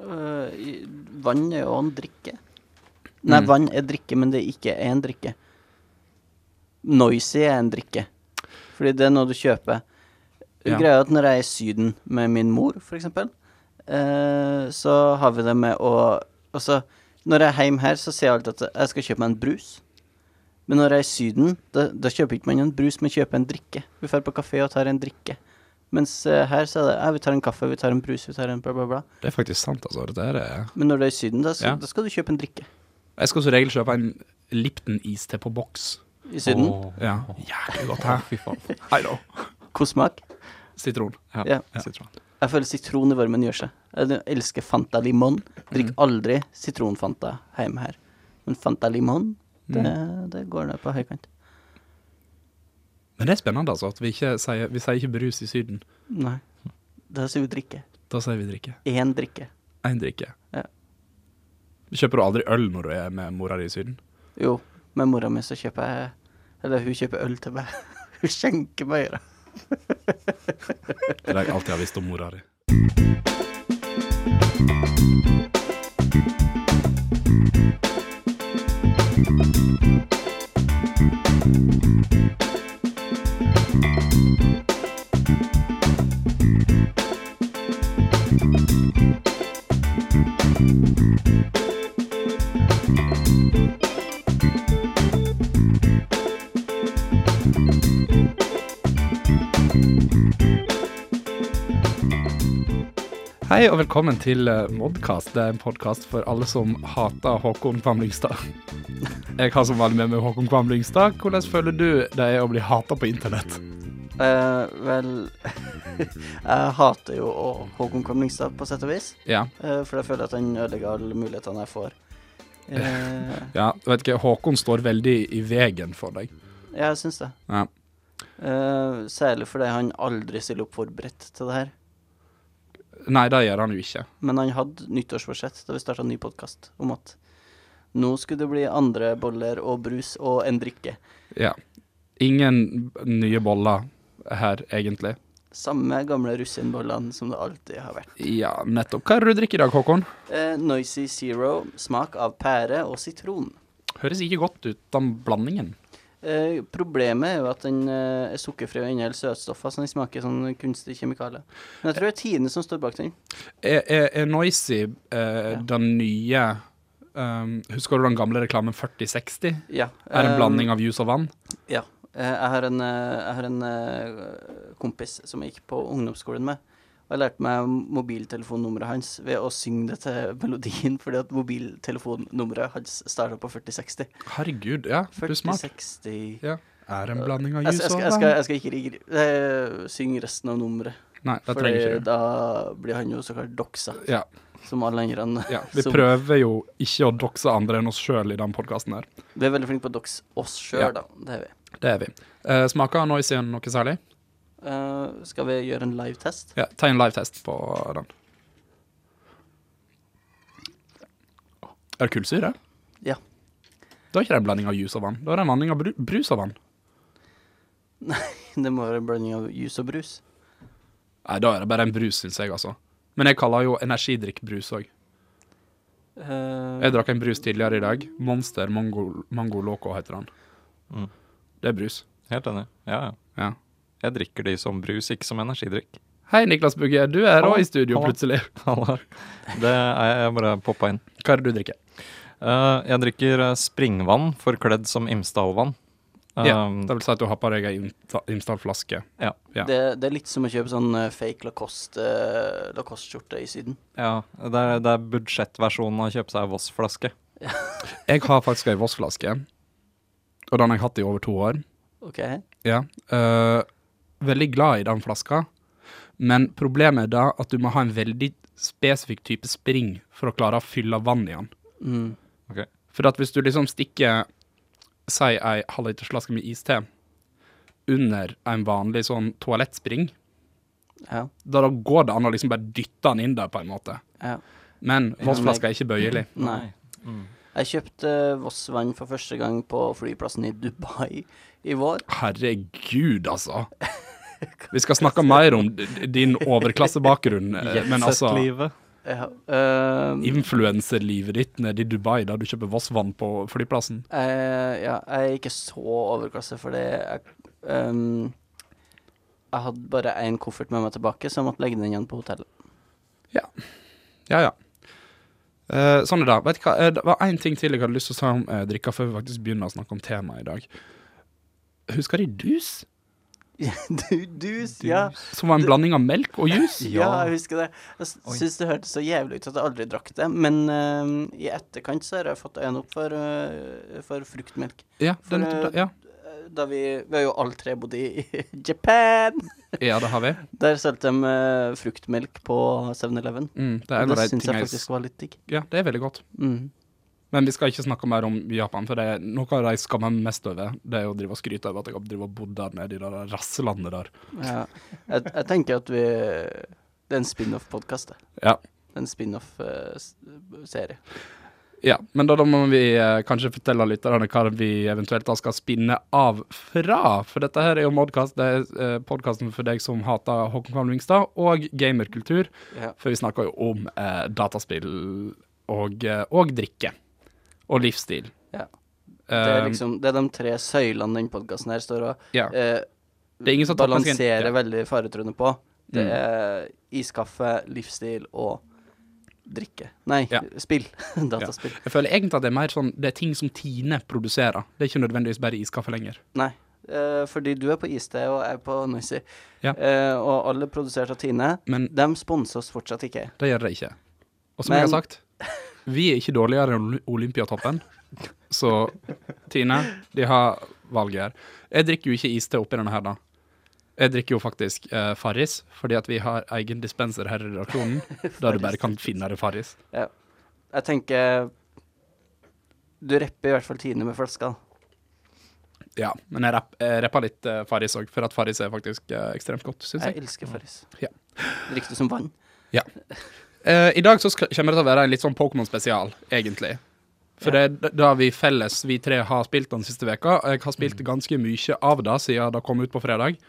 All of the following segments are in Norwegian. Øh, i- vann er jo en drikke. Nei, Mm. vann er drikke, men det er ikke en drikke. Noisy er en drikke. Fordi det er noe du kjøper. Ja. Greia er at når jeg er i Syden med min mor, for eksempel, eh, så har vi det med å Altså, når jeg er hjemme her, så sier jeg alltid at jeg skal kjøpe meg en brus. Men når jeg er i Syden, da, da kjøper ikke man en brus, men kjøper en drikke. Vi drar på kafé og tar en drikke. Mens eh, her så er det ja, vi tar en kaffe, vi tar en brus, vi tar en bla, bla, bla. Det er faktisk sant, altså. Dette er, eh, Men når du er i Syden, da, så, Ja. da skal du kjøpe en drikke. jeg skal som regel kjøpe en Lipton-is til på boks. I Syden. Ja. Jævlig godt, hæ? Fy faen. I know. God smak. Sitron. Ja. Sitron. Jeg føler sitron i varmen gjør seg. Jeg elsker Fanta Limon. Drikk aldri sitronfanta hjemme her. Men Fanta Limon, det, det går ned på høykant. Men det er spennende, altså. At vi, ikke sier, vi sier ikke brus i Syden. Nei. Da sier vi drikke. Da sier vi drikke. Én drikke. Én drikke. Ja. Kjøper du aldri øl når du er med mora di i Syden? Jo, med mora mi så kjøper jeg Eller hun kjøper øl til meg. Hun skjenker meg øra. Det er det jeg alltid har visst om mora di. Hei og velkommen til eh, Modcast. Det er en podkast for alle som hater Håkon Kvamlingstad. Jeg har som vanlig med meg Håkon Kvamlingstad. Hvordan føler du det er å bli hata på internett? Eh, vel Jeg hater jo å- Håkon Kamlingstad, på sett og vis. Ja. Eh, for jeg føler at han ødelegger alle mulighetene jeg får. Eh, ja du vet ikke, Håkon står veldig i veien for deg. ja, jeg syns det. Ja. Eh, særlig fordi han aldri stiller opp forberedt til det her. Nei, det gjør han jo ikke. Men han hadde nyttårsforsett da vi starta ny podkast, om at nå skulle det bli andre boller og brus og en drikke. Ja. Ingen b- nye boller her, egentlig. Samme gamle russinbollene som det alltid har vært. Ja, nettopp. Hva er det du drikker i dag, Håkon? Eh, Noisy Zero, smak av pære og sitron. Høres ikke godt ut, den blandingen. Eh, problemet er jo at den eh, er sukkerfri og inneholder søtstoffer, så den smaker sånn kunstig kjemikalie. Men jeg tror det er Tine som står bak den. Er, er, er Noisy eh, den nye ehm, Husker du den gamle reklamen 4060? Ja. Er en eh, blanding av juice og vann? Ja. Eh, Jeg har en, eh, jeg har en eh, kompis som jeg gikk på ungdomsskolen med. Og jeg lærte meg mobiltelefonnummeret hans ved å synge det til melodien, fordi at mobiltelefonnummeret hans starta på 4060. Herregud, ja. Du er smart. 4060 jeg, Ja. Er en blanding av jeg, juice skal- og jeg, skal, vann? jeg skal ikke rigge, eh, synge resten av nummeret, Nei, det for trenger ikke du. da blir han jo såkalt doxa, Ja, som alle andre. ja. Vi som- prøver jo ikke å doxe andre enn oss sjøl i den podkasten her. Vi er veldig flinke på å doxe oss sjøl, Ja. da. Det er vi. Det er vi. Eh, smaker Noisy noe særlig? Eh, skal vi gjøre en livetest? Ja, ta en live-test på den. Er det kullsyre? Ja. Da er ikke det en blanding av juice og vann. Da er det en blanding av bru brus og vann. Det må være en blanding av juice og brus. Nei, da er det bare en brus, syns jeg, altså. Men jeg kaller jo energidrikk brus òg. Eh, Jeg drakk en brus tidligere i dag. Monster Mango, Mango Loco heter den. Mm. Det er brus. Helt enig. Ja, ja. Ja. Jeg drikker de som brus, ikke som energidrikk. Hei, Niklas Bugge. Du er Hallo. òg i studio, Hallo. plutselig. Halla. Det er jeg bare poppa inn. Hva er det du drikker? Eh, jeg drikker eh, springvann forkledd som Imsdalvann. Ja, Um, Det vil si at du har på deg ei Imsta- Imsdal-flaske. Ja. Det, det er litt som å kjøpe sånn eh, fake Lacoste, eh, Lacoste-skjorte i Syden. ja, det er, det er budsjettversjonen av å kjøpe seg Voss-flaske. Jeg har faktisk ei Voss-flaske, og den har jeg hatt i over to år. Ok? Ja. øh, veldig glad i den flaska, men problemet er da at du må ha en veldig spesifikk type spring for å klare å fylle vann i den. Mm. For at hvis du liksom stikker, si ei halvlitersflaske med iste under en vanlig sånn toalettspring, Ja. da, da går det an å liksom bare dytte den inn der på en måte. ja. Men Voss-flaska er ikke bøyelig. Nei. Mm. Jeg kjøpte Voss-vann for første gang på flyplassen i Dubai i vår. Herregud, altså. Vi skal snakke mer om d- din overklassebakgrunn, eh, men altså Jetset-livet. Ja, ehm, øhm, Influenserlivet ditt nede i Dubai, der du kjøper Voss-vann på flyplassen. jeg, eh, ja, jeg er ikke så overklasse, fordi jeg øhm, Jeg hadde bare én koffert med meg tilbake, så jeg måtte legge den igjen på hotellet. Ja, ja. Eh, sånn er det. Vet du hva? Eh, det var én ting til jeg hadde lyst til å si om eh, drikker, før vi faktisk begynner å snakke om temaet i dag. Husker de dus? du, dus, ja. Som var en blanding av melk og jus? Ja, jeg husker det. Jeg s- Oi. syns det hørtes så jævlig ut at jeg aldri drakk det, men øhm, i etterkant så har jeg fått øynene opp for, øh, for fruktmelk. Ja, For, den, eh, ja. Da vi, vi har jo alle tre bodd i Japan. ja, det har vi. Der solgte de eh, fruktmelk på 7-Eleven. Mm, det er Og en av Det syns de jeg tingene jeg faktisk var litt digg. Ja, det er veldig godt. Mm. Men vi skal ikke snakke mer om Japan, for det er noe av det jeg skammer meg mest over, det er å drive og skryte over at jeg har drivet og bodd der nede i det der rasselandet der. Ja. Jeg, jeg tenker at vi Det er en spin-off-podkast, det. Ja. Det er En eh, spin-off-serie. Ja, men da, da må vi eh, kanskje fortelle lytterne hva vi eventuelt da skal spinne av fra. For dette her er jo Modcast, det er eh, podkasten for deg som hater Håkon Kalvingstad, og gamerkultur. Ja. For vi snakker jo om eh, dataspill og, eh, og drikke. Og livsstil. Ja. Det Eh, er liksom Det er de tre søylene den podkasten her står og ja. eh, Det er ingen som topper sin- balanserer ja. veldig faretruende på. Det Mm. er iskaffe, livsstil og drikke. Nei, Ja. spill. Dataspill. Jeg føler egentlig at det er mer sånn Det er ting som Tine produserer. Det er ikke nødvendigvis bare iskaffe lenger. Nei, eh, fordi du er på iste og jeg er på Noisy. Ja. Eh, og alle er produsert av Tine. Men De sponser oss fortsatt ikke. det gjør det ikke. Og som Men- jeg har sagt, vi er ikke dårligere enn Oly- Olympiatoppen. Så Tine, de har valget her. Jeg drikker jo ikke iste oppi denne her, da. Jeg drikker jo faktisk eh, Farris, fordi at vi har egen dispenser her i redaksjonen, der du bare kan finne det Farris. Jeg tenker Du repper i hvert fall Tine med flaska. Ja, men jeg, rapp, jeg rappa litt eh, Farris òg, for at Farris er faktisk eh, ekstremt godt, syns jeg. Jeg elsker Farris. Mm. Ja. Drikker du som vann? Eh, I dag så skal, kommer det til å være en litt sånn Pokémon-spesial, egentlig. For det er da vi felles, vi tre, har spilt den siste veka. Jeg har spilt Mm. ganske mye av det siden det kom ut på fredag.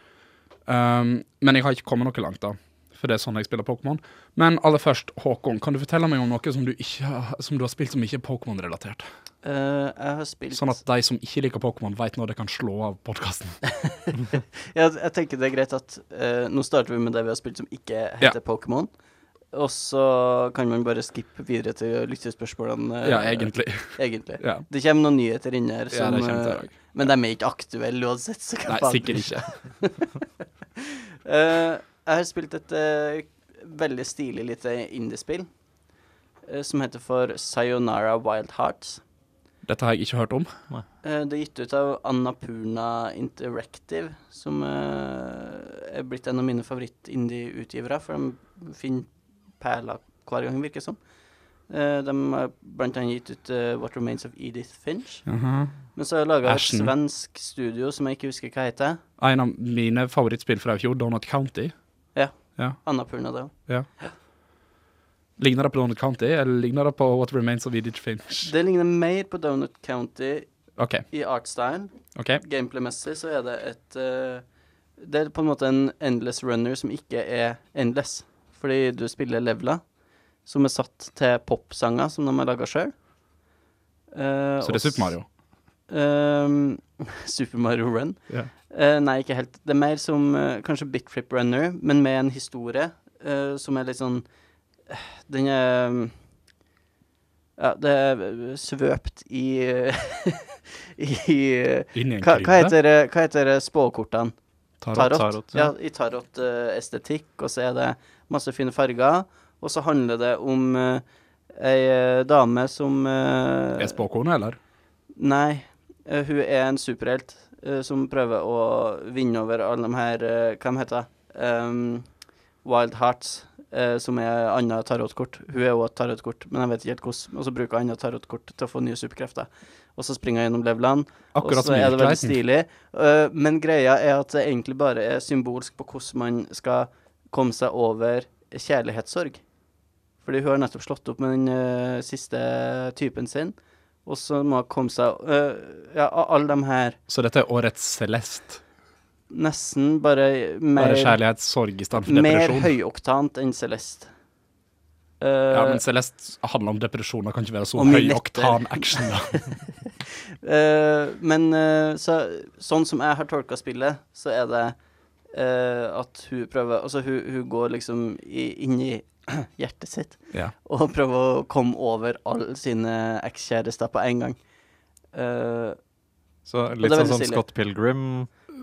Um, men jeg har ikke kommet noe langt, da. For det er sånn jeg spiller Pokémon. Men aller først, Håkon, kan du fortelle meg om noe som du, ikke, har- som du har spilt som ikke er Pokémon-relatert? Eh, jeg har spilt Sånn at de som ikke liker Pokémon, veit når de kan slå av podkasten. jeg, jeg tenker det er greit at eh, Nå starter vi med det vi har spilt som ikke heter Pokémon. Og så kan man bare skippe videre til lyttespørsmålene. eh, Ja, egentlig. egentlig. Ja. Det kommer noen nyheter inn her, Ja, som, det kommer til eh, i dag. men de er ikke aktuelle uansett. Så hva Nei, faen bryr sikkert ikke. Eh, jeg har spilt et eh, veldig stilig lite indiespill eh, som heter for Sayonara Wild Hearts. Dette har jeg ikke hørt om. Eh, det er gitt ut av Annapurna Interactive, som eh, er blitt en av mine favoritt-indie-utgivere, for de finner perler hver gang, virker det som. Eh, de har blant annet gitt ut eh, What Remains of Edith Finch. Men så har jeg laga et Ashen. svensk studio som jeg ikke husker hva heter. En av mine favorittspill fra i fjor, Donut County. Annapurna, det òg. Ligner det på Donut County, eller ligner det på What Remains of Edith Finch? Det ligner mer på Donut County OK. i artstyle. ok. Gameplay-messig så er det et eh, Det er på en måte en endless runner som ikke er endless. Fordi du spiller leveler som er satt til popsanger som de har Eh, laga sjøl. Så det er Super Mario. ehm, Super Mario Run. Ja. Eh, nei, ikke helt. Det er mer som eh, kanskje Bit Trip Runner, men med en historie eh, som er litt sånn eh, Den er mm, Ja, det er eh, svøpt i I eh, Inn i en hva, krybbe. hva heter, eh, hva heter eh, spåkortene? Tarot. Tarot. Tarot ja. I tarot-estetikk, og så er det masse fine farger. Og så handler det om eh, ei eh, dame som eh, Er spåkone, eller? Nei, eh, hun er en superhelt eh, som prøver å vinne over alle de her eh, Hva de heter de? Wild Hearts, eh, som er annet tarotkort. Hun er også et tarotkort, men jeg vet ikke helt hvordan. Og så bruker hun annet tarotkort til å få nye superkrefter. Og så springer hun gjennom levelene, og Akkurat så som i er det veldig virkeligheten. stilig. Eh, men greia er at det egentlig bare er symbolsk på hvordan man skal komme seg over kjærlighetssorg. Fordi hun har nettopp slått opp med den eh, siste typen sin. Og så må hun komme seg eh, Ja, av alle de her Så dette er årets Celeste. nesten bare mer, Bare kjærlighetssorg i stedet for mer depresjon. høyoktant enn Celeste. Eh, Ja, men Celeste handler om depresjon. Det kan ikke være så Og mye høy lettere. oktan action. da. Eh, men eh, så, sånn som jeg har tolka spillet, så er det eh, at hun prøver Altså, hun, hun går liksom i, inn i hjertet sitt Ja. og prøver å komme over alle sine ekskjærester på en gang. Eh, Så det litt er sånn veldig som stilig. Scott Pilgrim.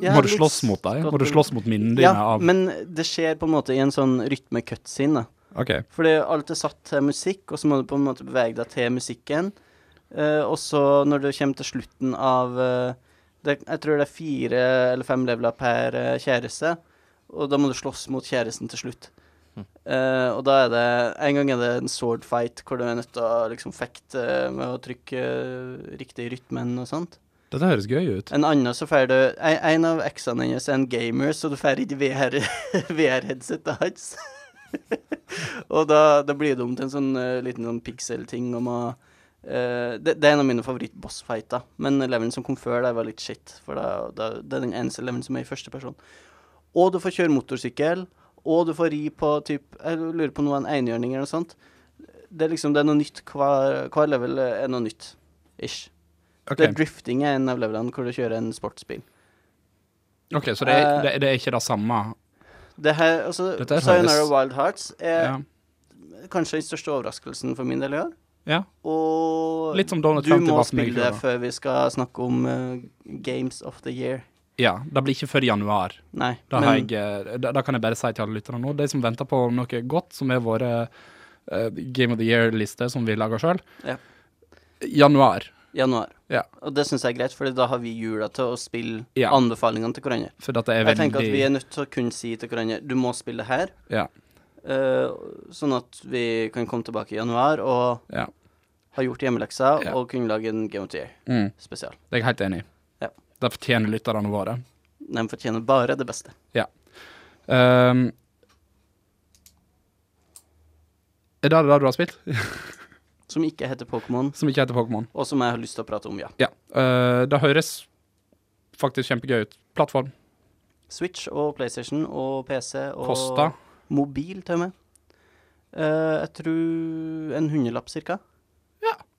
ja, Må du litt slåss mot deg? Må du slåss mot minnene dine? Ja, av... men det skjer på en måte i en sånn rytme-cutscene. da. Ok. Fordi alt er satt til musikk, og så må du på en måte bevege deg til musikken. Eh, og så når du kommer til slutten av eh, det, Jeg tror det er fire eller fem leveler per eh, kjæreste, og da må du slåss mot kjæresten til slutt. Mm. Eh, og da er det En gang er det en sword fight hvor du er nødt til å liksom fekte med å trykke eh, riktig i rytmen og sånt. Dette høres gøy ut. En annen så får du En, en av eksene hennes er en gamer, så du får ikke VR-headsetet VR headsetet hans. og da, da blir det om til en sånn eh, liten sånn pixel-ting om å eh, det, det er en av mine favoritt-bossfighter, men levelen som kom før der, var litt shit. For da, da, det er den eneste levelen som er i første person. Og du får kjøre motorsykkel, og du får ri på typ Jeg lurer på om det var en einhjørning eller noe sånt. Det er liksom, det er noe nytt hver, hver level er noe nytt. Ish. Ok, Det er drifting er en av levelene hvor du kjører en sportsbil. Ok, Så det er, Eh, det, det er ikke det samme? Det her, altså, Dette her Sayonara høres- Wild Hearts er Ja. kanskje den største overraskelsen for min del i år. ja. Og Litt som Donald du Trump til må Vassmøy. spille det før vi skal snakke om eh, Games of the Year. Ja, det blir ikke før i januar. Nei, Da, har jeg, eh, da, da kan jeg bare si til alle lytterne nå, de som venter på noe godt, som er våre eh, Game of the Year-lister som vi lager sjøl, Ja. januar. januar. Ja. Og det syns jeg er greit, for da har vi jula til å spille Ja. anbefalingene til hverandre. For dette er Jeg veldig tenker at vi er nødt til å kunne si til hverandre du må spille det her, ja, eh, sånn at vi kan komme tilbake i januar og ja. ha gjort hjemmeleksa Ja. og kunne lage en Game of the Year Mm, spesial. det er jeg helt enig i. Ja. Det fortjener lytterne våre. De fortjener bare det beste. Um, er det det du har spilt, Som ikke heter Pokémon, som ikke heter Pokémon? og som jeg har lyst til å prate om, ja. Ja. eh, det høres faktisk kjempegøy ut. Plattform. Switch og PlayStation og PC og Kosta. mobil til og med. Eh, jeg tror en hundrelapp cirka.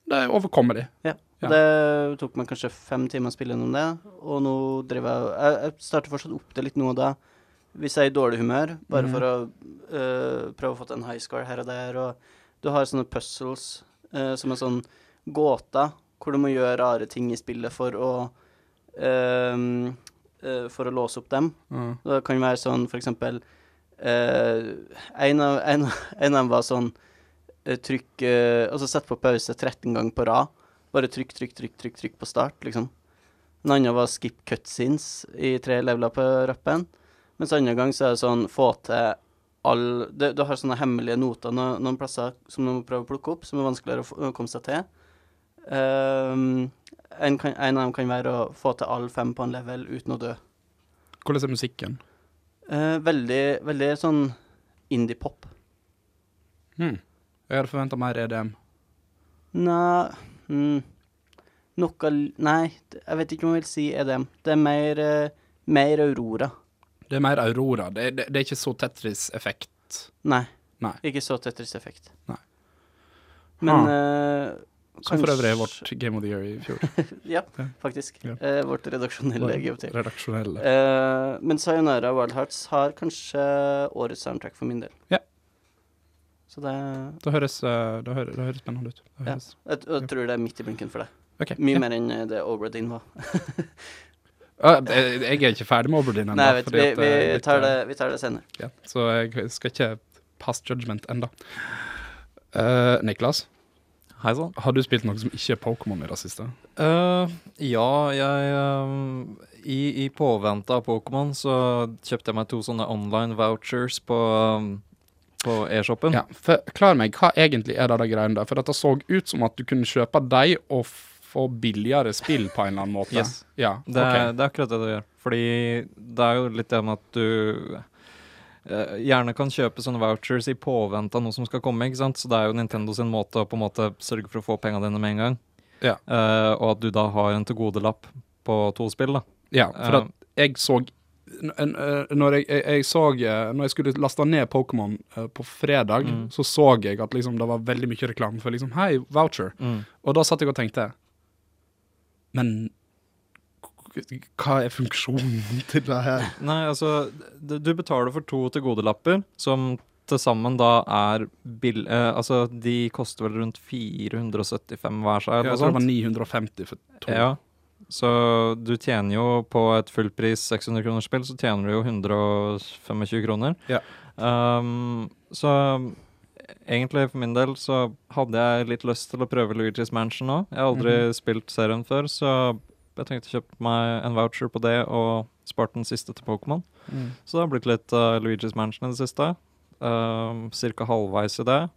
Det er overkommelig. Ja. Det tok meg kanskje fem timer å spille gjennom det, og nå driver jeg Jeg, jeg starter fortsatt opp det litt nå og da. Hvis jeg er i dårlig humør, bare Mhm. for å eh, prøve å få til en high score her og der, og du har sånne puzzles eh, som er sånn gåter hvor du må gjøre rare ting i spillet for å eh, eh, For å låse opp dem. Mm. Og Det kan være sånn for eksempel eh, en, av, en, en av dem var sånn eh, Trykk eh, Altså sett på pause 13 ganger på rad. Bare trykk, trykk, trykk, trykk, trykk på start, liksom. En annen var skip cutscenes i tre leveler på rappen. Mens andre gang så er det sånn få til all det, Du har sånne hemmelige noter noen, noen plasser som du må prøve å plukke opp, som er vanskeligere å, få, å komme seg til. Ehm, en, kan, en av dem kan være å få til alle fem på en level uten å dø. Hvordan er musikken? Eh, veldig, veldig sånn indie-pop. Hmm. Jeg hadde forventa mer EDM. Nei mm, Noe l- Nei, d- jeg vet ikke om jeg vil si EDM. Det er mer, eh, mer Aurora. Det er mer Aurora. Det, det, det er ikke så Tetris-effekt. Nei. Nei. Ikke så Tetris Effekt. Nei. Men Ah. eh, Som for øvrig er kanskje- vårt Game of the Year i fjor. Ja, Ja. faktisk. Ja. Eh, vårt redaksjonelle GOT. Redaksjonelle. Eh, men Sayonara Wild Hearts har kanskje årets soundtrack for min del. Ja. Så det Det høres, eh, det høres, det høres spennende ut. Det Ja. høres. jeg, jeg tror det er midt i blinken for deg. Ok. Mye Ja. mer enn eh, det Obradin var. Ah, jeg, jeg er ikke ferdig med Oberdin ennå. Nei, vet, fordi vi, at, vi, eh, litt, tar det, eh, vi tar det senere. Ja, så jeg skal ikke pass judgment ennå. Eh, Niklas, Hei sann. har du spilt noe som ikke er Pokémon i det siste? Eh, ja, jeg ehm, i, I påvente av Pokémon så kjøpte jeg meg to sånne online vouchers på, ehm, på e-shoppen. Ja, Forklar meg, hva egentlig er det der greiene der? For dette så ut som at du kunne kjøpe deg og få billigere spill på en eller annen måte. Yes. Ja, Det, er- ok. det er akkurat det det gjør. Fordi det er jo litt det med at du eh, gjerne kan kjøpe sånne vouchers i påvente av noe som skal komme. ikke sant? Så det er jo Nintendo sin måte å på en måte sørge for å få penga dine med en gang. Ja. Eh, og at du da har en tilgodelapp på to spill, da. ja, for at jeg så Ehm, n- n- eh, når jeg, jeg, jeg så eh, Når jeg skulle laste ned Pokémon eh, på fredag, Mm. så så jeg at liksom, det var veldig mye reklame for liksom Hei, voucher. Mm. Og da satt jeg og tenkte Men k- k- hva er funksjonen til det her? Nei, altså, d- du betaler for to tilgodelapper, som til sammen da er bill... eh, altså, de koster vel rundt 475 hver seg, eller Jeg noe tror det var sånt. 950 for to. Ja. Så du tjener jo på et fullpris 600 kroners spill, så tjener du jo 125 kroner. Ja. Um, så egentlig for min del så hadde jeg litt lyst til å prøve Luigi's Mansion nå. Jeg har aldri Mhm. spilt serien før, så jeg tenkte å kjøpe meg en voucher på det og spart den siste til Pokémon. Så det har blitt litt eh, Luigi's Mansion i det siste. Um, cirka halvveis i det.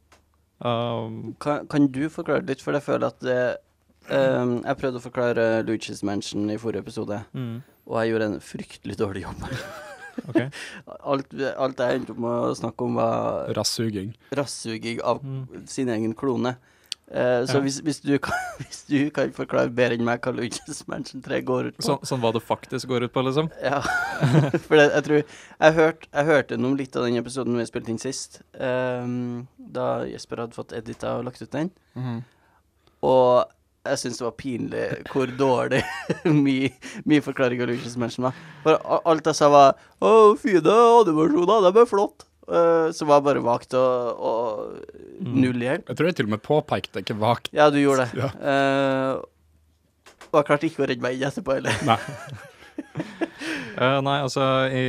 Um, Kan, kan du forklare det litt, for jeg føler at det ehm, Jeg prøvde å forklare Luigi's Mansion i forrige episode, og jeg gjorde en fryktelig dårlig jobb. Ok. alt, alt jeg endte opp med å snakke om, var Rassuging. rassuging av Mm. sin egen klone. Eh, så Ja. hvis, hvis, du kan, hvis du kan forklare bedre enn meg hva Luigi's Mansion 3 går ut på Sånn, sånn hva det faktisk går ut på, liksom. Ja, for det, jeg tror jeg, hørt, jeg hørte noe om litt av den episoden vi spilte inn sist, ehm, da Jesper hadde fått edita og lagt ut den. Og jeg syns det var pinlig hvor dårlig mye mi forklaring av Lucius Mansion var. For a- alt jeg sa, var 'Å, fine animasjoner, de er flotte'. eh, som var bare vagt og, og null igjen. Jeg tror jeg til og med påpekte ikke vagt. Ja, du gjorde det. Ja. Eh, og jeg klarte ikke å redde meg inn etterpå heller. Nei. Eh, nei, altså i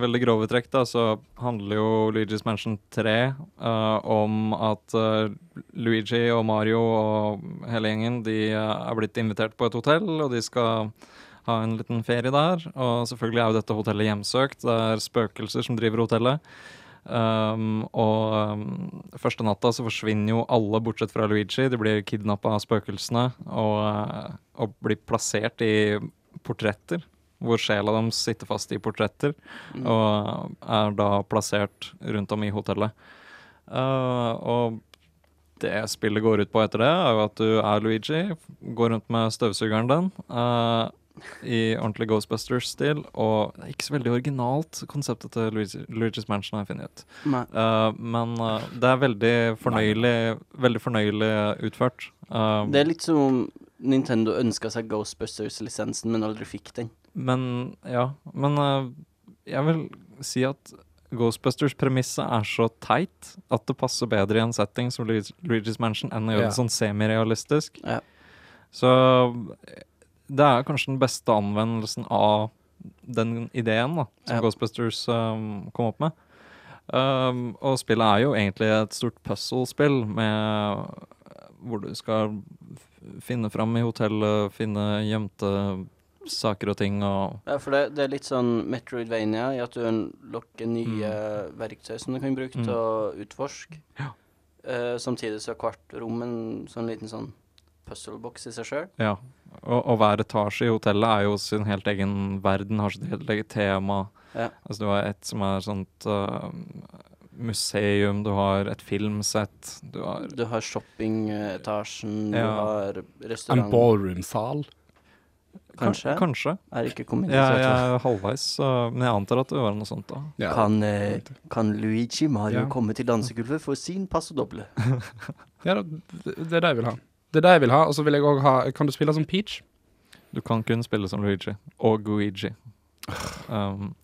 veldig grove trekk da, så handler jo Luigi's Mansion 3 eh, om at eh, Luigi og Mario og hele gjengen de eh, er blitt invitert på et hotell, og de skal ha en liten ferie der. Og selvfølgelig er jo dette hotellet hjemsøkt. Det er spøkelser som driver hotellet. Um, og um, første natta så forsvinner jo alle bortsett fra Luigi. De blir kidnappa av spøkelsene og, eh, og blir plassert i portretter hvor sjela deres sitter fast i portretter, og er da plassert rundt om i hotellet. Eh, og det spillet går ut på etter det, er jo at du er Luigi, går rundt med støvsugeren din eh, i ordentlig Ghostbusters-stil, og det er ikke så veldig originalt konseptet til Luigi, Luigi's Mansion har jeg funnet ut. Nei. Eh, men eh, det er veldig fornøyelig, veldig fornøyelig utført. Eh, Det er litt som om Nintendo ønska seg Ghostbusters-lisensen, men aldri fikk den. Men ja, men eh, jeg vil si at Ghostbusters-premisset er så teit at det passer bedre i en setting som Luigi- Luigi's Mansion enn å gjøre Ja. det sånn semirealistisk. Ja. Så eh, det er kanskje den beste anvendelsen av den ideen da, som Ja. Ghostbusters eh, kom opp med. Um, og spillet er jo egentlig et stort puzzle-spill med eh, hvor du skal f- finne fram i hotellet, finne gjemte saker og ting og Ja, for det, det er litt sånn Metroidvania i at du unlocker nye verktøy som du kan bruke til Mm. å utforske. Ja. Eh, samtidig så er hvert rom en sånn liten sånn puzzlebox i seg sjøl. Ja. Og, og hver etasje i hotellet er jo sin helt egen verden, har sitt helt eget tema. Ja. Altså du har et som er sånt eh, museum, du har et filmsett, du har Du har shoppingetasjen, du Ja. har En restaurant ballroom-sal. Kanskje. Kanskje. Jeg er ikke kommet dit. Ja, vet du. jeg er halvveis, så- men jeg antar at det var noe sånt da. Ja. Kan, eh, kan Luigi Mario Ja. komme til dansegulvet for sin passodoble? Ja, da, det det er det jeg vil ha. Det er det jeg vil ha, og så vil jeg òg ha Kan du spille som Peach? Du kan kun spille som Luigi. Og Guigi. Um,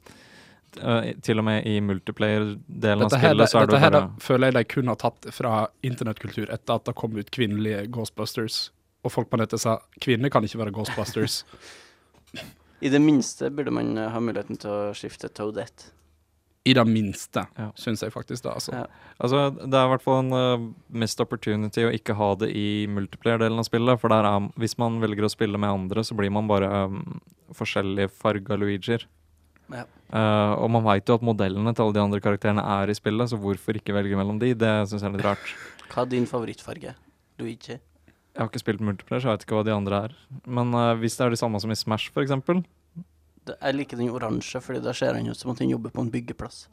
t- eh, til og med i multiplayer-delen av Dette her, spillet så er du dette her bare føler jeg de kun har tatt fra internettkultur etter at det kom ut kvinnelige Ghostbusters. Og folk på nettet sa kvinner kan ikke være Ghostbusters. I det minste burde man eh, ha muligheten til å skifte Toadette. I det minste, Ja. synes syns jeg faktisk det. altså. Ja. Altså, det er i hvert fall en uh, missed opportunity å ikke ha det i multiplayer-delen av spillet, for der er, hvis man velger å spille med andre, så blir man bare um, forskjellige farga Luigier. Ja. Uh, og man veit jo at modellene til alle de andre karakterene er i spillet, så hvorfor ikke velge mellom de? Det syns jeg er litt rart. Hva er din favorittfarge? Luigi? Jeg har ikke spilt multiplayer, så jeg vet ikke hva de andre er. Men uh, hvis det er de samme som i Smash, for eksempel, Det- Jeg liker den oransje, fordi da ser han ut som at han jobber på en byggeplass.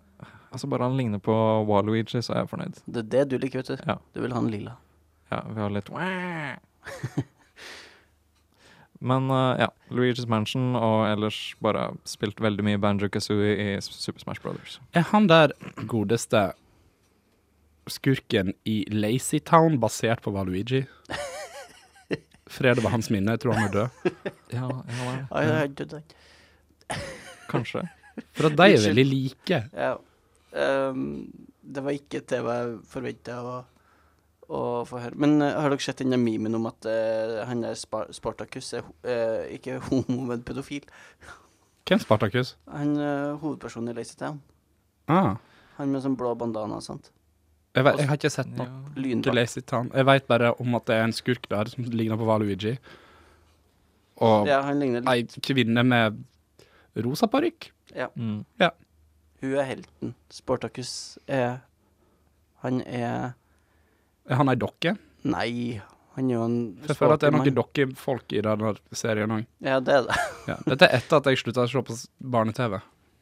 altså bare han ligner på Waluigi, så er jeg fornøyd. Det er det du liker, vet du. Ja. Du vil ha en lilla. Ja, vi har litt Men eh, ja, Luigi's Mansion og ellers bare spilt veldig mye Banjo Kazooie i Super Smash Brothers. Er han der godeste skurken i Lazy Town basert på Valuigi? Fred over hans minne, jeg tror han er død. Ja, ja det Ai, ai, ai, ai. Kanskje. For at de er veldig like. Ja. Ehm, det var ikke det jeg forventa å, å få høre. Men eh, har dere sett den der memen om at eh, han der Spa- Spartacus er ho eh, ikke homo, men pedofil? Hvem Spartacus? Han eh, hovedpersonen i Lazy Town. Ah, Han med sånn blå bandana og sånt. jeg, vet, jeg har ikke sett Ja. noe til Lynbakk. Lazy Town. Jeg veit bare om at det er en skurk der som ligner på Valuigi. Og Ja, han ligner litt. ei kvinne med rosa parykk. Mm. Hun er helten. Spartacus er Han er Er han ei dokke? Nei, han er jo en For jeg føler at det sporty er noen mann. dokkefolk i denne serien òg. Ja, det er det. Ja. Dette er etter at jeg slutta å se på s- barne-TV.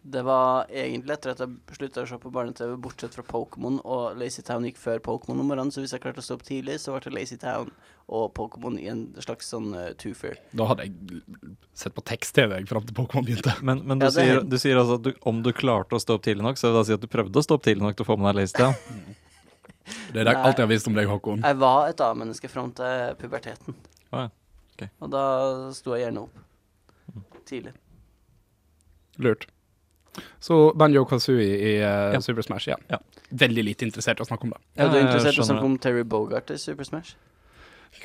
Det var egentlig etter at jeg slutta å se på barne-TV, bortsett fra Pokémon, og Lazy Town gikk før Pokémon om morgenen, så hvis jeg klarte å stå opp tidlig, så ble det Lazy Town og Pokémon i en slags sånn uh, two-fair. Da hadde jeg sett på tekst-TV jeg, fram til Pokémon begynte. Men, men du, Ja, det er sier, helt- du sier altså at du, om du klarte å stå opp tidlig nok, så vil det si at du prøvde å stå opp tidlig nok til å få med deg Lazy Det er det- Nei. alt jeg har visst om deg, Håkon. Jeg var et A-menneske fram til puberteten. Å ja, ok. Og da sto jeg gjerne opp tidlig. Lurt. Så Banjo Kazooie i eh, Ja. Super Smash, ja. Ja. Veldig lite interessert i å snakke om det. Ja, er du jeg interessert i sånn å skjønner snakke om Terry Bogart i Super Smash?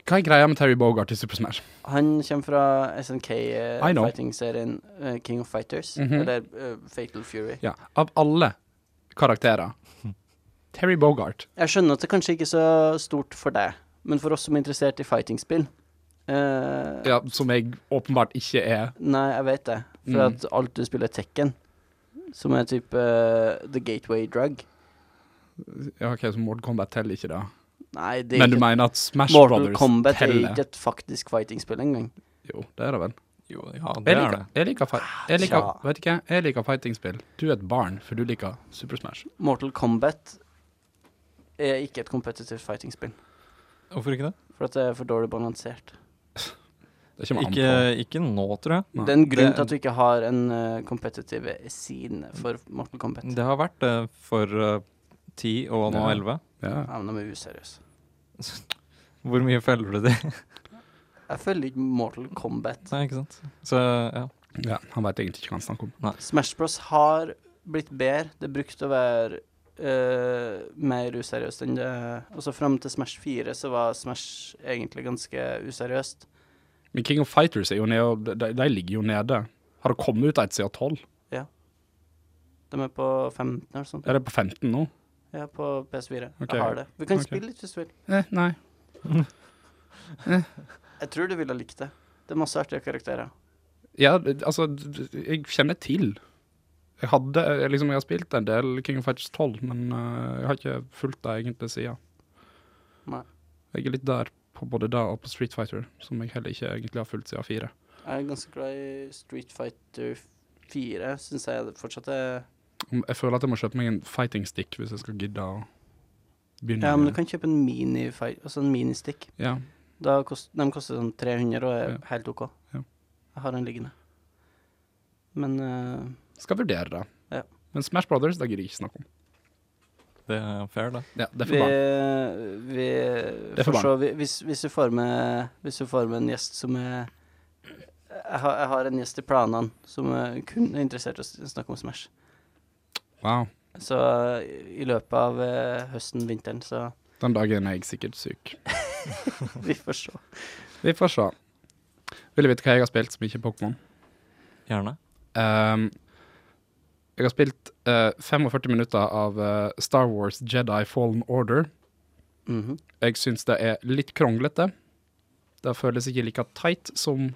Hva er greia med Terry Bogart i Super Smash? Han kommer fra I know. SNK-fighting-serien eh, King of Fighters, Mhm. eller eh, Fatal Fury. Ja. Av alle karakterer Terry Bogart. Jeg skjønner at det kanskje ikke er så stort for deg, men for oss som er interessert i fightingspill eh, Ja, som jeg åpenbart ikke er. Nei, jeg vet det. For Mm. at alt du spiller er Tekken, som er type eh, The Gateway Drug Ja, OK, så Mord Combat teller ikke det. Nei, det er Men du ikke mener at Smash Mortal Brothers Kombat er teller? ikke et faktisk fightingspill engang. Jo, det er det vel. Jo, ja, Jeg det er liker, det. jeg liker, fight, jeg liker, Ja. vet ikke, jeg liker fightingspill. Du er et barn, for du liker Super Smash. Mortal Kombat er ikke et competitive fightingspill, Hvorfor ikke det? for at det er for dårlig balansert. Det kommer an Ikke, på. ikke nå, tror jeg. Nei. Det er en grunn Det- til at du ikke har en eh, competitive scene for Mortal Kombat. Det har vært det for eh, 10 og nå Ja. 11. Ja. Ja, men de er useriøse. Hvor mye følger du de? Jeg følger ikke Mortal Kombat. Nei, ikke sant? Så ja. ja, han vet egentlig ikke hva han snakker om. Smash Bros har blitt bedre. Det brukte å være eh, mer useriøst enn det Også fram til Smash 4 så var Smash egentlig ganske useriøst. Men King of Fighters er jo nede, de, de ligger jo nede. Har det kommet ut et siden 12? De er på 15 eller sånt. Er det på 15 nå? Ja, på PS4. Ok. Jeg har det. Vi kan Ok. spille litt hvis du vil. Eh, nei. Jeg tror du ville ha likt det. Det er masse artige karakterer. Ja, d- altså, d- d- jeg kjenner til. Jeg hadde, jeg liksom, jeg har spilt en del King of Fighters 12, men eh, jeg har ikke fulgt det egentlig siden. Nei. Jeg er litt der på både det og på Street Fighter, som jeg heller ikke egentlig har fulgt siden 4. Jeg er ganske glad i Street Fighter 4, syns jeg det fortsatt er Om- Jeg føler at jeg må kjøpe meg en fighting stick hvis jeg skal gidde å begynne. Ja, men du med- kan kjøpe en mini-fight, altså en mini-stick. Ja, Da kost, de koster sånn 300 og er Ja. helt OK. Ja. Jeg har en liggende. Men eh, skal vurdere det. Ja. Men Smash Brothers, det gidder jeg ikke snakke om. Det er fair, det. Ja, det er for vi, barn. vi er for får se vi- hvis, hvis, du får med, hvis du får med en gjest som er jeg har, jeg har en gjest i planene som er kun er interessert i å s- snakke om Smash. Wow. Så eh, i løpet av eh, høsten, vinteren, så Den dagen er jeg sikkert syk. vi får se. Vi får se. Vil du vite hva jeg har spilt som ikke er Pokémon? Gjerne. Ehm, jeg har spilt eh, 45 minutter av eh, Star Wars Jedi Fallen Order. Mhm. Jeg syns det er litt kronglete. Det føles ikke like tight som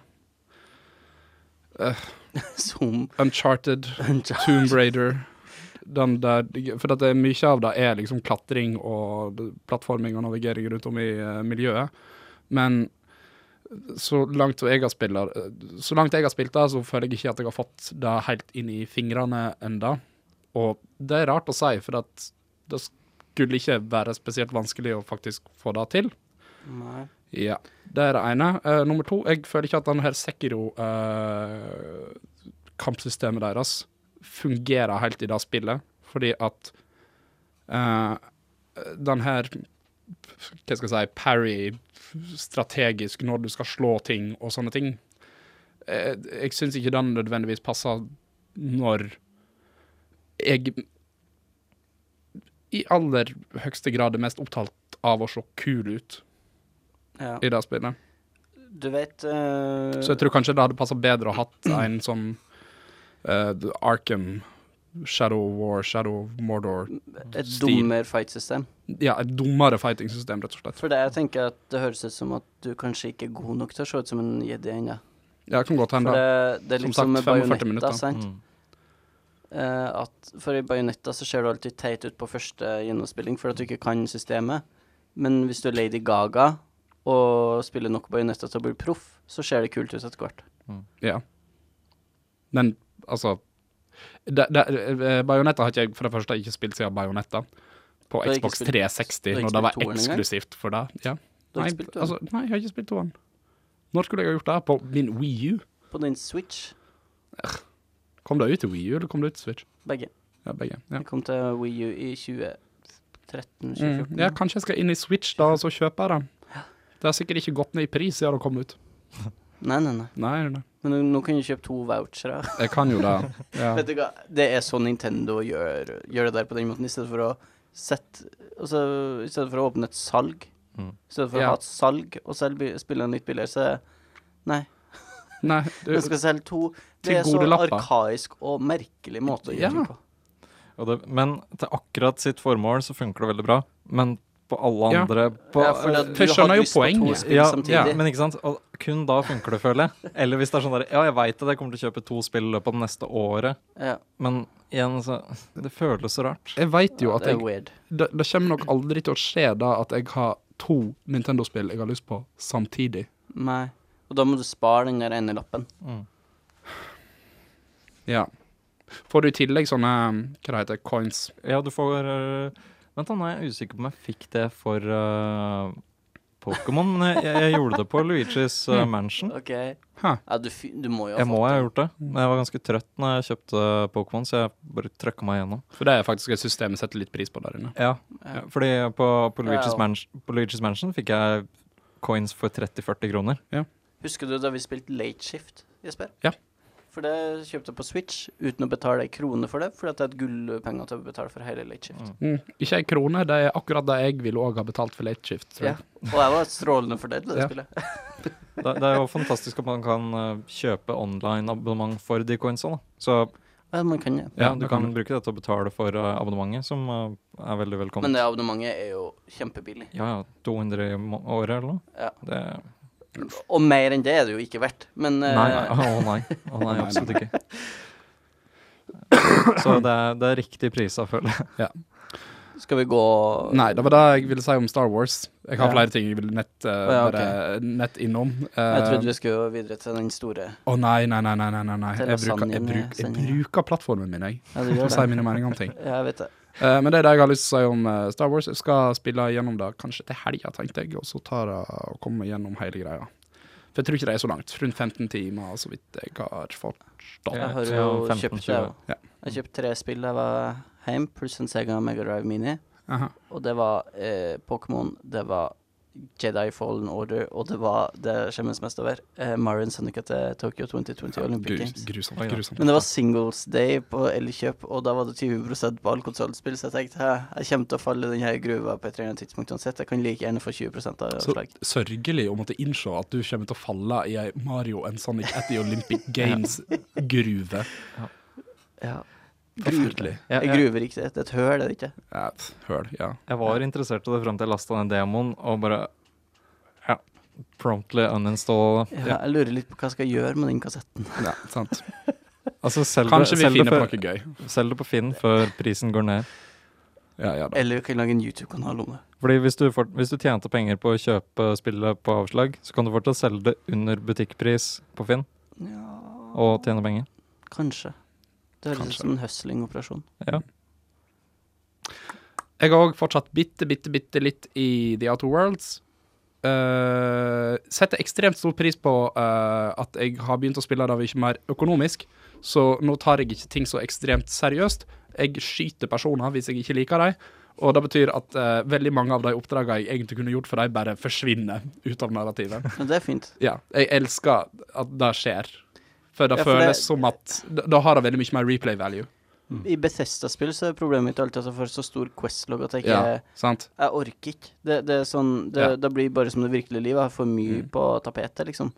eh, Som Uncharted, Tomb Raider. Den der, for at det, er mye av det er liksom klatring og plattforming og navigering rundt om i eh, miljøet. Men så langt jeg har spilt det, så langt jeg har spilt det, så føler jeg ikke at jeg har fått det helt inn i fingrene enda. Og det er rart å si, for at det skulle ikke være spesielt vanskelig å faktisk få det til. Nei. Ja, det er det ene. Eh, nummer to, jeg føler ikke at denne her Sekiro-kampsystemet deres fungerer helt i det spillet, fordi at uh, den her hva skal jeg si, parry strategisk når du skal slå ting og sånne ting, eh, jeg syns ikke den nødvendigvis passer når jeg i aller høyeste grad er mest opptatt av å se kul ut Ja. i det spillet. Du vet eh, Så jeg tror kanskje det hadde passa bedre å hatt en sånn eh, Arkham, Shadow War, Shadow Mordor et stil. dummere fight-system. Ja, et dummere fighting-system, rett og slett. For det jeg tenker at det høres ut som at du kanskje ikke er god nok til å se ut som en jedi ennå. Ja, det kan godt For hende. det, det er Som litt som sagt, med 45 bajonetta, minutter. sant? Mm. Eh, at for i bajonetta så ser du alltid teit ut på første gjennomspilling for at du ikke kan systemet. Men hvis du er Lady Gaga og spiller nok bajonetta til å bli proff, så ser det kult ut etter hvert. Ja. Men altså det, det, eh, Bayonetta har ikke jeg for det første ikke spilt siden Bayonetta. På Du har ikke Xbox spilt- 360, du har ikke når det var spilt toeren engang? eksklusivt for det. Ja. Du har Nei, ikke spilt altså, nei, jeg har ikke spilt toeren. Når skulle jeg ha gjort det? På min Wii U? på din Switch, Kom det ut til Wii U, eller kom det ut til Switch? begge. Ja, begge. Ja. Vi kom til Wii U i 2013-2014. Mm. Ja, kanskje jeg skal inn i Switch da, og så kjøper jeg det. Det har sikkert ikke gått ned i pris siden det kom ut. Nei, nei, nei. Nei, nei. Men nå- nå kan du kjøpe to vouchere. Jeg kan jo det. Ja. Vet du hva, det er sånn Nintendo gjør, gjør det der på den måten, i stedet for å sette altså, I stedet for å åpne et salg, Mm. i stedet for Ja. å ha et salg og selv by- spille en litt billigere, så Nei. Nei, du, Den skal selge to. til Det er så gode lapper. arkaisk og merkelig måte å gjøre Ja. det på. Og det, men til akkurat sitt formål så funker det veldig bra. Men på alle Ja. andre på, Ja, for at jeg du skjønner hadde jo lyst på to poenget. spill ja, samtidig. ja, men ikke sant? Og kun da funker det, føler jeg. Eller hvis det er sånn der Ja, jeg veit at jeg kommer til å kjøpe to spill i løpet av det neste året, Ja, men igjen, så Det føles så rart. jeg veit jo at det jeg er weird. det, det kommer nok aldri til å skje da at jeg har to Nintendo-spill jeg har lyst på samtidig. Nei. Og da må du spare den der ene lappen. Mm. Ja. Får du i tillegg sånne hva det heter, coins? Ja, du får øh, Vent, da, nå er jeg usikker på om jeg fikk det for øh, Pokémon, men jeg, jeg, jeg gjorde det på Luigi's øh, Mansion. OK. Hæ. Ja, du, fy- du må jo ha Jeg må ha gjort det, men jeg var ganske trøtt når jeg kjøpte Pokémon, så jeg bare trøkka meg gjennom. For det er faktisk et system jeg setter litt pris på der inne. Ja, Ja. fordi på, på, Luigi's Ja. Mansion, på Luigi's Mansion fikk jeg coins for 30-40 kroner. Husker du da vi spilte Late Shift, Jesper? Ja. For det kjøpte jeg på Switch uten å betale ei krone for det, fordi at jeg hadde gullpenger til å betale for hele Late Shift. Mm. Mm. Ikke ei krone, det er akkurat det jeg ville òg ha betalt for late shift. Tror Ja. jeg. Og jeg var strålende fornøyd med det Ja. spillet. Det, det er jo fantastisk at man kan øh, kjøpe online abonnement for de coinsene. da. Så Ja, man kan det. ja, Ja, du det kan kan bruke det til å betale for øh, abonnementet, som øh, er veldig velkomment. Men det abonnementet er jo kjempebillig. Ja, ja, 200 i må- året eller noe? Ja. Det, Og mer enn det er det jo ikke verdt. Men nei, eh, nei, å nei. Å nei, absolutt ikke. Så det er, det er riktig pris, jeg føler jeg. skal vi gå Nei, det var det jeg ville si om Star Wars. Jeg har Ja. flere ting jeg vil nett, eh, ja, bare nett innom. Jeg Eh, trodde vi skulle gå videre til den store. Å nei, nei, nei, nei. nei, nei, nei. Jeg, bruker, jeg, Til bruk, jeg lasagnen, bruker plattformen min, jeg. Ja, du For å gjør si det. mine meninger om ting. Ja, jeg vet det. Eh, men det er det jeg har lyst til å si om eh, Star Wars. Jeg skal spille gjennom det kanskje til helga, tenkte jeg, og så tar jeg og kommer gjennom hele greia. For jeg tror ikke det er så langt. Rundt 15 timer, så vidt jeg har forstått. Ja. Jeg har jo Ja, 15, kjøpt det. 20. Ja. Jeg kjøpte tre spill da jeg var hjemme, pluss en Sega Mega Drive Mini. Aha. Og det var eh, Pokémon, det var Jedi Fallen Order, og det var det jeg skjemmes mest over, eh, Marion Sunica til Tokyo 2020 Olympic Grus, Games. grusomt. Oi, ja. grusomt. Men det var singles day på Elkjøp, og da var det 20 på alle konsollspill, så jeg tenkte hæ, jeg kommer til å falle i denne gruva på et eller annet tidspunkt uansett. Jeg kan like gjerne få 20 av Så slag. sørgelig å måtte innse at du kommer til å falle i ei Mario and Sonic at the Olympic Games-gruve. Ja. Forferdelig. Jeg, Ei jeg, gruve, riktig. Det er et høl, er det ikke? Ja, pff, Høl, ja. jeg var interessert i det fram til jeg lasta ned demoen og bare Ja. Promptly uninstall. Ja, jeg lurer litt på hva jeg skal gjøre med den kassetten. ja sant. Altså, selg det, Kanskje vi selg, det finner på før, noe gøy. selg det på Finn før prisen går ned. Ja, ja da. Eller vi kan lage en YouTube-kanal om det. Fordi hvis du, får, hvis du tjente penger på å kjøpe spillet på avslag, så kan du fortsatt selge det under butikkpris på Finn Ja, og tjene penger. kanskje. Det høres Kanskje. ut som en hustling-operasjon. Ja. Jeg har òg fortsatt bitte, bitte, bitte litt i The Outer Worlds. Eh, eh, setter ekstremt stor pris på eh, at jeg har begynt å spille det av ikke mer økonomisk, så nå tar jeg ikke ting så ekstremt seriøst. Jeg skyter personer hvis jeg ikke liker dem, og det betyr at eh, veldig mange av de oppdragene jeg egentlig kunne gjort for dem, bare forsvinner ut av narrativet. Ja, det er fint. Ja, jeg elsker at det skjer. For det Ja, for det- føles som at da- Da har det veldig mye mer replay value. I Bethesda-spill så er problemet mitt alltid at jeg får så stor Quest-logg at jeg ikke Ja, sant? Jeg orker ikke. Det, det er sånn det, Ja. Mm. det blir bare som det virkelige livet. Jeg har for mye på tapetet, liksom.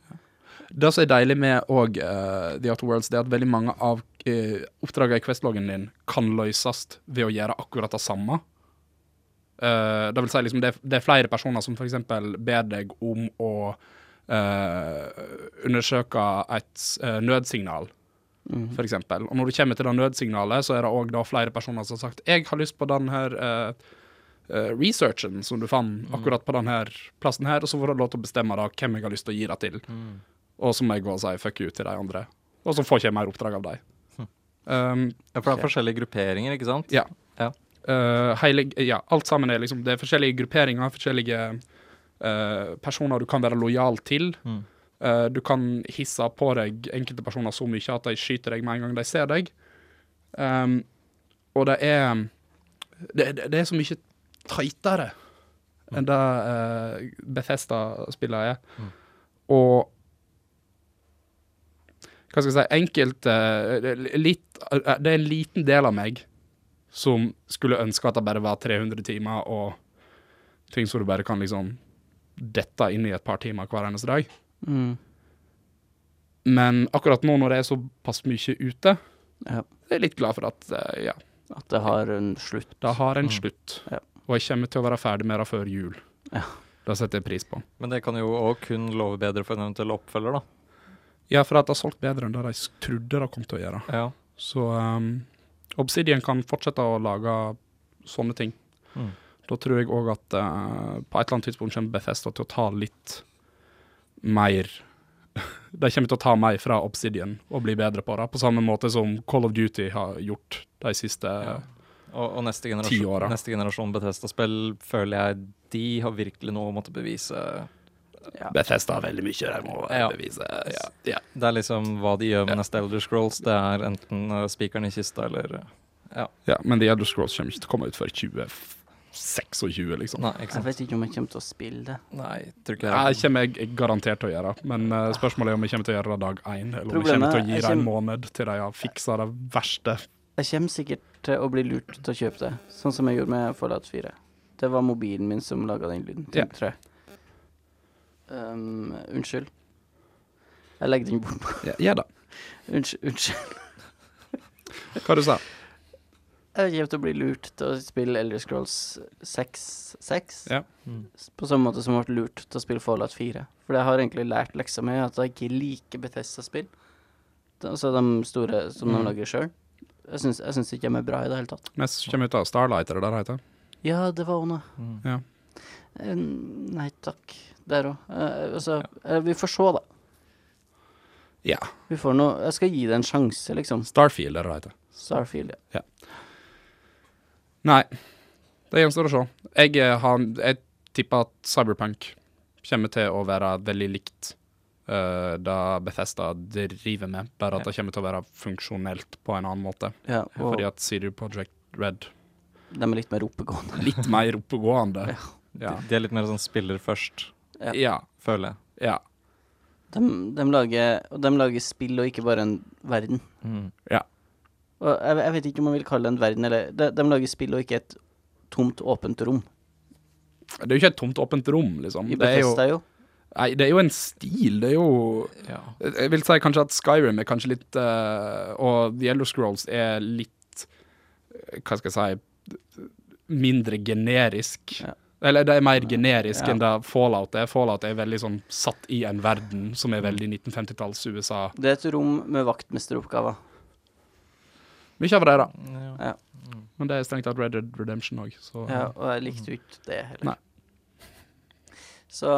Det som er deilig med og, eh, The Outer Worlds, det er at veldig mange av eh, oppdragene i Quest-loggen din kan løses ved å gjøre akkurat det samme. Eh, det vil si liksom, det, er- det er flere personer som f.eks. ber deg om å eh, undersøke et eh, nødsignal. Mhm. for eksempel. Og når du kommer til det nødsignalet, så er det òg flere personer som har sagt jeg har lyst på den her eh, eh, researchen som du fant akkurat på den her plassen her, og så får du lov til å bestemme da hvem jeg har lyst til å gi det til. Og så må jeg gå og si fuck you til de andre. Og så får ikke jeg mer oppdrag av dem. Um, Ja, for det er forskjellige grupperinger, ikke sant? Ja. Ja. Eh, heilig, ja, alt sammen er liksom Det er forskjellige grupperinger, forskjellige eh, personer du kan være lojal til. Mm. Eh, du kan hisse på deg enkelte personer så mye at de skyter deg med en gang de ser deg. Ehm, og det er det, det, det er så mye tightere enn det uh, Bethesda-spillet er. Og hva skal jeg si Enkelte eh, litt, eh, Det er en liten del av meg som skulle ønske at det bare var 300 timer og ting som du bare kan liksom dette inn i et par timer hver eneste dag. Mm. Men akkurat nå når det er såpass mye ute, Ja. er jeg litt glad for at eh, ja, At det har en slutt. det har en Mm. slutt. Ja. Og jeg kommer til å være ferdig med det før jul. Ja. Det setter jeg pris på. Men det kan jo òg kun love bedre for en eventuell oppfølger, da. Ja, for at det har solgt bedre enn det de s- trodde det kom til å gjøre. Ja. Så ehm, Obsidian kan fortsette å lage sånne ting. Mm. Da tror jeg òg at eh, på et eller annet tidspunkt kommer Bethesda til å ta litt mer De kommer til å ta mer fra Obsidian og bli bedre på det, på samme måte som Call of Duty har gjort de siste Ja. Og, og neste Ti generasjon, år, da. neste generasjon Bethesda-spill føler jeg de har virkelig noe å måtte bevise. Bethesda har veldig mye de må Ja. bevise. Ja. Ja. Det er liksom hva de gjør med neste Elder Scrolls. Det er enten eh, spikeren i kista eller eh, men The Elder Scrolls kommer ikke til å komme ut før 2026, liksom. Nei, ikke Jeg sant. vet ikke om jeg kommer til å spille det. Nei, tror ikke Det jeg. kommer jeg garantert til å gjøre, men eh, spørsmålet er om jeg kommer til å gjøre det dag én, eller om jeg Problemet kommer til å er- gi jeg det en kjem- måned til de har fiksa det verste. Jeg kommer sikkert til å bli lurt til å kjøpe det, sånn som jeg gjorde med Fallout 4. Det var mobilen min som laga den lyden, Ja. tror jeg. Um, unnskyld. Jeg legger den bort. Ja, ja da. Unnskyld. unnskyld. Hva du sa Jeg kommer til å bli lurt til å spille Elder Scrolls 6, 6 Ja. Mm. på samme måte som jeg ble lurt til å spille Fallout 4. For jeg har egentlig lært leksa mi at jeg ikke liker Bethesda-spill, Det- altså de store som de Mm. lager sjøl. Jeg syns jeg syns ikke de er bra i det hele tatt. Mest kommer ut av Starlight, er det det det heter? Ja, det var hun, da. Mm. Eh, Nei takk, der òg. altså, eh, vi får se, da. Ja. Vi får nå Jeg skal gi det en sjanse, liksom. Starfield, er det det heter. Starfield, ja. Nei, det gjenstår å se. Jeg, eh, har, jeg tipper at Cyberpunk kommer til å være veldig likt eh, det Bethesda driver med, bare at det kommer til å være funksjonelt på en annen måte. ja og Fordi at CD Projekt Red de er litt mer oppegående. litt mer oppegående. De, Ja. de er litt mer sånn spiller først, Ja. Ja. føler jeg. ja. De, de, lager, og de lager spill og ikke bare en verden. Mm. Og jeg, jeg vet ikke om man vil kalle det en verden, eller de, de lager spill og ikke et tomt, åpent rom. Det er jo ikke et tomt, åpent rom, liksom. I Det er jo, Bethesda, jo. nei, det er jo en stil. Det er jo Ja. Jeg vil si kanskje at Skyrim er kanskje litt eh, Og The Elder Scrolls er litt eh, Hva skal jeg si Mindre generisk. Ja. Eller det er mer generisk Ja. enn det Fallout er. Fallout er veldig sånn satt i en verden som er veldig 1950-talls USA. Det er et rom med vaktmesteroppgaver. Mye av det, da. Ja. Mm. Men det er strengt tatt Red Dead Redemption òg, så Ja, og jeg likte jo ikke det heller. Nei. Så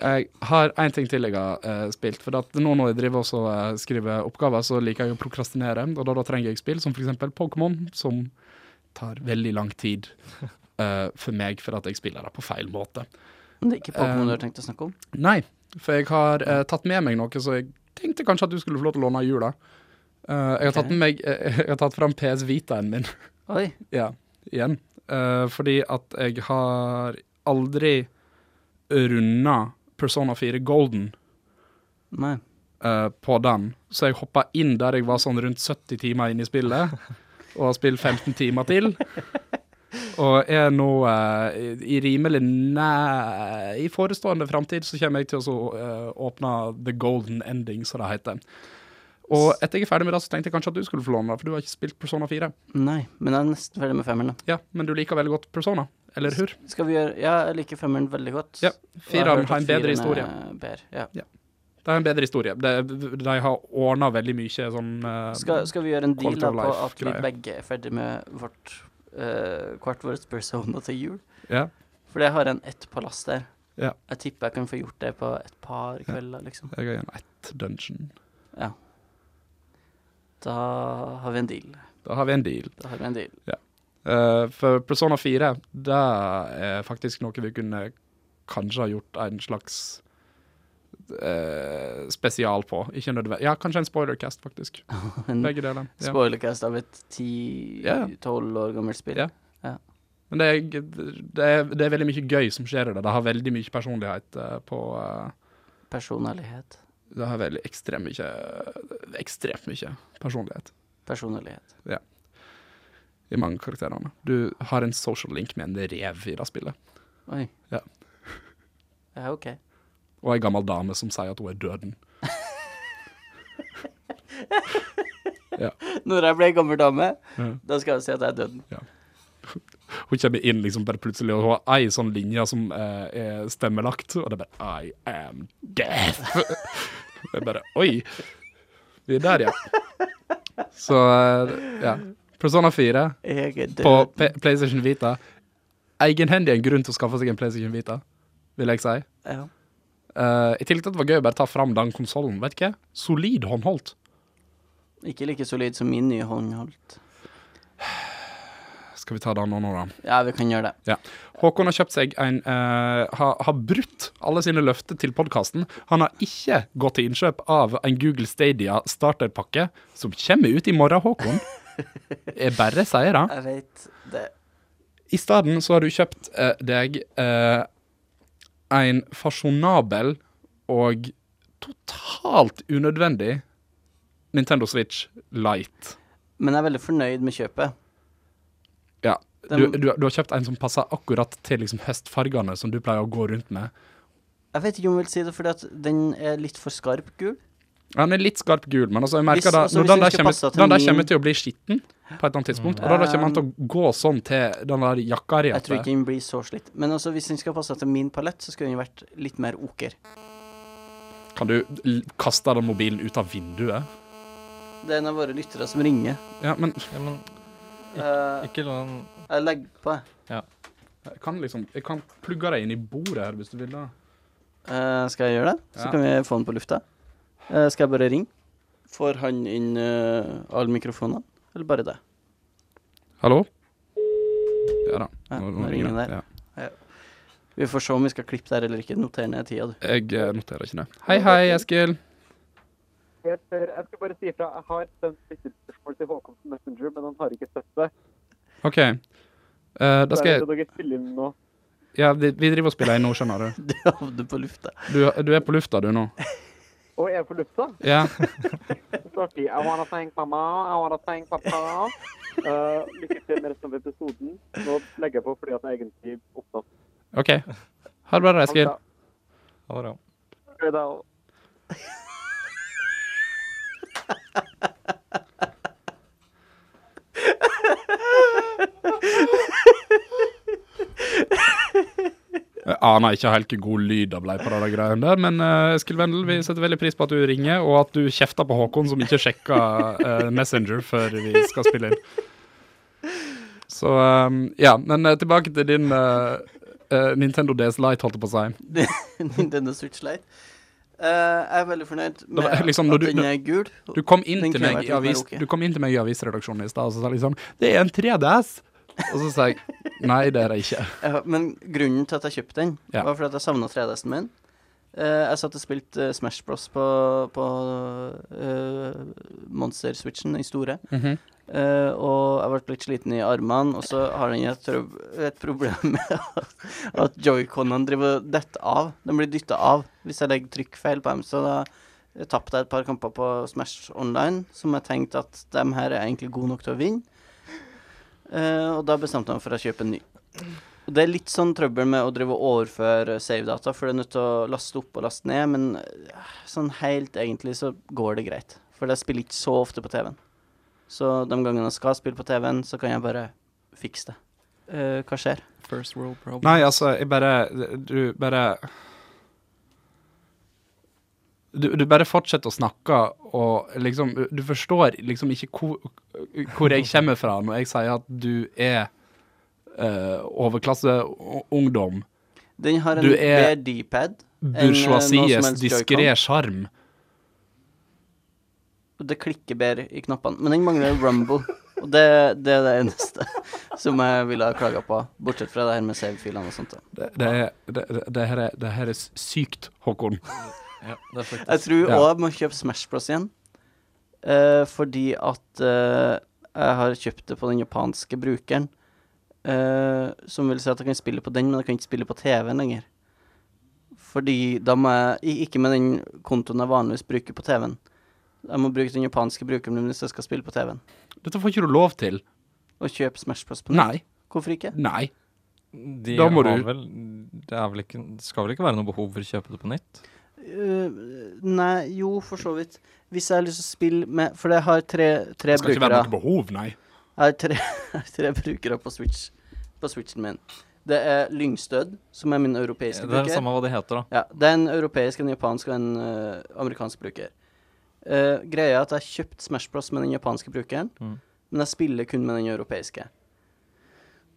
Jeg har én ting til jeg har eh, spilt. For at nå når jeg driver også eh, skriver oppgaver, så liker jeg å prokrastinere. Og da, da trenger jeg spill som f.eks. Pokémon, som tar veldig lang tid. eh, for meg for at jeg spiller det på feil måte. Men det er ikke Pokémon du Eh, har tenkt å snakke om? Nei, for jeg har eh, tatt med meg noe, så jeg tenkte kanskje at du skulle få lov til å låne i jula. Eh, jeg, har tatt Ok. med meg, eh, jeg har tatt fram PS Vitaen min Oi. ja, igjen. Eh, fordi at jeg har aldri runda Persona 4 Golden Nei. eh, på den. Så jeg hoppa inn der jeg var sånn rundt 70 timer inn i spillet, og har spilt 15 timer til. Og er nå eh, i- i rimelig næ... I forestående framtid så kommer jeg til å så, eh, åpne The Golden Ending, som det heter. Og etter jeg er ferdig med det, så tenkte jeg kanskje at du skulle få låne det, for du har ikke spilt Persona 4. Nei. Men jeg er nesten ferdig med femmeren, da. Ja, men du liker veldig godt Persona, eller hur? Skal vi gjøre Ja, jeg liker femmeren veldig godt. Ja, Og jeg fireren hørt har at en bedre fireren historie. er bedre, Ja. Det er en bedre historie. De, de har ordna veldig mye sånn eh, Skal, skal vi gjøre en deal Quality da of på at vi life-greie. begge er ferdig med vårt eh, hvert vårt persona til jul? Ja. For jeg har en ett på last der. Ja. Jeg tipper jeg kan få gjort det på et par kvelder, liksom. Jeg har igjen ett dungeon. Ja. Da har vi en deal. Da har vi en deal. Da har vi en deal. Eh, for Persona 4, det er faktisk noe vi kunne kanskje ha gjort en slags eh, spesial på. Ikke nødvendig. Ja, kanskje en spoilercast, faktisk. En Begge deler. Ja. spoilercast av et Ja. 10-12 år gammelt spill. Ja. Men det er, det, er, det er veldig mye gøy som skjer i det. Det har veldig mye personlighet eh, på eh, Personlighet. Det har veldig ekstremt mye Ekstremt mye personlighet Personlighet. i mange karakterene. Du har en social link med en rev i det spillet. Oi. Ja. Ja, OK. Og ei gammel dame som sier at hun er døden. Når jeg ble gammel dame, Ja. da skal jeg si at jeg er døden. Hun kommer inn liksom bare plutselig, og hun har ei sånn linje som eh, er stemmelagt, og det er bare I am death. det er bare Oi! Vi er der, ja. Så eh, ja. Persona 4 Jeg er død. på P PlayStation Vita. Egenhendig en grunn til å skaffe seg en PlayStation Vita, vil jeg si. Ja. Eh, I tillegg til at det var gøy å bare ta fram den konsollen, vet du hva? Solid håndholdt. Ikke like solid som min nye håndholdt. Skal vi ta den nå, nå da? Ja, vi kan gjøre det. Ja. Håkon har kjøpt seg en eh, har, har brutt alle sine løfter til podkasten. Han har ikke gått til innkjøp av en Google Stadia starterpakke som kommer ut i morgen, Håkon. Jeg bare sier det. Jeg vet det. I stedet så har du kjøpt eh, deg eh, en fasjonabel og totalt unødvendig Nintendo Switch Lite. Men jeg er veldig fornøyd med kjøpet. Ja. Du, Den- du, du har kjøpt en som passer akkurat til liksom, høstfargene som du pleier å gå rundt med. Jeg vet ikke om jeg vil si det, fordi at den er litt for skarp gul. Han er litt skarp gul, men altså, jeg merker Hvis- da, altså, når hvis den den der, skal kommer, passe til den der min- kommer til å bli skitten på et eller annet tidspunkt, og da, da kommer han til å gå sånn til den der jakka di. Jeg at tror ikke det- den blir så slitt. Men altså, hvis den skal passe til min palett, så skulle den vært litt mer oker. Kan du l- kaste den mobilen ut av vinduet? Det er en av våre lyttere som ringer. Ja, men Ja, men Eh, ikke la den jeg legger på, jeg. jeg kan liksom Jeg kan plugge deg inn i bordet her, hvis du vil. da. Eh, skal jeg gjøre det? Så Ja. kan vi få den på lufta. Eh, skal jeg bare ringe? Får han inn eh, alle mikrofonene, eller bare det? Hallo? Ja da. Ja, nå Nå, nå ringer ringer det. Ja. Vi får se om vi skal klippe der eller ikke. Noter ned tida, du. Jeg eh, noterer ikke det. Hei, hei, Eskil. helt eh, Jeg skal bare si ifra. Jeg har sendt lytterspørsmål til Håkon på Messenger, men han har ikke sett det. OK. Eh, da Så skal jeg jeg vet at dere spiller inn nå. Ja, vi vi driver og spiller inn nå, skjønner du. Du havner på lufta. Du, du er på lufta, du, nå. Og jeg er på lufta. Ja. Så artig. I wanna thank mamma, I wanna thank pappa. Eh, lykke til med resten av episoden. Nå legger jeg på fordi at jeg egentlig er opptatt. OK. Ha det bra, da, Eskil. Ha det bra. Ha det. Jeg aner ikke helt hvor god lyd det ble på det der greien der, men uh, Vendel, vi setter veldig pris på at du ringer, og at du kjefter på Håkon, som ikke sjekka eh, Messenger før vi skal spille inn. Så eh, ja, men eh, tilbake til din eh, eh, Nintendo DS Lite, holdt jeg på å si. Nintendo Switch Lite. Eh, jeg er veldig fornøyd med var liksom når at du- den er gul. Du kom inn, Den til kunne meg, vært i litt mer avis, ok. du kom inn til meg i avisredaksjonen i stad og så sa liksom 'Det er en 3DS', og så sa jeg Nei, det er det ikke. Ja, Men grunnen til at jeg kjøpte den, Ja. var fordi at jeg savna 3DS-en min. Eh, jeg satt og spilte eh, Smash Bros på, på eh, Monster-switchen i store. Eh, og jeg ble litt sliten i armene, og så har den et, trøb et problem med at, at joyconene driver og detter av. De blir dytta av hvis jeg legger trykkfeil på dem. Så da eh, tapte jeg et par kamper på Smash Online som jeg tenkte at dem her er egentlig gode nok til å vinne. Eh, og da bestemte jeg meg for å kjøpe en ny. Og det er litt sånn trøbbel med å drive og overføre savedata, for det er nødt til å laste opp og laste ned, men eh, sånn helt egentlig så går det greit. For jeg spiller ikke så ofte på TV-en. Så de gangene jeg skal spille på TV-en, så kan jeg bare fikse det. Eh, hva skjer? First world problem. Nei, altså, jeg bare Du bare du, du bare fortsetter å snakke, og liksom Du forstår liksom ikke hvor, hvor jeg kommer fra når jeg sier at du er eh, overklasseungdom. Den har en Du er bedre D-pad. enn, eh, noe som Bourgeoisies helst diskré Joy-Con. sjarm. Og det klikker bedre i knappene. Men den mangler Rumble. Og det, det er det eneste som jeg ville ha klaga på, bortsett fra det her med save-filene og sånt. da. Det, det, er- det, det, det, her er, det her er s- sykt, Håkon. Ja, det er faktisk Jeg tror Ja. òg jeg må kjøpe Smash Bros igjen. Eh, fordi at eh, jeg har kjøpt det på den japanske brukeren. eh, som vil si at jeg kan spille på den, men jeg kan ikke spille på TV-en lenger. Fordi da må jeg i- Ikke med den kontoen jeg vanligvis bruker på TV-en. Jeg må bruke den japanske brukeren min hvis jeg skal spille på TV-en. Dette får ikke du lov til. Og kjøpe Smash Bros på nett. Nei. Hvorfor ikke? Nei. De Da må har du- Vel, det er vel ikke, skal vel ikke være noe behov for å kjøpe det på nytt? Eh, nei, jo, for så vidt. Hvis jeg har lyst til å spille med For jeg har tre, tre Det skal ikke være brukere. noe behov, nei. Jeg har tre, tre brukere på, Switch, på Switchen min. Det er Lyngstød, som er min Det europeiske er det bruker. samme hva det heter, da. Ja, det er en europeisk, en japansk og en eh, amerikansk bruker. Eh, greia er at jeg har kjøpt Smash Bros med den japanske brukeren, Mm. men jeg spiller kun med den europeiske.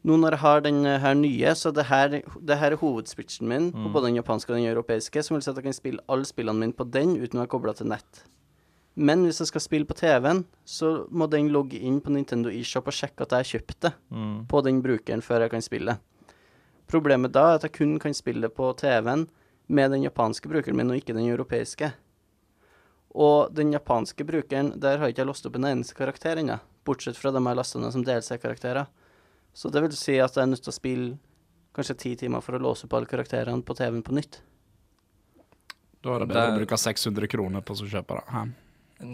Nå når jeg har den eh, her nye, så det her, det her er hovedswitchen min på både den japanske og den europeiske, som vil si at jeg kan spille alle spillene mine på den uten å være kobla til nett. Men hvis jeg skal spille på TV-en, så må den logge inn på Nintendo eShop og sjekke at jeg har kjøpt det Mm. på den brukeren før jeg kan spille. Problemet da er at jeg kun kan spille på TV-en med den japanske brukeren min, og ikke den europeiske. Og den japanske brukeren, der har ikke jeg låst opp en eneste karakter ennå, bortsett fra dem jeg har lasta ned som DLC-karakterer. Så det vil si at jeg er nødt til å spille kanskje ti timer for å låse opp alle karakterene på TV-en på nytt. Da er det bedre å bruke 600 kroner på å kjøpe det. Hæ?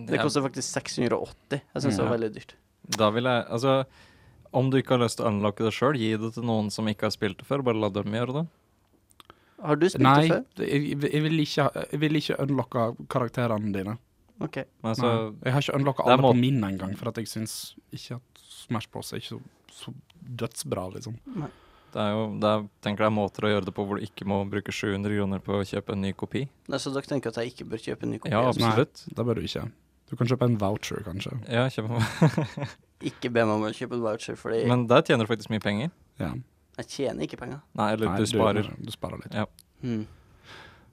Det koster faktisk 680. Jeg syns det var veldig dyrt. Da vil jeg Altså, om du ikke har lyst til å unlocke det sjøl, gi det til noen som ikke har spilt det før. Bare la dem gjøre det. Har du spilt Nei, det før? jeg, jeg, vil ikke, jeg vil ikke unlocke karakterene dine. OK. Men Nei. altså, Jeg har ikke unlocka Det er alle på må- min engang, for at jeg syns ikke at Smash Bros er ikke så, så dødsbra, liksom. det er jo det er, tenker det er måter å gjøre det på hvor du ikke må bruke 700 kroner på å kjøpe en ny kopi. Nei, så dere tenker at jeg ikke bør kjøpe en ny kopi? Ja, altså. absolutt. Det bør du ikke. Du kan kjøpe en voucher, kanskje. Ja, kjøp en- Ikke be meg om å kjøpe en voucher, fordi Men der tjener du faktisk mye penger. Ja. jeg tjener ikke penger. Nei, eller Nei, du sparer. Du, sparer litt. Hmm.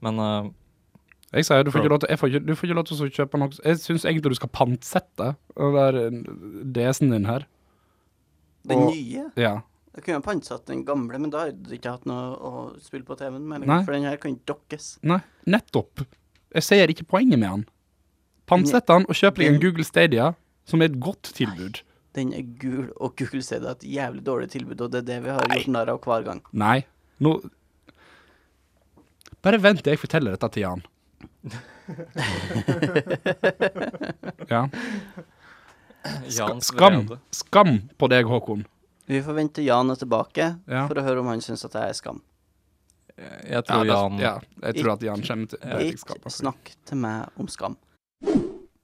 Men eh, Jeg sier du får Pro. ikke lov til, jeg får ikke, du får ikke lov til å kjøpe noe Jeg syns egentlig du skal pantsette den der eh, DS-en din her. Den Og- nye? Ja. Jeg kunne ha pantsatt den gamle, men da hadde jeg ikke hatt noe å spille på TV-en med. Nei. lenger, For den her kan ikke dokkes. Nei, nettopp. Jeg ser ikke poenget med han. Pantsett han og kjøp deg en Google Stadia, som er et godt tilbud. Den er gul, og Google sier det er et jævlig dårlig tilbud, og det er det vi har gjort narr av hver gang. Nei, nå Bare vent til jeg forteller dette til Jan. ja. Ska, Jans skam. vrede. Skam på deg, Håkon. Vi får vente til Jan er tilbake Ja. for å høre om han syns at jeg er skam. Jeg tror det- Jan ja, jeg tror at Jan kommer til det jeg Ikke skaper. snakk til meg om skam.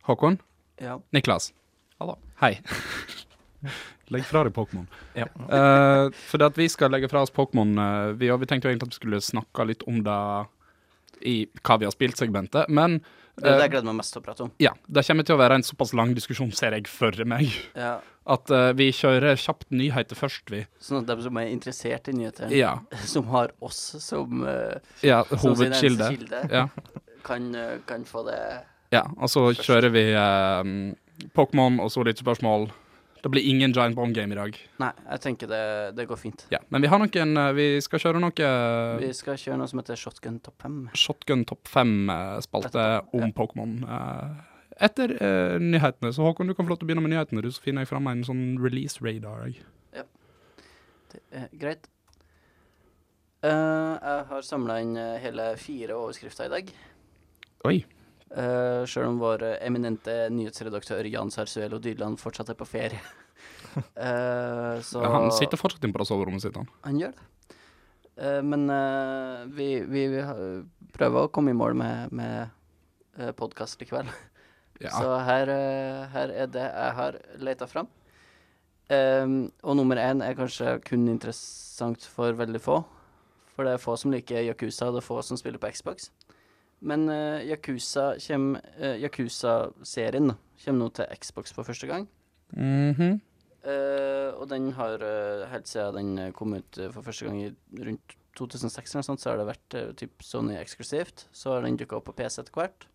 Håkon? Ja. Niklas. Hallo. Hei. Legg fra deg Pokémon. Ja. Eh, for det at vi skal legge fra oss Pokémon eh, Vi, og vi tenkte jo egentlig at vi skulle snakke litt om det i hva vi har spilt-segmentet, men Det er det eh, jeg gleder meg mest til å prate om. ja, det kommer til å være en såpass lang diskusjon, ser jeg for meg, Ja. at eh, vi kjører kjapt nyheter først, vi. Sånn at de som er interessert i nyhetene, Ja. som har oss som, eh, ja som sin eneste Hovedkilde. kilde, Ja, kan, eh, kan få det ja. Og så kjører vi eh, Pokémon og så litt spørsmål. Det blir ingen Giant Bomb Game i dag. Nei, jeg tenker det, det går fint. Ja, Men vi har noen eh, Vi skal kjøre noe eh, Vi skal kjøre noe som heter Shotgun Top 5. Shotgun topp fem-spalte om Ja. Pokémon. eh, Etter eh, nyhetene. Så Håkon, du kan få lov til å begynne med nyhetene, du, så finner jeg fram en sånn release radar. Jeg. Det er greit. Eh, jeg har samla inn eh, hele fire overskrifter i dag. Oi. Uh, Sjøl om vår eh, eminente nyhetsredaktør Jan Sarsuelo Dyrland fortsatt er på ferie. Eh, så Ja, han sitter fortsatt inne på det soverommet sitt, han. Han gjør det. Eh, men eh, vi, vi, vi har- prøver å komme i mål med, med eh, podkast i kveld. Ja. Så her, eh, her er det jeg har leita fram. Ehm, og nummer én er kanskje kun interessant for veldig få. For det er få som liker Yakuza, og det er få som spiller på Xbox. Men eh, Yakuza kjem- eh, Yakuza-serien da, kommer nå til Xbox for første gang. Mhm. Eh, og den har eh, helt siden den eh, kom ut eh, for første gang i rundt 2006 eller noe sånt, så har det vært eh, typ Sony eksklusivt. Så har den dukka opp på PC etter hvert.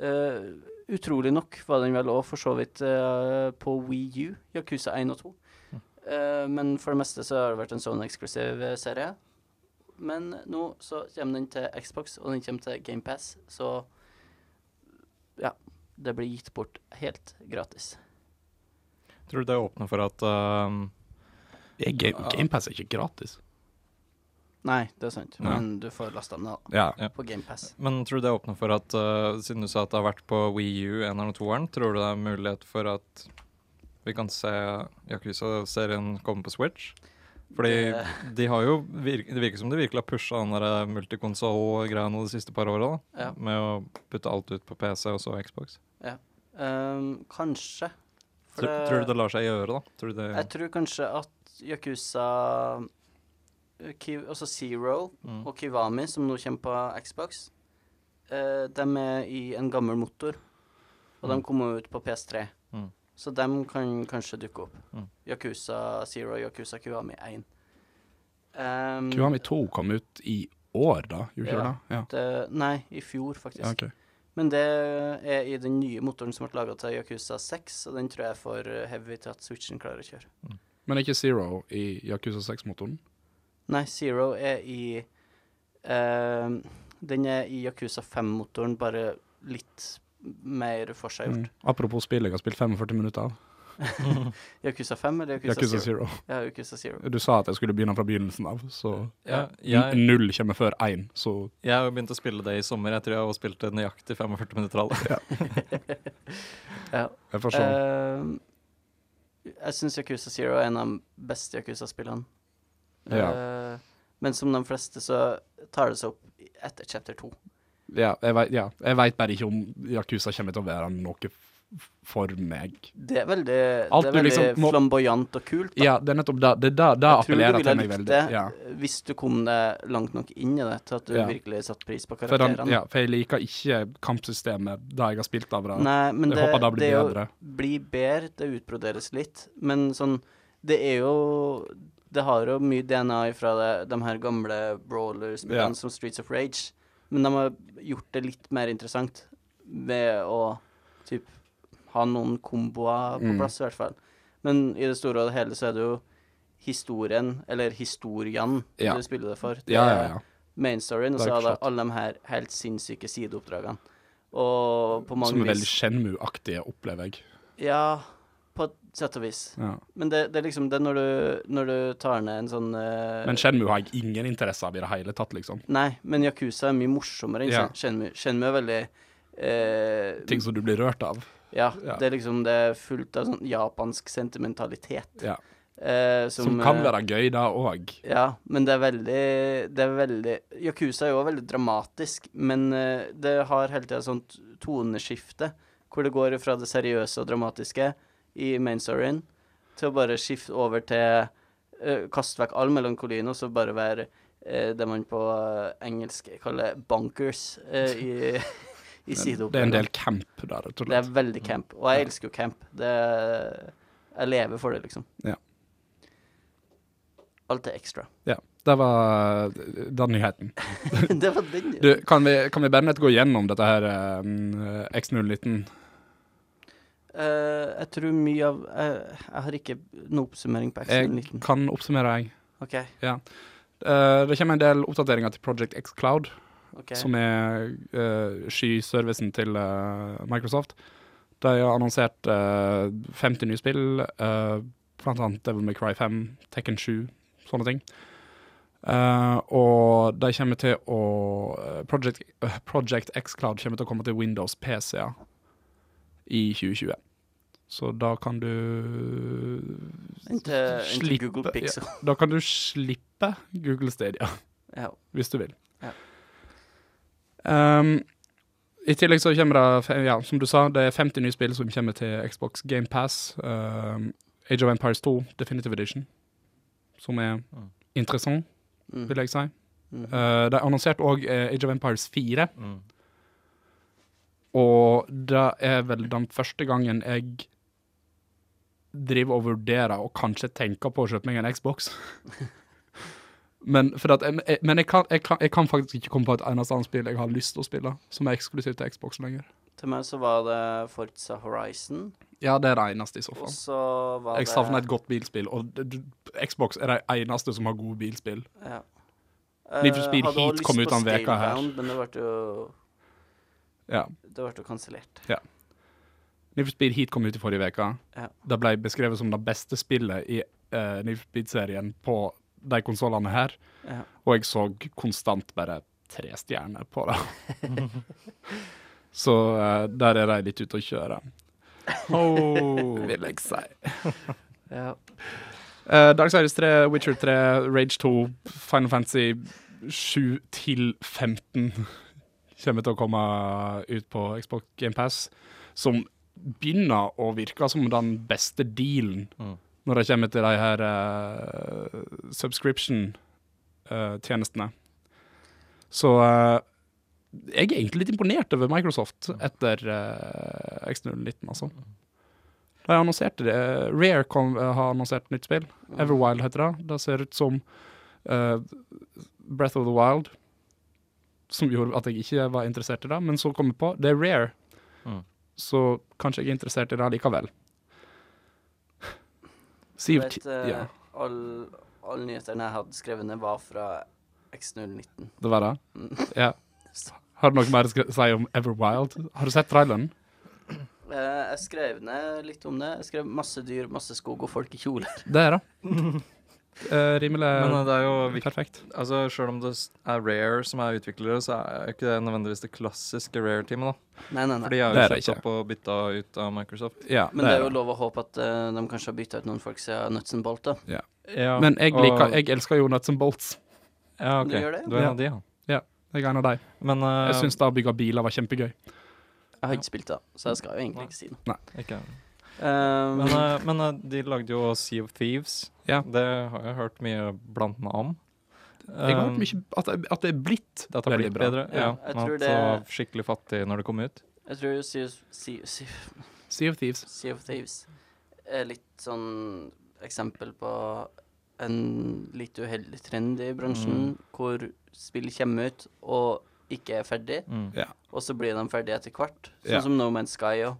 Eh, utrolig nok var den vel òg for så vidt eh, på Wii U, Yakuza 1 og 2. Eh, men for det meste så har det vært en Sony eksklusiv eh, serie. Men nå så kommer den til Xbox, og den kommer til GamePass, så ja. Det blir gitt bort helt gratis. Tror du det åpner for at ehm, Det er Game- Gamepass er ikke gratis. Nei, det er sant. Ja. Men du får lasta den da, Ja. på GamePass. Men tror du det åpner for at eh, Siden du sa at det har vært på Wii U, eneren og toeren, tror du det er mulighet for at vi kan se Yakuza-serien komme på Switch? Fordi de har jo virk- Det virker som de virkelig har pusha den der multikonsoll-greia nå de siste par åra. Ja. Med å putte alt ut på PC og så Xbox. Ehm, kanskje. For Tror, tror du det lar seg gjøre, da? Tror du det Jeg tror kanskje at Yakuza Ki- Altså Zero mm. og Kiwami, som nå kommer på Xbox, eh, de er i en gammel motor. Og de Mm. kommer ut på PS3. Mm. Så de kan kanskje dukke opp. Mm. Yakuza Zero, Yakuza Kiwami 1. Ehm, Kiwami 2 kom ut i år, da. Gjorde ikke Ja. det? Ja. det- Nei, i fjor, faktisk. ja, ok. Men det er i den nye motoren som ble laga til Yakuza 6, og den tror jeg er for heavy til at Switchen klarer å kjøre. Men er ikke Zero i Yakuza 6-motoren? Nei, Zero er i eh, Den er i Yakuza 5-motoren, bare litt mer forseggjort. Mm. Apropos spill jeg har spilt 45 minutter av. Yakuza 5 eller Yakuza, Zero? Yakuza Zero. Ja, Yakuza Zero. Du sa at jeg skulle begynne fra begynnelsen av, så ja, N- jeg, Null kommer før én, så jeg har jo begynt å spille det i sommer. Jeg tror jeg har spilt det nøyaktig 45 minutter av det. Ja. jeg får se. Eh, jeg syns Yakuza Zero er en av de beste Yakuza-spillene. Eh, men som de fleste så tar det seg opp etter chapter 2. Eh. ja, jeg vet, ja, jeg vet bare ikke om Yakuza kommer til å være noe f- for meg. Det er veldig, Alt det er du veldig liksom må- flamboyant og kult. Da. Ja, det er nettopp det. Det, er det, det jeg tror du appellerer ville til meg likt veldig. det Ja. hvis du kom deg langt nok inn i det til at du Ja. virkelig satte pris på For, den, karakterene. ja, for jeg liker ikke kampsystemet da jeg har spilt av det. Nei, men Jeg det, håper det blir det er jo bedre. bli bedre, det utbroderes litt. Men sånn, det er jo Det har jo mye DNA fra det, de her gamle brawlers-spillene Ja. som Streets of Rage, men de har gjort det litt mer interessant ved å typ ha noen komboer på Mm. plass, i hvert fall. Men i det store og det hele så er det jo historien, eller historiene, Ja. du spiller det for. Det Ja, er- ja, ja. main storyen, og Det så er ikke er det slett. alle de her helt sinnssyke sideoppdragene. Og på mange Som er veldig vis Shenmue-aktige, opplever jeg. Ja, på et sett og vis. Ja. Men det, det er liksom det er når du, når du tar ned en sånn eh, Men Shenmue har jeg ingen interesse av i det hele tatt, liksom. Nei, men Yakuza er mye morsommere enn Ja. Shen- Shenmue. Shenmue er veldig eh, Ting som du blir rørt av. ja, ja. det er liksom det er fullt av sånn japansk sentimentalitet. Ja. eh, Som, kan eh, være gøy, da òg. Ja, men det er veldig, det er veldig Yakuza er jo også veldig dramatisk, men eh, det har hele tida sånt toneskifte, hvor det går fra det seriøse og dramatiske i main storyen til å bare skifte over til eh, Kaste vekk all melankolien og så bare være eh, det man på eh, engelsk kaller bunkers eh, i, i sideoppdraget. Det er en del camp der, rett og Det er slett. veldig camp, og jeg elsker jo camp. Det jeg lever for det, liksom. Ja. Alt er ekstra. Ja. Det var den nyheten. det var den. Du, kan vi, kan vi bare nett gå gjennom dette her eh, X019? eh, jeg tror mye av eh, Jeg har ikke noe oppsummering på Excel Jeg 19. kan oppsummere, jeg. OK. Eh, det kommer en del oppdateringer til Project X Cloud, ok. som er uh, skyservicen til eh, Microsoft. De har annonsert eh, 50 nye spill, eh, blant annet Devil May Cry 5, Tekken 7, sånne ting. Eh, og de kommer til å eh, Project, uh, Project X Cloud kommer til å komme til Windows PC-er i 2020. Så da kan du Inntil, inntil Slippe- Google Pixel. Da kan du slippe Google Stadia, Ja. hvis du vil. Ja. Ehm, I tillegg så kommer det, fe- ja, som du sa, det er 50 nye spill som kommer til Xbox Game Pass. ehm, Age of Empires 2 Definitive Edition, som er interessant, Mm. vil jeg si. Mm. Eh, de annonserte òg Age of Empires 4, Mm. og det er vel den første gangen jeg driver og vurderer og kanskje tenker på å kjøpe meg en Xbox. men for at, jeg, men jeg, kan, jeg, kan, jeg kan faktisk ikke komme på et eneste annet spill jeg har lyst til å spille, som er eksklusivt til Xbox lenger. Til meg så var det Forza Horizon, Ja, det er det eneste i så og fall. så var Jeg det savner et godt bilspill, og d- d- Xbox er de eneste som har gode bilspill. ja. Need for Speed Eh, hadde også Heat kom lyst ut på den veka her. Scalebound, Men det ble jo Ja. Det ble jo kansellert. Need for Speed Heat kom ut i forrige uke. Ja. Det ble beskrevet som det beste spillet i uh, Need for Speed-serien på de konsollene her, Ja. og jeg så konstant bare tre stjerner på det. så eh, der er de litt ute å kjøre, vil jeg si. ja. Uh, Dark Sides 3, Witcher 3, Rage 2, Final Fantasy 7 til 15 kommer til å komme ut på Xbox Game Pass, som begynner å virke som den beste dealen Mm. når det kommer til de her eh, subscription-tjenestene. eh, Så eh, jeg er egentlig litt imponert over Microsoft etter eh, X019, altså. De annonserte det. eh, Rare kom, har annonsert nytt spill. Everwild heter det. Det ser ut som eh, Breath of the Wild, som gjorde at jeg ikke var interessert i det. Men så kom jeg på det er Rare, Mm. så kanskje jeg er interessert i det likevel. Siv Vet, ti- eh, ja, all- Alle nyhetene jeg hadde skrevet ned, var fra X019. det var det. Ja. Har du noe mer å sk- si om Everwild? Har du sett traileren? Eh, jeg skrev ned litt om det. Jeg skrev masse dyr, masse skog og folk i kjoler. Det er det. Eh, rimelig Men eh, det er jo viktig perfekt. Altså, Sjøl om det s- er Rare som er utviklere, så er ikke det nødvendigvis det klassiske Rare-teamet. da. Nei, nei, nei. For de har Det jo er det kjøpt ikke. opp og bytta ut av Microsoft. Ja, Men det er jo lov å håpe at eh, de kanskje har bytta ut noen folk siden Nuts and Bolt, da. Men jeg, liker, jeg elsker jo Nuts and Bolts. ja, ok. Du gjør det, ja. Du er en av de, ja. Jeg er en av de. Men eh, Jeg syns det å bygge biler var kjempegøy. Jeg har ikke spilt det, så jeg skal jo egentlig ikke si noe. ikke. Um, Men, eh, men eh, de lagde jo Sea of Thieves. Ja. Det har jeg hørt mye blandende om. Jeg har hørt Eh, mye at, det- at det er blitt Det har veldig blitt bra. bedre. Ja, Ja, jeg men tror at det- det var skikkelig fattig når det kom ut. jeg tror Sea of- Sea- Sea- Sea of Thieves. Sea of Thieves er litt sånn eksempel på en litt uheldig trend i bransjen, Mm. hvor spill kommer ut og ikke er ferdig, Mm. og så blir de ferdige etter hvert. Sånn Ja. som No Man's Sky òg.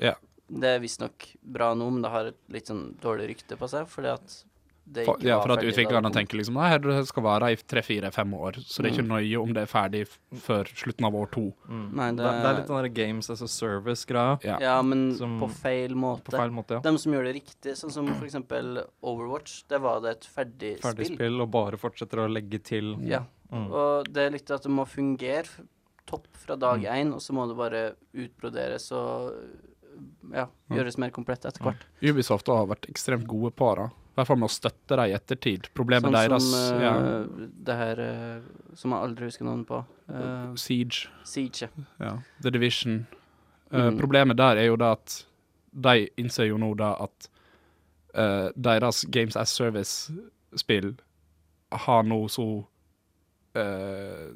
Ja. Det er visstnok bra nå, men det har et litt sånn dårlig rykte på seg, fordi at det For, ikke ja, var for at ferdig da det utviklerne kom. tenker liksom Nei, det skal være i tre-fire-fem år, så det er ikke nøye om det er ferdig f- før slutten av år to. Mm. Nei, det- det, det er litt den der Games as a Service-greia. Ja. Ja, men Som- på feil måte. På feil måte, ja. De som gjør det riktig, sånn som for eksempel Overwatch, der var det et ferdig, Ferdig spill. spill og bare fortsetter å legge til. Ja. Mm. Og det er litt at det må fungere f- topp fra dag én, og så må det bare utbroderes og ja, gjøres mer komplett etter hvert. Ubisoft har vært ekstremt gode på det. I hvert fall med å støtte dem i ettertid. Problemet Sånn deres som eh, ja. det her eh, som jeg aldri husker navnet på. eh, Siege, Siege. ja. The Division. Eh, Mm. problemet der er jo det at de innser jo nå da at eh, deres Games as Service-spill har nå så eh,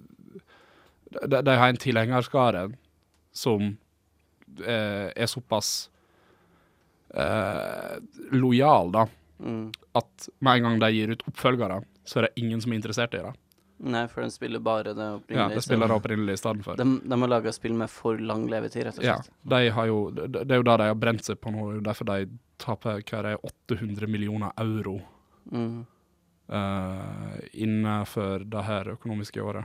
de, de har en tilhengerskare som eh, er såpass eh, lojal, da, Mm. at med en gang de gir ut oppfølgere, så er det ingen som er interessert i det. Nei, for den spiller bare det Ja, opprinnelige. det spiller det opprinnelig i stedet for. de, de har laga spill med for lang levetid, rett og Ja, slett. de har jo, det det er jo det de har brent seg på nå, det er jo derfor de taper hva det er 800 millioner euro Mm. eh, innenfor det her økonomiske året.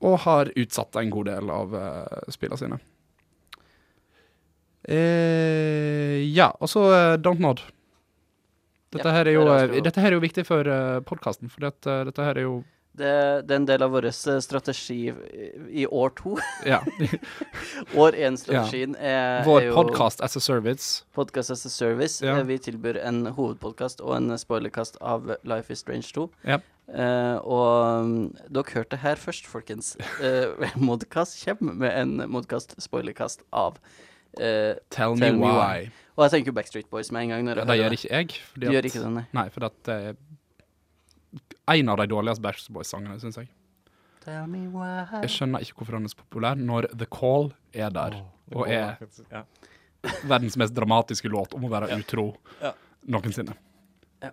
Og har utsatt en god del av uh, spillene sine. Eh, ja, og så uh, Dontnod. Dette, Ja, her er jo, det er eh, ganske godt. dette her er jo viktig for uh, podkasten, for dette her er jo Det, det er en del av vår eh, strategi i år to. Ja. År én-strategien er, er Vår jo podkast as a service. Podcast as a Service. Ja. Eh, Vi tilbyr en hovedpodkast og en spoilerkast av Life is Strange 2. Ja. Eh, og mm, dere hørte det her først, folkens. Eh, modcast kommer med en modcast-spoilerkast av eh, Tell, Tell me me why. Og jeg tenker jo Backstreet Boys med en gang. Når jeg Ja, det hører gjør ikke jeg. Fordi De gjør ikke det, nei. Nei, for det er en av de dårligste Backstreet Boys-sangene, syns jeg. Tell me why. Jeg skjønner ikke hvorfor han er så populær når The Call er der, og er ja. verdens mest dramatiske låt om å være utro Ja. noensinne. Ja.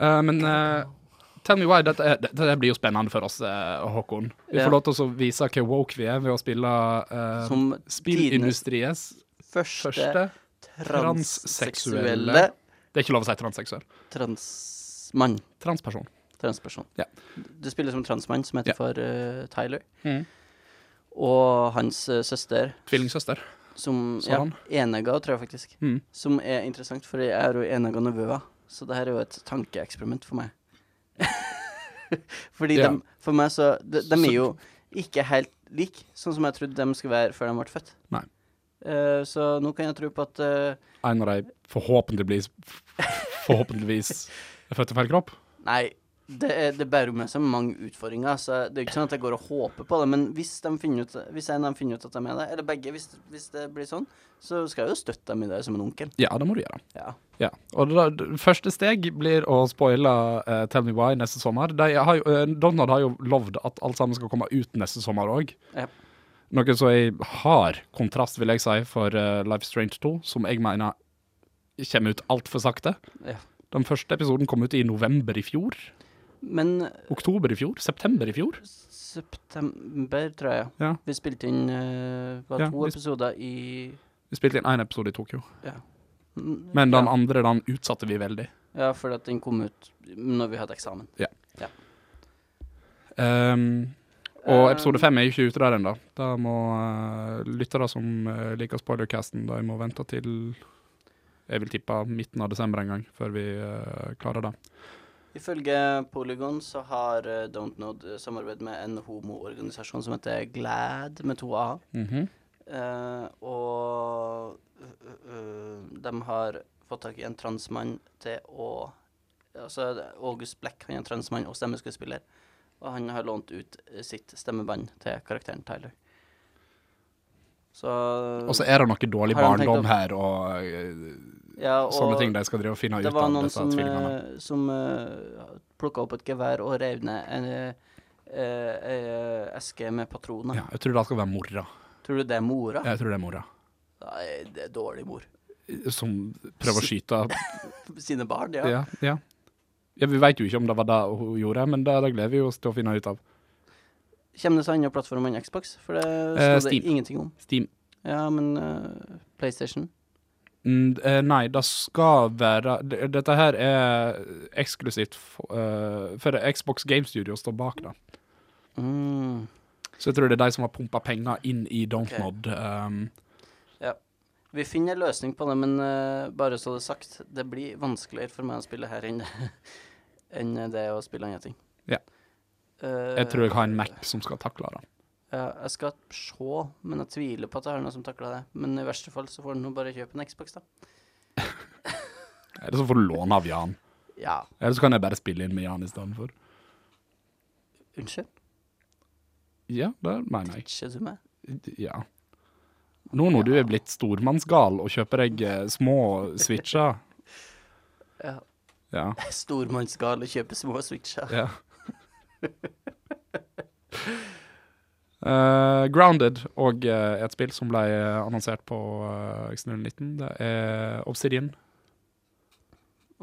Eh, men eh, Tell Me Why, dette, er, dette her blir jo spennende for oss, eh, Håkon. Ja. Vi får lov til å vise hvor woke vi er ved å spille eh, Som tidenes spillindustriens første første transseksuelle transseksuelle- Det er ikke lov å si transseksuell. transmann. Transperson. Transperson. Ja. Du spiller som transmann som heter Ja. for eh, Tyler. Mhm. Og hans eh, søster, Tvillingsøster. som Sa ja, han. Enega, tror jeg faktisk. Mhm. Som er interessant, for jeg er jo enega nevøa. Så det her er jo et tankeeksperiment for meg. Fordi Ja. dem, for meg så de, dem Så- er jo ikke helt like, sånn som jeg trodde dem skulle være før de ble født. Nei. Eh, så nå kan jeg tro på at eh, en av de forhåpentligvis Forhåpentligvis er født i feil kropp. Nei, det, er, det bærer jo med seg mange utfordringer. Så det er jo ikke sånn at jeg går og håper på det. Men hvis, de finner ut, hvis en av dem finner ut at de er det, eller begge, hvis, hvis det blir sånn, så skal jeg jo støtte dem i det som en onkel. Ja, det må du gjøre. Ja. Ja. Og da, d- første steg blir å spoile eh, Tell Me Why neste sommer. De har jo, eh, Donald har jo lovd at alt sammen skal komme ut neste sommer òg. Ja. Noe som er hard kontrast, vil jeg si, for eh, Life is Strange 2, som jeg mener kommer ut altfor sakte. Ja. Den første episoden kom ut i november i fjor. Men Oktober i fjor. September i fjor. september, tror jeg. Ja. Vi spilte inn eh, var Ja, to vi- episoder i Vi spilte inn én episode i Tokyo. Mm, Men den ja. andre den utsatte vi veldig. ja, fordi at den kom ut når vi hadde eksamen. Ehm, og Eh, episode fem er jo ikke ute der ennå. Da må eh, lyttere som eh, liker spoilercasten, de må vente til jeg vil tippe midten av desember en gang, før vi eh, klarer det. Ifølge Polygon så har eh, Don't Nod eh, samarbeid med en homoorganisasjon som heter GLAD, med to a-er. Eh, og ø- ø, de har fått tak i en transmann til å Altså det- August Black han er en transmann og stemmeskuespiller. Og han har lånt ut eh, sitt stemmeband til karakteren Tyler. Så Og så er det noe dårlig Har de tenkt barndom å- her, og eh, ja, sånne ting de skal drive og finne ut det var av, noen disse som, tvillingene. eh, som plukka opp et gevær og rev ned en eh, eh, eh, eske med patroner. Ja, jeg tror det skal være mora. Tror du det er mora? Jeg tror det er mora. Nei, det er dårlig mor. Som prøver å skyte Sine barn, ja. Ja. ja. ja vi veit jo ikke om det var det hun gjorde, men det, det gleder vi oss til å finne ut av. Kommer det til andre plattformer enn Xbox? For det Eh, sto Steam. det ingenting om. Steam Ja, men eh, PlayStation Mm, eh, nei, det skal være d- Dette her er eksklusivt for, eh, for Xbox Game Studio står bak det. mm. Så jeg tror det er de som har pumpa penger inn i Dontnod. Um, Vi finner en løsning på det, men eh, bare så det er sagt, det blir vanskeligere for meg å spille her enn enn det å spille andre ting. Ja. Eh, jeg tror jeg har en Mac som skal takle det. Ja, jeg skal se, men jeg tviler på at jeg har noe som takler det. Men i verste fall så får du nå bare kjøpe en Xbox, da. Eller så får du låne av Jan. Ja, Eller så kan jeg bare spille inn med Jan istedenfor. unnskyld. Ja, det mener jeg. Ikke du meg? Ja. Nå når du er blitt stormannsgal og kjøper deg eh, små switcher Ja. Ja. Stormannsgal å kjøpe små switcher. Ja. Eh, Grounded og eh, et spill som ble eh, annonsert på eh, Xbox 19. Det er Obsidian.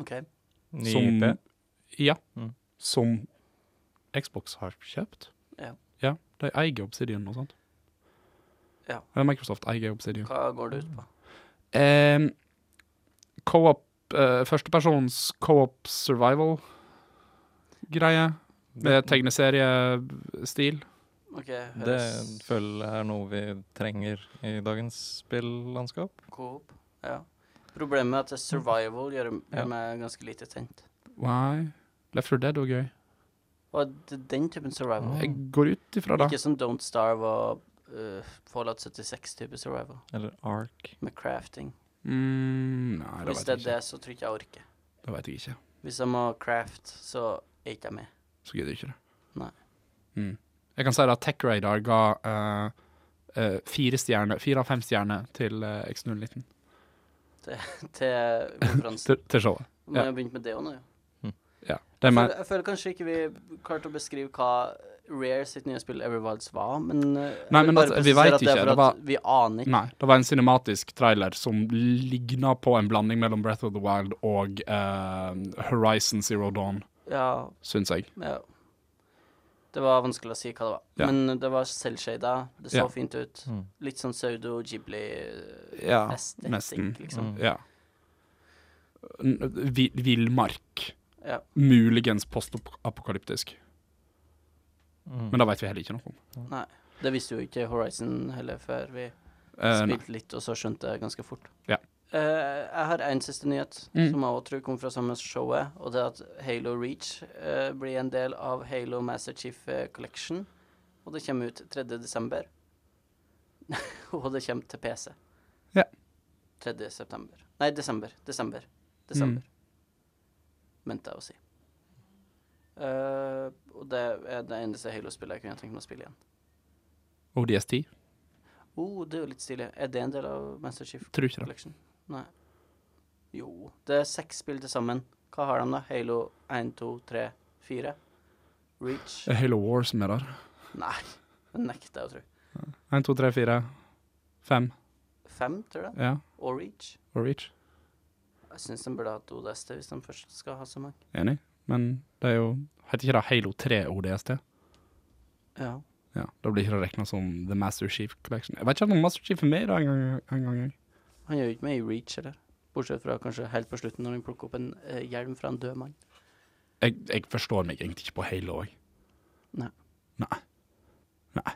OK. Ny som, IP. Ja. Mm. Som Xbox har kjøpt. Ja. ja de eier Obsidian og sånt. Ja. Eller Microsoft eier Obsidian. Hva går det ut på? Um, co-op eh, Førstepersons co-op survival-greie. Med tegneseriestil. OK, Det høres føler jeg er noe vi trenger i dagens spillandskap. Coop. Ja. Problemet er at det survival gjør, Ja. gjør meg ganske lite tent. Why? Left 4 Dead var gøy. Og det er den typen survival. Jeg går ut ifra det. Ikke som Don't Starve og eh, Fallout 76-type survival, Eller Ark. med crafting. Mm, nei, det Hvis vet det jeg er ikke. det, så tror jeg ikke jeg orker. Det vet jeg ikke. Hvis jeg må craft, så er ikke jeg med. Så gidder jeg ikke det. Nei. Mm. Jeg kan si da at TechRadar ga eh, eh, fire stjerner, fire av fem stjerner til eh, X019. Til konferansen. Til, til showet. Må ja. jeg begynne med det òg nå, jo. Ja. Jeg De er, føler, jeg føler kanskje ikke vi klarte å beskrive hva Rare sitt nye spill Everwilds var, men eh, jeg Nei, vil men bare at- vi presisere vet at det er ikke, for det at var- Vi aner ikke. nei, det var en cinematisk trailer som ligna på en blanding mellom Breath of the Wild og eh, Horizon Zero Dawn, Ja, syns jeg. ja. Det var vanskelig å si hva det var. Ja. Men det var selvshada. Det så Ja. fint ut. Mm. Litt sånn pseudo Ghibli-estetikk, Ja, nesten. liksom. Mm. Ja. N- vi- Villmark. Ja. Muligens postapokalyptisk. Mm. Men det vet vi heller ikke noe om. Det visste jo ikke Horizon heller før vi Eh, nei. spilte litt, og så skjønte jeg ganske fort. Ja. Eh, jeg har en siste nyhet, Mm. som jeg også tror kommer fra samme showet, og det er at Halo Reach eh, blir en del av Halo Master Chief eh, Collection, og det kommer ut 3. desember. og det kommer til PC. Ja. 3. september. Nei, desember. Desember. Desember. Mm. Mente jeg å si. Eh, og det er det eneste Halo-spillet jeg kunne tenkt meg å spille igjen. ODS10? Oh, det er jo litt stilig. Er det en del av Master Chief Tror ikke det. Collection? Nei. Jo, det er seks spill til sammen. Hva har de, da? Halo 1, 2, 3, 4? Reach? Det er Halo War som er der. Nei, det nekter jeg å tro. 1, 2, 3, 4, 5. Fem, tror jeg. Ja. Og Reach. Og Reach. Jeg syns de burde hatt ODST hvis de først skal ha så mange. Enig. Men det er jo Heter ikke det Halo 3 ODST? Ja. Ja, Da blir ikke det regna som The Master Chief Collection. Jeg vet ikke om Master Chief er med i dag engang. En gang, jeg. Han gjør jo ikke med i Reach, eller? Bortsett fra kanskje helt på slutten, når han plukker opp en eh, hjelm fra en død mann. jeg, jeg forstår meg egentlig ikke på Halo, jeg. Nei. Nei. Nei.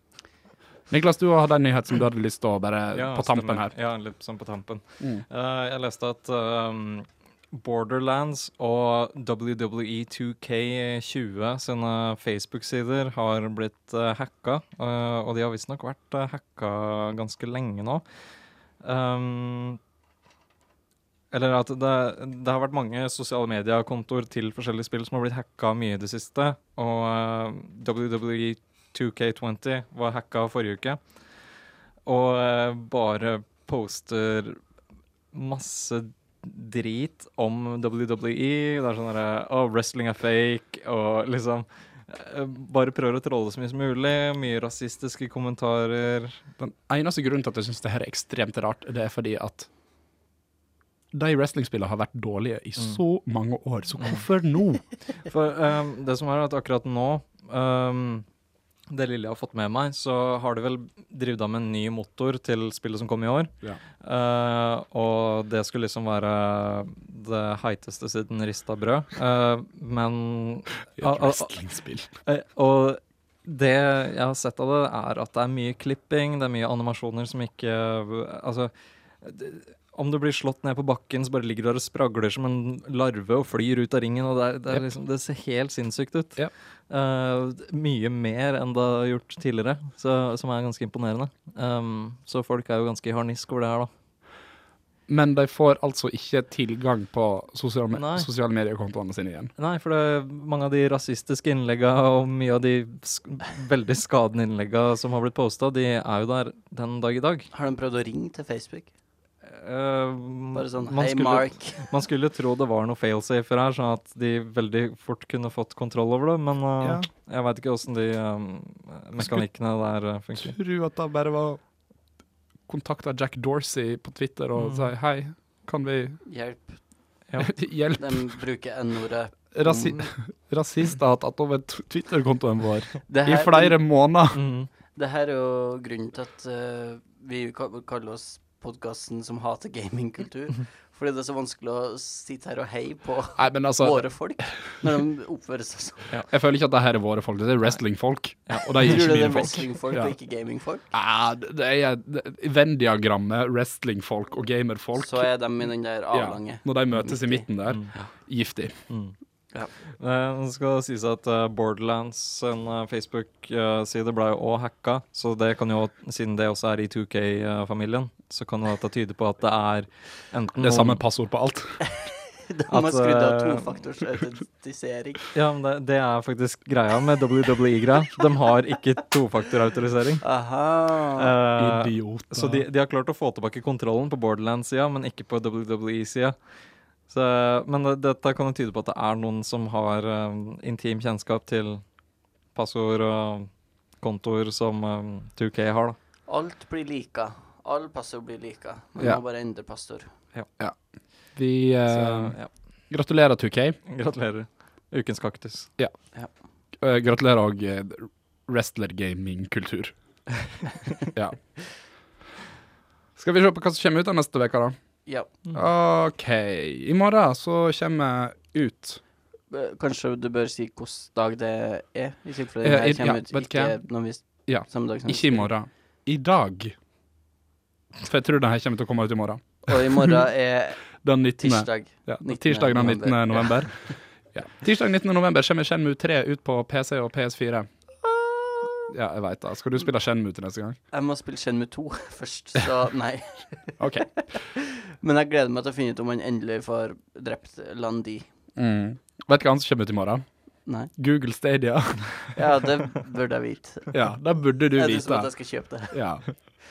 Niklas, du hadde en nyhet som du hadde lyst til å bare på tampen stemmer. her. Ja, litt sånn på tampen. Mm. Eh, jeg leste at ehm, Borderlands og E WWE 2K20 sine Facebook-sider har blitt eh, hacka. eh, og de har visstnok vært eh, hacka ganske lenge nå. Ehm, eller at det, det har vært mange sosiale mediekontoer til forskjellige spill som har blitt hacka mye i det siste. Og eh, WWE 2K20 var hacka forrige uke. Og eh, bare poster masse drit om WWE. Det er sånn derre Å, wrestling er fake, og liksom eh, Bare prøver å trolle så mye som mulig. Mye rasistiske kommentarer. Den eneste grunnen til at jeg syns det her er ekstremt rart, det er fordi at de wrestlingspillene har vært dårlige i så mange år, så hvorfor nå? For ehm, det som er at akkurat nå ehm, Det lille jeg har fått med meg, så har de vel drevet av med en ny motor til spillet som kom i år. Ja. Eh, og det skulle liksom være det heiteste siden rista brød. Eh, men I Ah, ah, et ah. wrestlingspill. Eh, Og det jeg har sett av det, er at det er mye klipping, det er mye animasjoner som ikke Altså det- om du blir slått ned på bakken, så bare ligger du der og spragler som en larve og flyr ut av ringen. og Det, er, det, er Yep. liksom, det ser helt sinnssykt ut. Yep. Eh, d- mye mer enn det har gjort tidligere, så, som er ganske imponerende. Um, så folk er jo ganske i harnisk over det her, da. Men de får altså ikke tilgang på sosiale, me Nei. sosiale mediekontoene sine igjen. Nei, for det, mange av de rasistiske innlegga og mye av de sk veldig skadende innlegga som har blitt posta, de er jo der den dag i dag. Har de prøvd å ringe til Facebook? Eh, Bare sånn man, Hei, skulle, Mark. man skulle tro det var noe failsafer her, sånn at de veldig fort kunne fått kontroll over det, men eh, Ja. jeg veit ikke åssen de eh, mekanikkene der eh, funker. Tror at det bare var kontakta Jack Dorsey på Twitter og Mm. si hei, kan vi Hjelp. Ja. hjelpe? Mm. De bruker N-ordet rasi rasist har hatt over t- Twitter-kontoen vår Det i flere måneder. Mm. Det her er jo grunnen til at eh, vi ka- kaller oss podkasten som hater gamingkultur. Mhm. Fordi det er så vanskelig å sitte her og heie på Nei, men altså, våre folk når de oppfører seg sånn. jeg føler ikke at det her er våre folk. Det er wrestling-folk. Og det er Tror du ikke det er mine folk. wrestlingfolk Ja. og ikke gamingfolk? Ja, det det er det- Venn-diagrammet, wrestling-folk og gamer-folk. Så er de i den der avlange. Ja, når de møtes i midten der. Mm. Giftig. Eh, Nå skal det sies at eh, Borderlands sin eh, Facebook-side ble jo òg hacka. Så det kan jo, siden det også er i 2K-familien, så kan jo dette tyde på at det er enten Det er samme noen- passord på alt. De har At, skrudd av eh, tofaktors autentisering. Ja, men det, det er faktisk greia med WWE-greia. De har ikke tofaktorautorisering. Aha. Eh, Idiot. så de, de har klart å få tilbake kontrollen på Borderlands-sida, men ikke på WWE-sida. Men det, dette kan jo tyde på at det er noen som har eh, intim kjennskap til passord og kontoer som eh, 2K har, da. Alt blir lika. All passord blir lika. Man Ja. må bare endre passord. Vi eh, Så, ja. gratulerer 2K. Gratulerer. Ukens kaktus. Eh, gratulerer òg wrestler-gaming-kultur. ja. Skal vi se på hva som kommer ut av neste uke, da. Ja. OK. I morgen så kommer ut Eh, Kanskje du bør si hvilken dag det er, i tilfelle Eh, det i- her kommer ja, ut vet ikke hva? når vi Ja, samme dag som vi Ikke i spiller. morgen. I dag. For jeg tror den her kommer til å komme ut i morgen. Og i morgen er Den 19. tirsdag. Ja, 19. tirsdag den 19. november. november. Ja. Tirsdag 19. november kommer Shenmue 3 ut på PC og PS4. Ja, jeg veit det. Skal du spille Shenmue til neste gang? Jeg må spille Shenmue 2 først, så nei. OK. Men jeg gleder meg til å finne ut om han endelig får drept Landi. Mm. Vet du hva annet som kommer ut i morgen? Nei. Google Stadia. Ja, det burde jeg vite. Ja, det burde du Er det som at vite. jeg skal kjøpe det? Ja.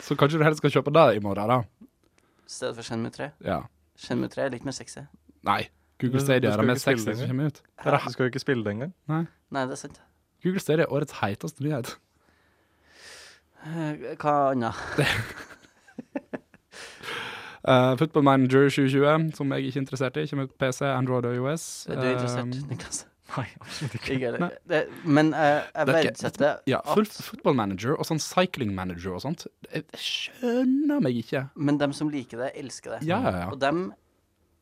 Så kanskje du heller skal kjøpe det i morgen, da. I stedet for Shenmue 3. Ja. Shenmue 3 er litt mer sexy. Nei. Google Du- du Stadia er skal det jo mest ikke spille sexy det som kommer ut. Du skal jo ikke spille det engang. Nei, det er sant. Google Stadia er årets heiteste nyhet. Eh, Hva annet? Eh, Football Manager 2020, som jeg ikke er interessert i, kommer ut på PC, Android og US. Er du interessert, Eh, Niklas? Nei, absolutt ikke. Ikke heller. Nei. Det- Men eh, jeg Det er ikke- verdsetter Ja, full at football manager og sånn cycling manager og sånt. Jeg jeg skjønner meg ikke. Men dem som liker det, elsker det. Ja, ja, ja. Og dem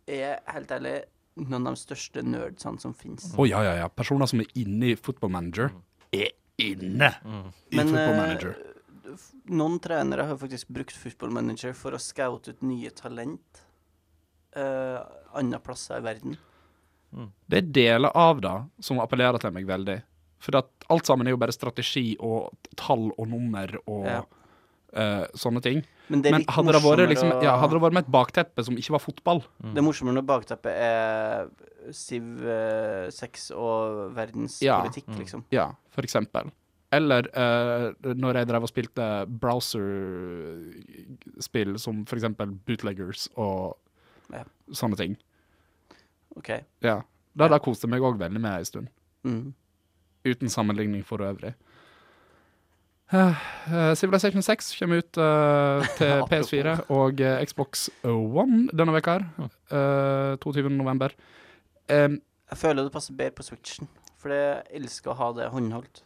er, helt ærlig, noen av de største nerdsene som finnes. Å, ja, ja, ja. Personer som er inne i football manager, er inne i Men, football eh, manager. Noen trenere har faktisk brukt Football Manager for å scoute ut nye talent uh, andre plasser i verden. Det er deler av det som appellerer til meg veldig. For at alt sammen er jo bare strategi og tall og nummer og Ja. eh, sånne ting. Men det er Men litt hadde det, vært, morsommere liksom, å- ja, hadde det vært med et bakteppe som ikke var fotball Det er morsommere når bakteppet er Siv eh, 6 og Ja. Mm. verdenspolitikk, liksom. Ja, for eksempel. Eller eh, når jeg drev og spilte browser-spill som for eksempel bootleggers og Ja. sånne ting. OK. Ja. Det der koste jeg meg òg veldig med ei stund. Mm. Uten sammenligning for øvrig. Eh, eh, Civilization 6 kommer ut eh, til Apropos. PS4 og eh, Xbox One denne veka her. eh, 22. november. Em, Jeg føler det passer bedre på Switchen, for jeg elsker å ha det håndholdt.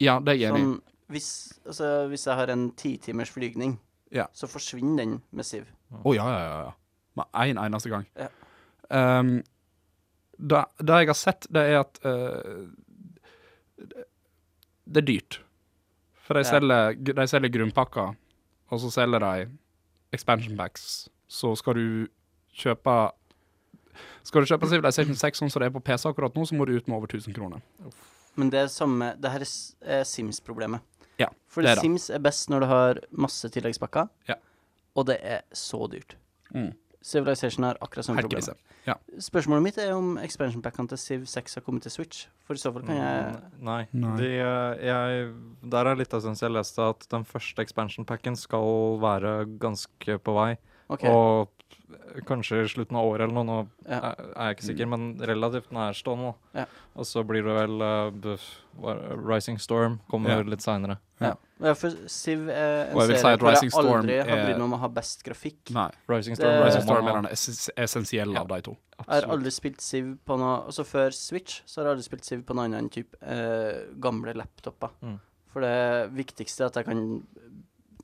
ja, det er jeg enig i. Sånn, hvis, altså, hvis jeg har en titimers flygning, Ja. så forsvinner den med Siv. Å ja, ja, ja, ja. Med én en eneste gang. Ja. Em, det, det jeg har sett, det er at eh, det- Det er dyrt. For de Ja. selger, de selger grunnpakker, og så selger de expansion packs. Så skal du kjøpe Skal du kjøpe Civilization 6 sånn som det er på PC akkurat nå, så må du ut med over 1000 kroner. Men det er samme Det her er s- er Sims-problemet. Ja, For det er det. Sims er best når du har masse tilleggspakker, Ja. og det er så dyrt. Mm. Civilization har akkurat samme Helt problem. krise. Ja. Spørsmålet mitt er om expansion packene til Civ 6 har kommet til Switch. For i så fall Mm. kan jeg Mm, Nei. Nei. De, eh, jeg, der er litt av sånn som jeg leste at den første expansion packen skal være ganske på vei. OK. Og kanskje i slutten av året eller noe, nå Ja. er- er jeg ikke sikker, men relativt nærstående. da. Ja. Og så blir det vel eh, buff, hva- Rising Storm kommer Ja. litt seinere. Ja. Ja, for Siv er en Og jeg vil serie si at hvor jeg Rising Storm aldri har er- brydd meg om å ha best grafikk. Nei. Rising Det- Storm, Rise Rising of Eh, Storm er den ess- essensielle av de to. Jeg har aldri spilt Siv på noe Altså før Switch så har jeg aldri spilt Siv på noe annet enn typ eh, gamle laptoper. Mm. For det viktigste er at jeg kan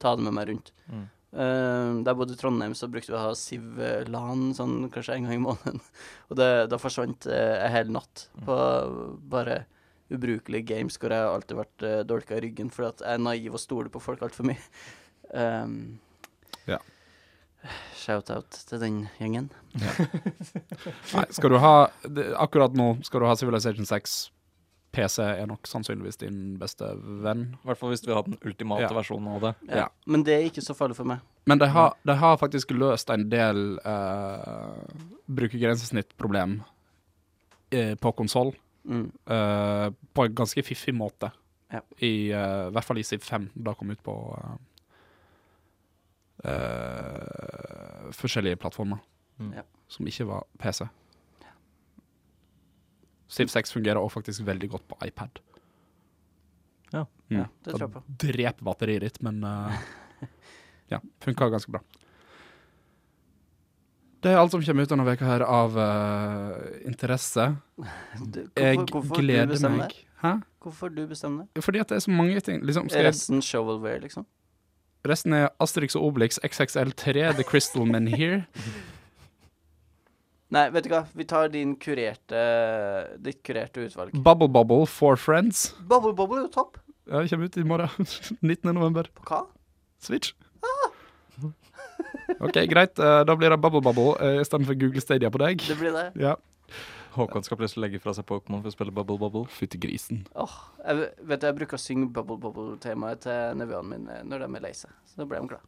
ta det med meg rundt. Mm. Eh, da jeg bodde i Trondheim, så brukte vi å ha Siv eh, LAN sånn kanskje en gang i måneden. Og det, da forsvant eh, en hel natt Mm. på bare ubrukelige games hvor jeg har alltid vært uh, dolka i ryggen fordi at jeg er naiv og stoler på folk altfor mye. Um, Ja. Shout-out til den gjengen. Nei, skal du ha det- Akkurat nå skal du ha Civilization 6. PC er nok sannsynligvis din beste venn. I hvert fall hvis vi har den ultimate Ja. versjonen av det. Ja. Ja. Men det er ikke så farlig for meg. Men de har, de har faktisk løst en del uh, brukergrensesnittproblem eh, på konsoll. Mm. eh, på en ganske fiffig måte. Ja. I eh, hvert fall i Siv 5, da kom ut på eh, eh, forskjellige plattformer Mm. Ja. som ikke var PC. Siv 6 fungerer også faktisk veldig godt på iPad. Ja. Mm. Ja, det tror jeg på. Da Drep batteriet ditt, men eh, ja, funka ganske bra. Det er alt som kommer ut denne veka her av eh, interesse. Du, Jeg hvorfor- hvorfor du gleder bestemmer meg. det? Hæ? Hvorfor du bestemmer det? Fordi at det er så mange ting. Liksom, skal Er jeg, resten shovelware, liksom? resten er Asterix og Obelix, XXL3, The Crystal Men Here. Nei, vet du hva, vi tar din kurerte, ditt kurerte utvalg. Bubble Bubble, Four Friends. Bubble Bobble er jo topp. Ja, det kommer ut i morgen. 19. november. På hva? Switch. OK, greit. eh, Da blir det Bubble Bubble eh, i stedet for Google Stadia på deg. Det blir det. Ja. Håkon skal plutselig legge fra seg Pokémon for å spille Bubble Bubble. Fytti grisen. Åh, jeg, v- vet du, jeg bruker å synge Bubble Bobble-temaet til nevøene mine eh, når de er lei seg. Så da ble de glad.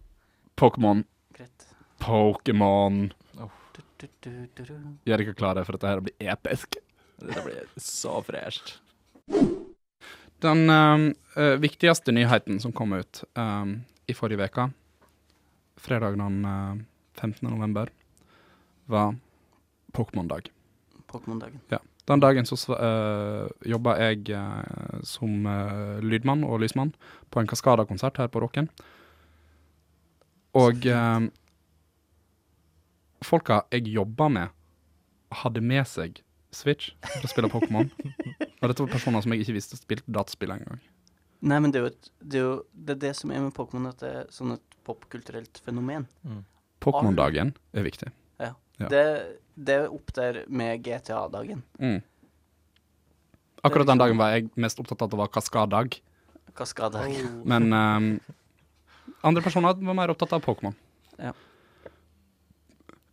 Pokémon. Greit. Pokémon. Du, du, du, du, du. Gjør dere klare for at dette her blir episk? Det blir så fresht. Den ehm, eh, viktigste nyheten som kom ut ehm, i forrige veka, fredag den eh, 15. november, var Pokémon-dag. Pokémon-dagen. Den dagen så uh, jobba jeg eh, som eh, lydmann og lysmann på en Kaskada-konsert her på Rocken. Og eh, folka jeg jobba med, hadde med seg Switch for å spille Pokémon. og dette var personer som jeg ikke visste spilte dataspill engang. Nei, men det er jo, et, det, er jo det, er det som er med Pokémon, at det er sånn et popkulturelt fenomen. Pokémon-dagen er viktig. Ja. Det, det er opp der med GTA-dagen. Mm. Akkurat den dagen var jeg mest opptatt av at det var Kaskadag, Kaskadedagen. men ehm, andre personer var mer opptatt av Pokémon. Ja.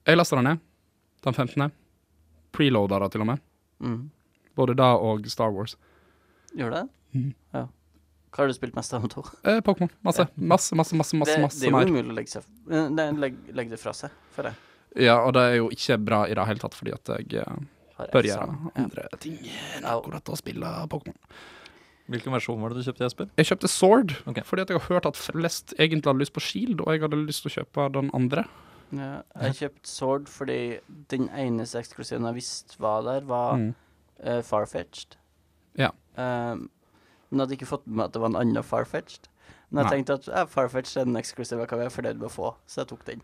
Jeg lasta den ned den 15. Preloada det til og med. Mm. Både da og Star Wars. Gjør det? Mhm. Ja. Hva har du spilt mest av de to? Eh, Pokémon. Masse, masse, masse, masse, Det, masse, det masse er jo mer. umulig å legge, seg, eh, nei, legge, legge det fra seg, føler jeg. Ja, og det er jo ikke bra i det hele tatt, fordi at jeg eh, Har jeg bør gjøre sånn. andre ting enn Au. akkurat å spille Pokémon. Hvilken versjon var det du kjøpte, Jesper? Jeg kjøpte Sword Ok. fordi at jeg har hørt at flest egentlig hadde lyst på Shield, og jeg hadde lyst til å kjøpe den andre. Ja, jeg kjøpte Sword fordi den eneste eksklusiven jeg visste var der, var Mm. eh, Farfetched. Ja. Ehm, men jeg hadde ikke fått med meg at det var en annen Farfetched. Men jeg Nei. tenkte at eh, Farfetched er den eksklusive jeg kan være fornøyd med å få, så jeg tok den.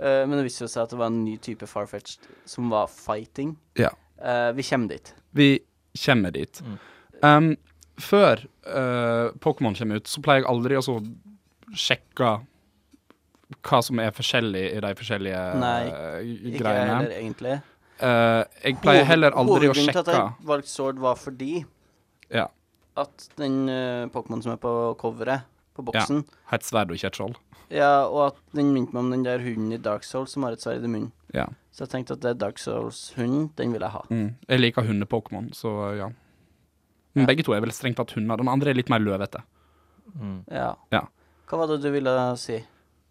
Eh, men det viste jo seg at det var en ny type Farfetched som var fighting. Ja. Eh, vi kommer dit. Vi kommer dit. Mm. Um, før eh, Pokémon kommer ut, så pleier jeg aldri å så sjekke hva som er forskjellig i de forskjellige Nei, eh, Ikke jeg greiene. heller, egentlig. Eh, jeg pleier heller aldri Hovedgrunnen å til sjekke at jeg valgte Sword var fordi Ja. at den eh, Pokémon som er på coveret, på boksen Ha et sverd og ikke et skjold. ja. og at den minte meg om den der hunden i Dark Souls som har et sverd i munnen. Ja. Så jeg tenkte at det er Dark Souls-hunden, den vil jeg ha. Mm. Jeg liker hunde-Pokémon, så ja. Men Ja. begge to er vel strengt tatt hunder. Den andre er litt mer løvete. Mm. Ja. Ja. Hva var det du ville si?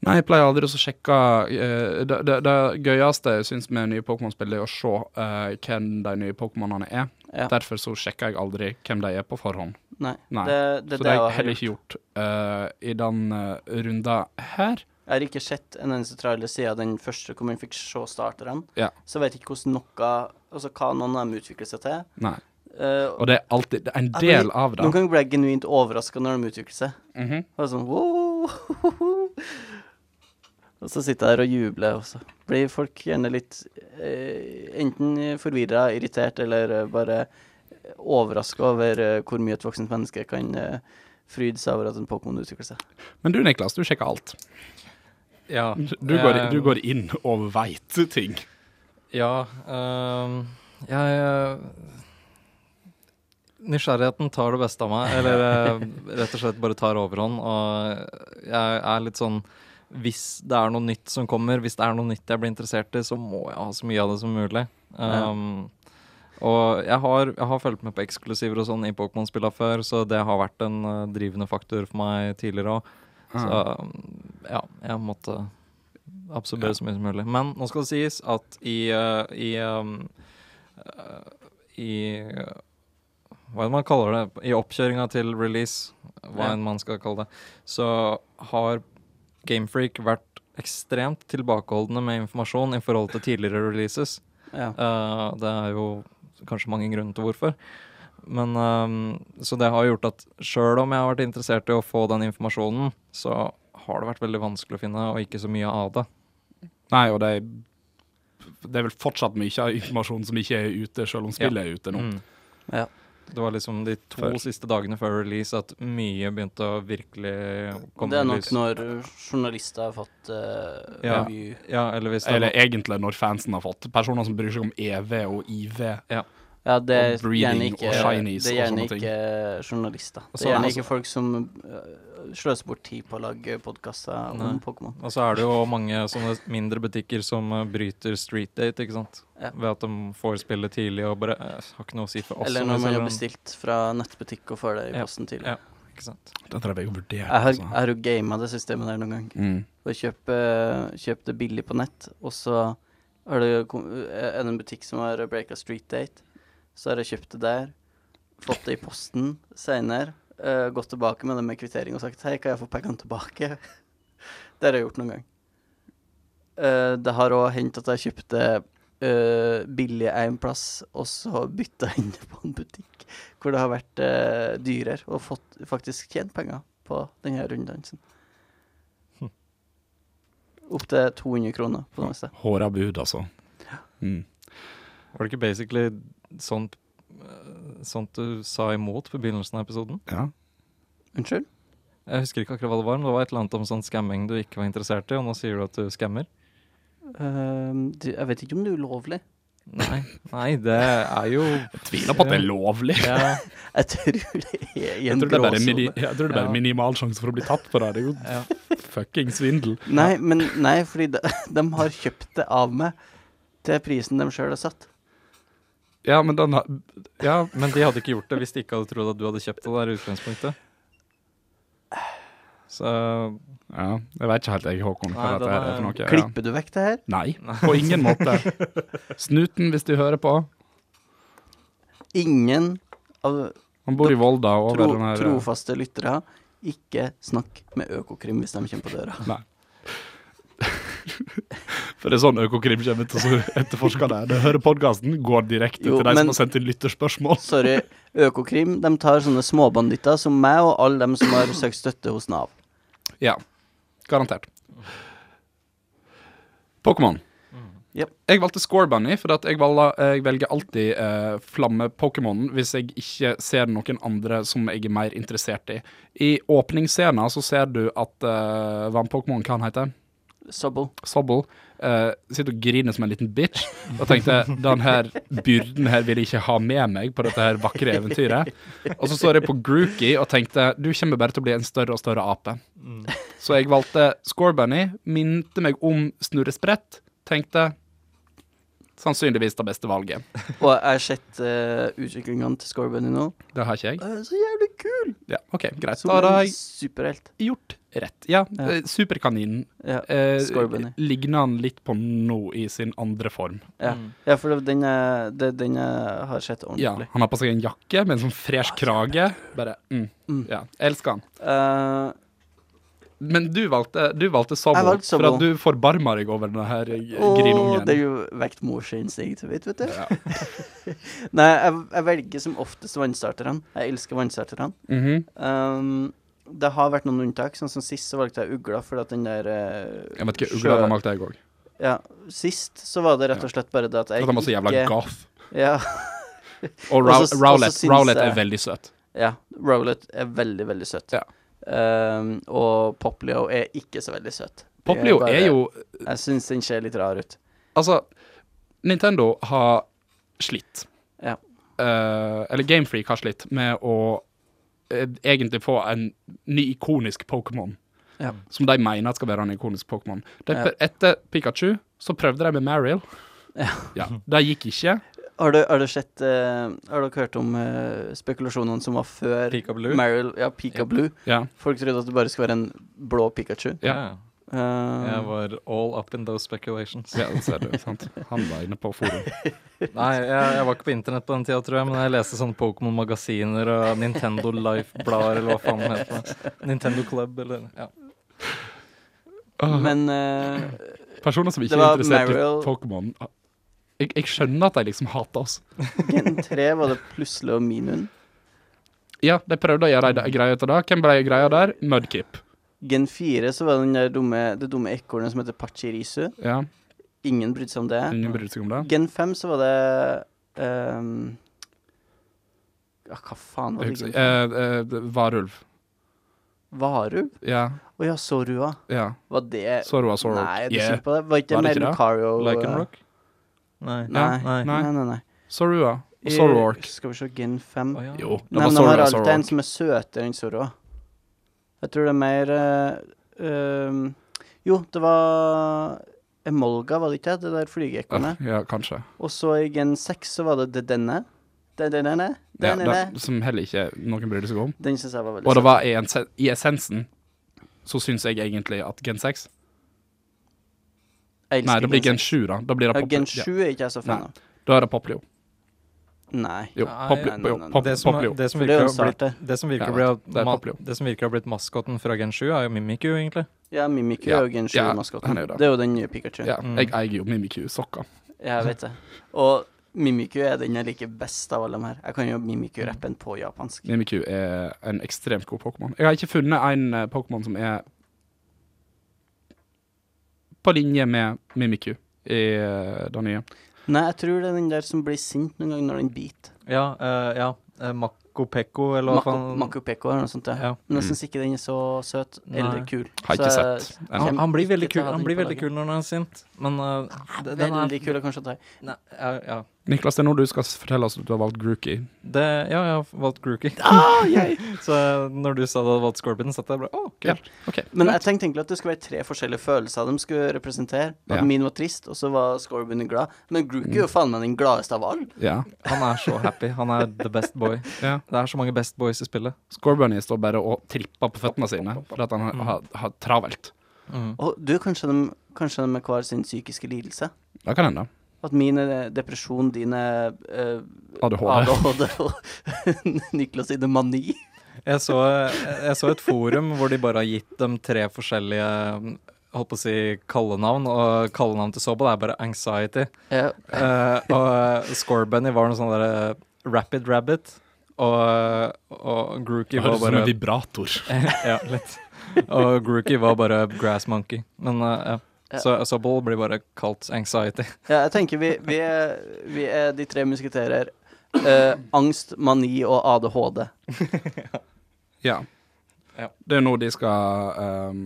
Nei, jeg pleier aldri å så sjekke eh, det, det, det gøyeste jeg syns med nye Pokémon-spill, er å se eh, hvem de nye Pokémonene er. Ja. Derfor så sjekker jeg aldri hvem de er på forhånd. Nei. Nei. Det, det, så det har jeg jeg heller ikke gjort eh, i den eh, runda her. Jeg har ikke sett en eneste trailer siden den første hvor man fikk se starterne. Ja. Så jeg vet ikke hvordan noe Altså hva noen av dem utvikler seg til. Nei. Eh, Og det er alltid det er en jeg blir- del av Noen det. ganger blir jeg genuint overraska når de utvikler seg. Mhm. Og sånn wow. Og så sitter jeg der og jubler, og så blir folk gjerne litt eh, enten forvirra, irritert eller eh, bare overraska over eh, hvor mye et voksent menneske kan eh, fryde seg over at en Pokémon utvikler seg. Men du, Niklas, du sjekker alt. Ja, Du går, Eh. jeg- du går inn og veit ting. Ja, ehm, jeg eh, Nysgjerrigheten tar det beste av meg, eller eh, rett og slett bare tar overhånd. Og jeg er litt sånn Hvis det er noe nytt som kommer, hvis det er noe nytt jeg blir interessert i, så må jeg ha så mye av det som mulig. Ehm, Og jeg har, jeg har fulgt med på eksklusiver og sånn i Pokémon-spillene før, så det har vært en eh, drivende faktor for meg tidligere òg. Så um, ja, jeg måtte absorbere så mye som mulig. Men nå skal det sies at i eh, i, um, eh, i eh, hva enn man kaller det, i oppkjøringa til release, hva Ja. enn man skal kalle det, så har Gamefreak vært ekstremt tilbakeholdne med informasjon i forhold til tidligere releases. Ja. Eh, det er jo kanskje mange grunner til hvorfor. Men ehm, Så det har gjort at sjøl om jeg har vært interessert i å få den informasjonen, så har det vært veldig vanskelig å finne, og ikke så mye av det. Nei, og det er, det er vel fortsatt mye av informasjon som ikke er ute, selv om spillet er ute nå. Mm. Ja. Det var liksom de to Før. siste dagene før release at mye begynte å virkelig Og komme det er i nok lys. når journalister har fått eh, Ja. review. Ja, eller hvis det Eller egentlig når fansen har fått. Personer som bryr seg om EV og IV. Ja, det er Og gjerne breeding og ikke, shinies det er og gjerne sånne ting. ikke journalister. Og Det så er er gjerne det ikke folk som øh, sløser bort tid på å lage podkaster Nei. om Pokémon. Og så er det jo mange sånne mindre butikker som eh, bryter street date, ikke sant. Ja. Ved at de får spille tidlig og bare eh, Har ikke noe å si for oss. Eller om vi når man selger har den», bestilt fra nettbutikk og får det i Ja. posten tidlig. Ja. Ikke sant. Det tror jeg vi har vurdert. Jeg har, jeg altså. har jo gama det systemet der noen gang. Mm. Og kjøpt kjøp det billig på nett, og så har det, kom- er det en butikk som har breaka street date. Så har jeg kjøpt det der, fått det i posten seinere, gått tilbake med det med kvittering og sagt hei, kan jeg få pengene tilbake? det har jeg gjort noen gang. Eh, det har òg hendt at jeg kjøpte eh, billig en plass, og så bytta jeg inn på en butikk hvor det har vært eh, dyrere, og fått, faktisk tjent penger på denne runddansen. Opptil 200 kroner på det meste. Håra bud, altså. Mm. Var det ikke basically sånt eh, Sånt du sa imot på begynnelsen av episoden? Ja. Unnskyld? Jeg husker ikke akkurat hva det var, men det var et eller annet om sånn scamming du ikke var interessert i, og nå sier du at du skammer. Ehm, du, jeg vet ikke om det er ulovlig. Nei, nei, det er jo Tviler på at det er lovlig. ja, Jeg tror det er i Jeg en tror det er bare, mini, gråsone. jeg tror det er bare Ja. minimal sjanse for å bli tatt på det. Det er jo ja. fucking svindel. Nei, men nei, fordi de, de har kjøpt det av meg til prisen de sjøl har satt. Ja, men den har Ja, Men de hadde ikke gjort det hvis de ikke hadde trodd at du hadde kjøpt det der i utgangspunktet. Så ja jeg vet ikke helt, jeg, Håkon, hva Nei, dette her er for den er- noe. Ja. Klipper du vekk det her? Nei, på ingen måte. Snuten, hvis du hører på. Ingen av Han bor i Volda og tro, over den her eh, trofaste lyttere, ikke snakk med Økokrim hvis de kommer på døra. Nei. For det er sånn Økokrim kommer til å etterforske det. Det hører podkasten, går direkte Jo, til de men- som har sendt inn lytterspørsmål. Sorry, Økokrim de tar sånne småbanditter som meg og alle dem som har søkt støtte hos Nav. Ja, garantert. Pokémon. Jep. Jeg valgte Scorebunny, for at jeg, valg, jeg velger alltid eh, flamme-Pokémonen hvis jeg ikke ser noen andre som jeg er mer interessert i. I åpningsscenen så ser du at eh, hva en Pokémon kan hete. Sobble. Sobble eh, sitter og griner som en liten bitch. Og tenkte den her byrden her vil jeg ikke ha med meg på dette her vakre eventyret. Og så står jeg på Grookey og tenkte du kommer bare til å bli en større og større ape. Så jeg valgte Scorebunny, minte meg om Snurresprett, tenkte sannsynligvis det beste valget. Og jeg har sett uh, utviklingene til Scorbunny nå. Det har ikke jeg. Eh, så jævlig kul! Ja, OK, greit. Som Da har en jeg superhelt. gjort rett. Ja, Ja. eh, superkaninen. Ja. Eh, Scorebunny. Ligner han litt på nå i sin andre form. Ja. mm, ja, for det- den jeg, det, den jeg har sett Ja, ordentlig. han har på seg en jakke med en sånn fresh krage. Bare, mm, ja, elsker han. Eh, Men du valgte, du valgte Sobble, Jeg valgte for at Sobble. du forbarmer deg over denne her eh, Åh, grinungen. det er jo vekt morsinstinktet mitt, vet du. Ja. Nei, jeg, jeg velger som oftest vannstarterne. Jeg elsker vannstarterne. Mhm. Um, det har vært noen unntak, sånn som sist så valgte jeg ugla, fordi at den der eh, Jeg vet ikke, sjø- Ugla har valgt deg òg. Ja, sist så var det rett og slett bare det at jeg Han var så jævla ikke- goth. Ja, Og Og så- og så Rowlett syns Rowlett er jeg- veldig søt. ja Rowlet er veldig, veldig søt. Ja. Um, og Poplio er ikke så veldig søt. Det Poplio bare- er jo Jeg syns den ser litt rar ut. Altså, Nintendo har slitt. Ja. Eh, eller Gamefreak har slitt med å eh, egentlig få en ny ikonisk Pokémon. Ja. Som de mener skal være en ikonisk Pokémon. De- Ja. Etter Pikachu så prøvde de med Mariel. Ja. Det gikk ikke. Har du, har du sett eh, Har dere hørt om eh, spekulasjonene som var før Pika Blue. Meryl, ja, Pika Ja. Blue? Ja. Folk trodde at det bare skulle være en blå Pikachu. Ja. Eh, Jeg var all up in those speculations. ja, ser du. Sant? Han var inne på forum. Nei, jeg, jeg var ikke på internett på den tida, tror jeg, men jeg leste sånne Pokémon-magasiner og Nintendo Life-blader, eller hva faen det heter. Nintendo Club, eller ja. Åh, men eh, Personer som ikke det er var interessert Mariel- i Pokémon ah, jeg, jeg skjønner at de liksom hater oss. Gen 3 var det plutselig og minun. Ja, de prøvde å gjøre Mm. ei greie ut av det. Hvem ble greia der? Mudkip. Gen 4 så var det den der dumme, det dumme ekornet som heter Pachirisu. Ja, Ingen brydde seg om det. ingen brydde seg om det. Gen 5 så var det ehm, ja, Hva faen var Jeg det? husker- Gen fem? eh, eh, varulv. Varulv? Ja. Å ja, Sorua. ja. Var det Sorrow of Sorrow. Nei, du Yeah. kjenner på det? Var ikke Var det det mer ikke det? Lucario Lycanroc? Nei. Nei. Nei. Nei, nei, nei. Sorua. Og I- Sorrowark. Skal vi se, Gen 5 Å, ja. Jo, det Nei, var men de har Sorua og alltid en sånn, Sorrowark. som er søtere enn Sorrow. Jeg tror det er mer eh, ehm, Jo, det var Emolga, var det ikke? Det der flygeekornet. Ah, Ja, kanskje. Og så i Gen 6 så var det det denne. Det denne, denne, Ja, denne. det, som heller ikke noen brydde seg om. Den syns jeg var veldig Og det var i, en, se- i essensen så syns jeg egentlig at Gen 6 Jeg elsker Nei, det blir Gen seks. 7, da. Da, blir det Ja, Poplio. Gen 7 er ikke jeg så fan Nei. av. da er det Poplio. Nei. Jo, Nei, Poplio. nei, nei, jo, nei. Pop- Det som, Poplio. det som For det er virker jo å en ha blitt, start, det. det som virker Jeg å bli, vet, det er ma- Poplio. det som virker å ha blitt maskotten fra Gen 7, er jo Mimikyu, egentlig. Ja, Mimikyu Ja, er jo Gen ja, 7-maskotten. han er jo det. det er jo den nye Pikachu. Ja, Mm. jeg eier jo Mimikyu-sokka. Jeg vet det. Og Mimikyu er den jeg liker best av alle de her. Jeg kan jo Mimikyu-rappen på japansk. Mimikyu er en ekstremt god Pokémon. Jeg har ikke funnet en eh, Pokémon som er på linje med Mimikyu i eh, det nye. Nei, jeg tror det er den der som blir sint noen gang når den biter. Ja, eh, ja. eh, Mako Pekko, eller hva Mako, faen Makopeko eller noe sånt. Ja. Ja. Mm. Men jeg syns ikke den er så søt eller Nei. kul. Har Så ikke jeg sett. kommer Han, han blir ikke veldig til å kul ha Han den blir på veldig laget. kul når han er sint, men eh, d- den er Veldig kul er kanskje å ta i. Nei, ja, ja. Niklas, det er nå du skal s- fortelle oss at du har valgt Grookey. Det, ja, jeg har valgt Grooky. så eh, når du sa du hadde valgt Scorpion, satt jeg bare Å, Ja. kult. OK. Men jeg tenkte egentlig at det skulle være tre forskjellige følelser de skulle representere. At Ja. min var trist, og så var Scorbunny glad. Men Grookey Mm. er jo faen meg den gladeste av alle. Ja. Han er så happy. Han er the best boy. ja. Det er så mange best boys i spillet. Scorbunny står bare og tripper på føttene sine fordi at han har, har, har travelt. Mm. Og du, kanskje de, kanskje de er hver sin psykiske lidelse? Det kan hende. At min er depresjon, din er eh, ADHD. ADHD, og Niklas sine mani. Jeg, så, jeg så et forum hvor de bare har gitt dem tre forskjellige holdt på å si kallenavn, og kallenavn til Sobel er bare anxiety. Ja. Eh, og Scorbunny var noe sånn derre Rapid Rabbit, og, og Grookey var bare vibrator. ja, litt. Og Grookey var bare Grass Monkey. Men eh, Ja. ja. Så Sobble blir bare kalt Anxiety. Ja, jeg tenker vi, vi, er, vi er de tre musketerer. Eh, angst, mani og ADHD. Ja. Ja. Det er nå de skal um,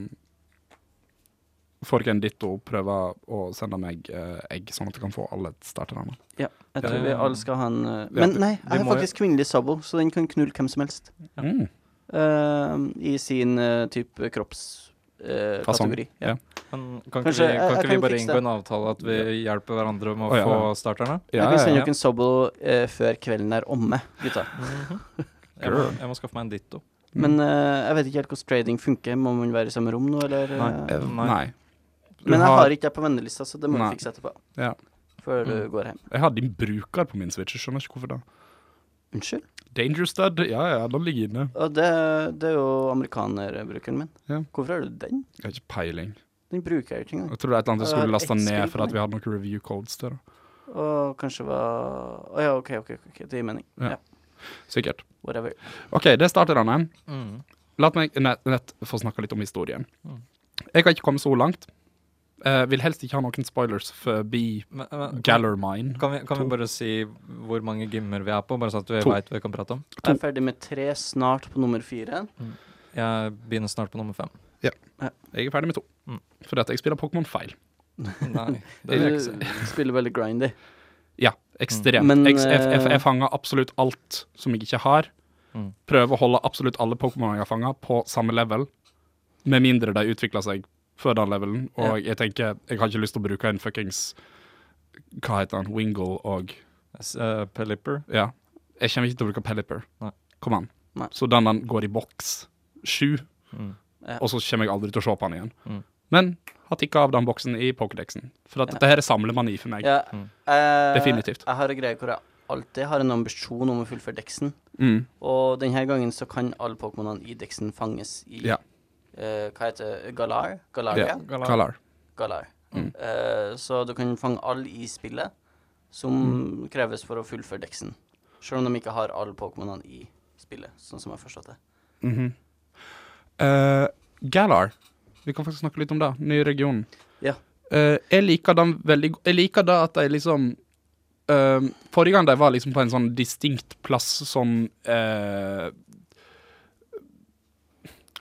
Folken ditto prøver å sende meg eh, egg, sånn at jeg kan få alle starterne. Ja, jeg tror Ja. vi alle skal ha en eh, Men nei, vi jeg har må jo- faktisk kvinnelig sabo, så den kan knulle hvem som helst. Ja. Mm. eh, I sin eh, type eh, kroppskategori. Fasong. sånn. Ja. Men kan ikke Kanskje- jeg- vi, kan jeg ikke vi kan bare fikse inngå det. en avtale at vi hjelper hverandre med å Å, ja. få starterne? Jeg Ja, kan ja, sende ja. dere en sabo eh, før kvelden er omme, gutta. Jeg, må, jeg må skaffe meg en ditto. Men eh, jeg vet ikke helt hvordan trading funker. Må man være i samme rom nå, eller? Nei. eh? Eh, Nei. Nei. Du Men jeg har- har ikke deg på vennelista, så det må vi Nei. fikse etterpå. Ja. Før du Mm. går hjem. Jeg har din bruker på min switch, jeg skjønner ikke hvorfor det. Unnskyld? Danger Stud, ja ja, den ligger inne. Og det, det er jo amerikanerbrukeren min. Ja. Hvorfor har du den? Jeg har ikke peiling. Den bruker jeg jo ikke engang. Jeg tror det er et eller annet jeg skulle Ja, lasta Excel ned på for at den. vi hadde noen review codes til det. Og kanskje var Å ja, OK, OK, ok, ok, det gir mening. Ja. Ja. Sikkert. whatever. OK, det starter denne. Mm. La meg nett, nett få snakke litt om historien. Mm. Jeg har ikke kommet så langt. Eh, vil helst ikke ha noen spoilers forbi Men, men, kan, Gallermine. kan, vi, kan vi To. bare si hvor mange gymmer vi er på, bare så at vi To. veit hva vi kan prate om? Jeg er ferdig med tre, snart på nummer fire. Jeg begynner snart på nummer fem. Jeg er ferdig med to. Mm. Fordi at jeg spiller Pokémon feil. Nei, det vil jeg ikke si. Du spiller veldig grindy. Ja, ekstremt. Men, jeg, jeg, jeg, eh, jeg fanger absolutt alt som jeg ikke har. Mm. Prøver å holde absolutt alle Pokémon jeg har fanga, på samme level. Med mindre de utvikler seg før den levelen. Og jeg tenker, jeg har ikke lyst til å bruke en fuckings Hva heter han? Wingle og S- eh, Pelipper. Ja. Jeg kommer ikke til å bruke Pelipper. Nei. Kom an. Nei. Så den den går i boks sju, Mm. Ja. og så kommer jeg aldri til å se på den igjen. Mm. Men har tikka av den boksen i Pokédexen. For at Ja. dette her er samlemani for meg. Ja, Mm. eh, Definitivt. Jeg har en greie hvor jeg alltid har en ambisjon om å fullføre deksen. Mm. Og denne gangen så kan alle Pokémonene i deksen fanges i Ja. eh, Hva heter det? Galar? Galaria? Ja. Kalar. Galar. Mm. Eh, så du kan fange alle i spillet som Mm. kreves for å fullføre deksen. Selv om de ikke har alle Pokémonene i spillet, sånn som jeg har forstått det. Mhm. Eh, Galar. Vi kan faktisk snakke litt om det. Ny region. Ja. Eh, jeg liker den veldig go- Jeg liker det at de liksom eh, Forrige gang de var liksom på en sånn distinkt plass som eh,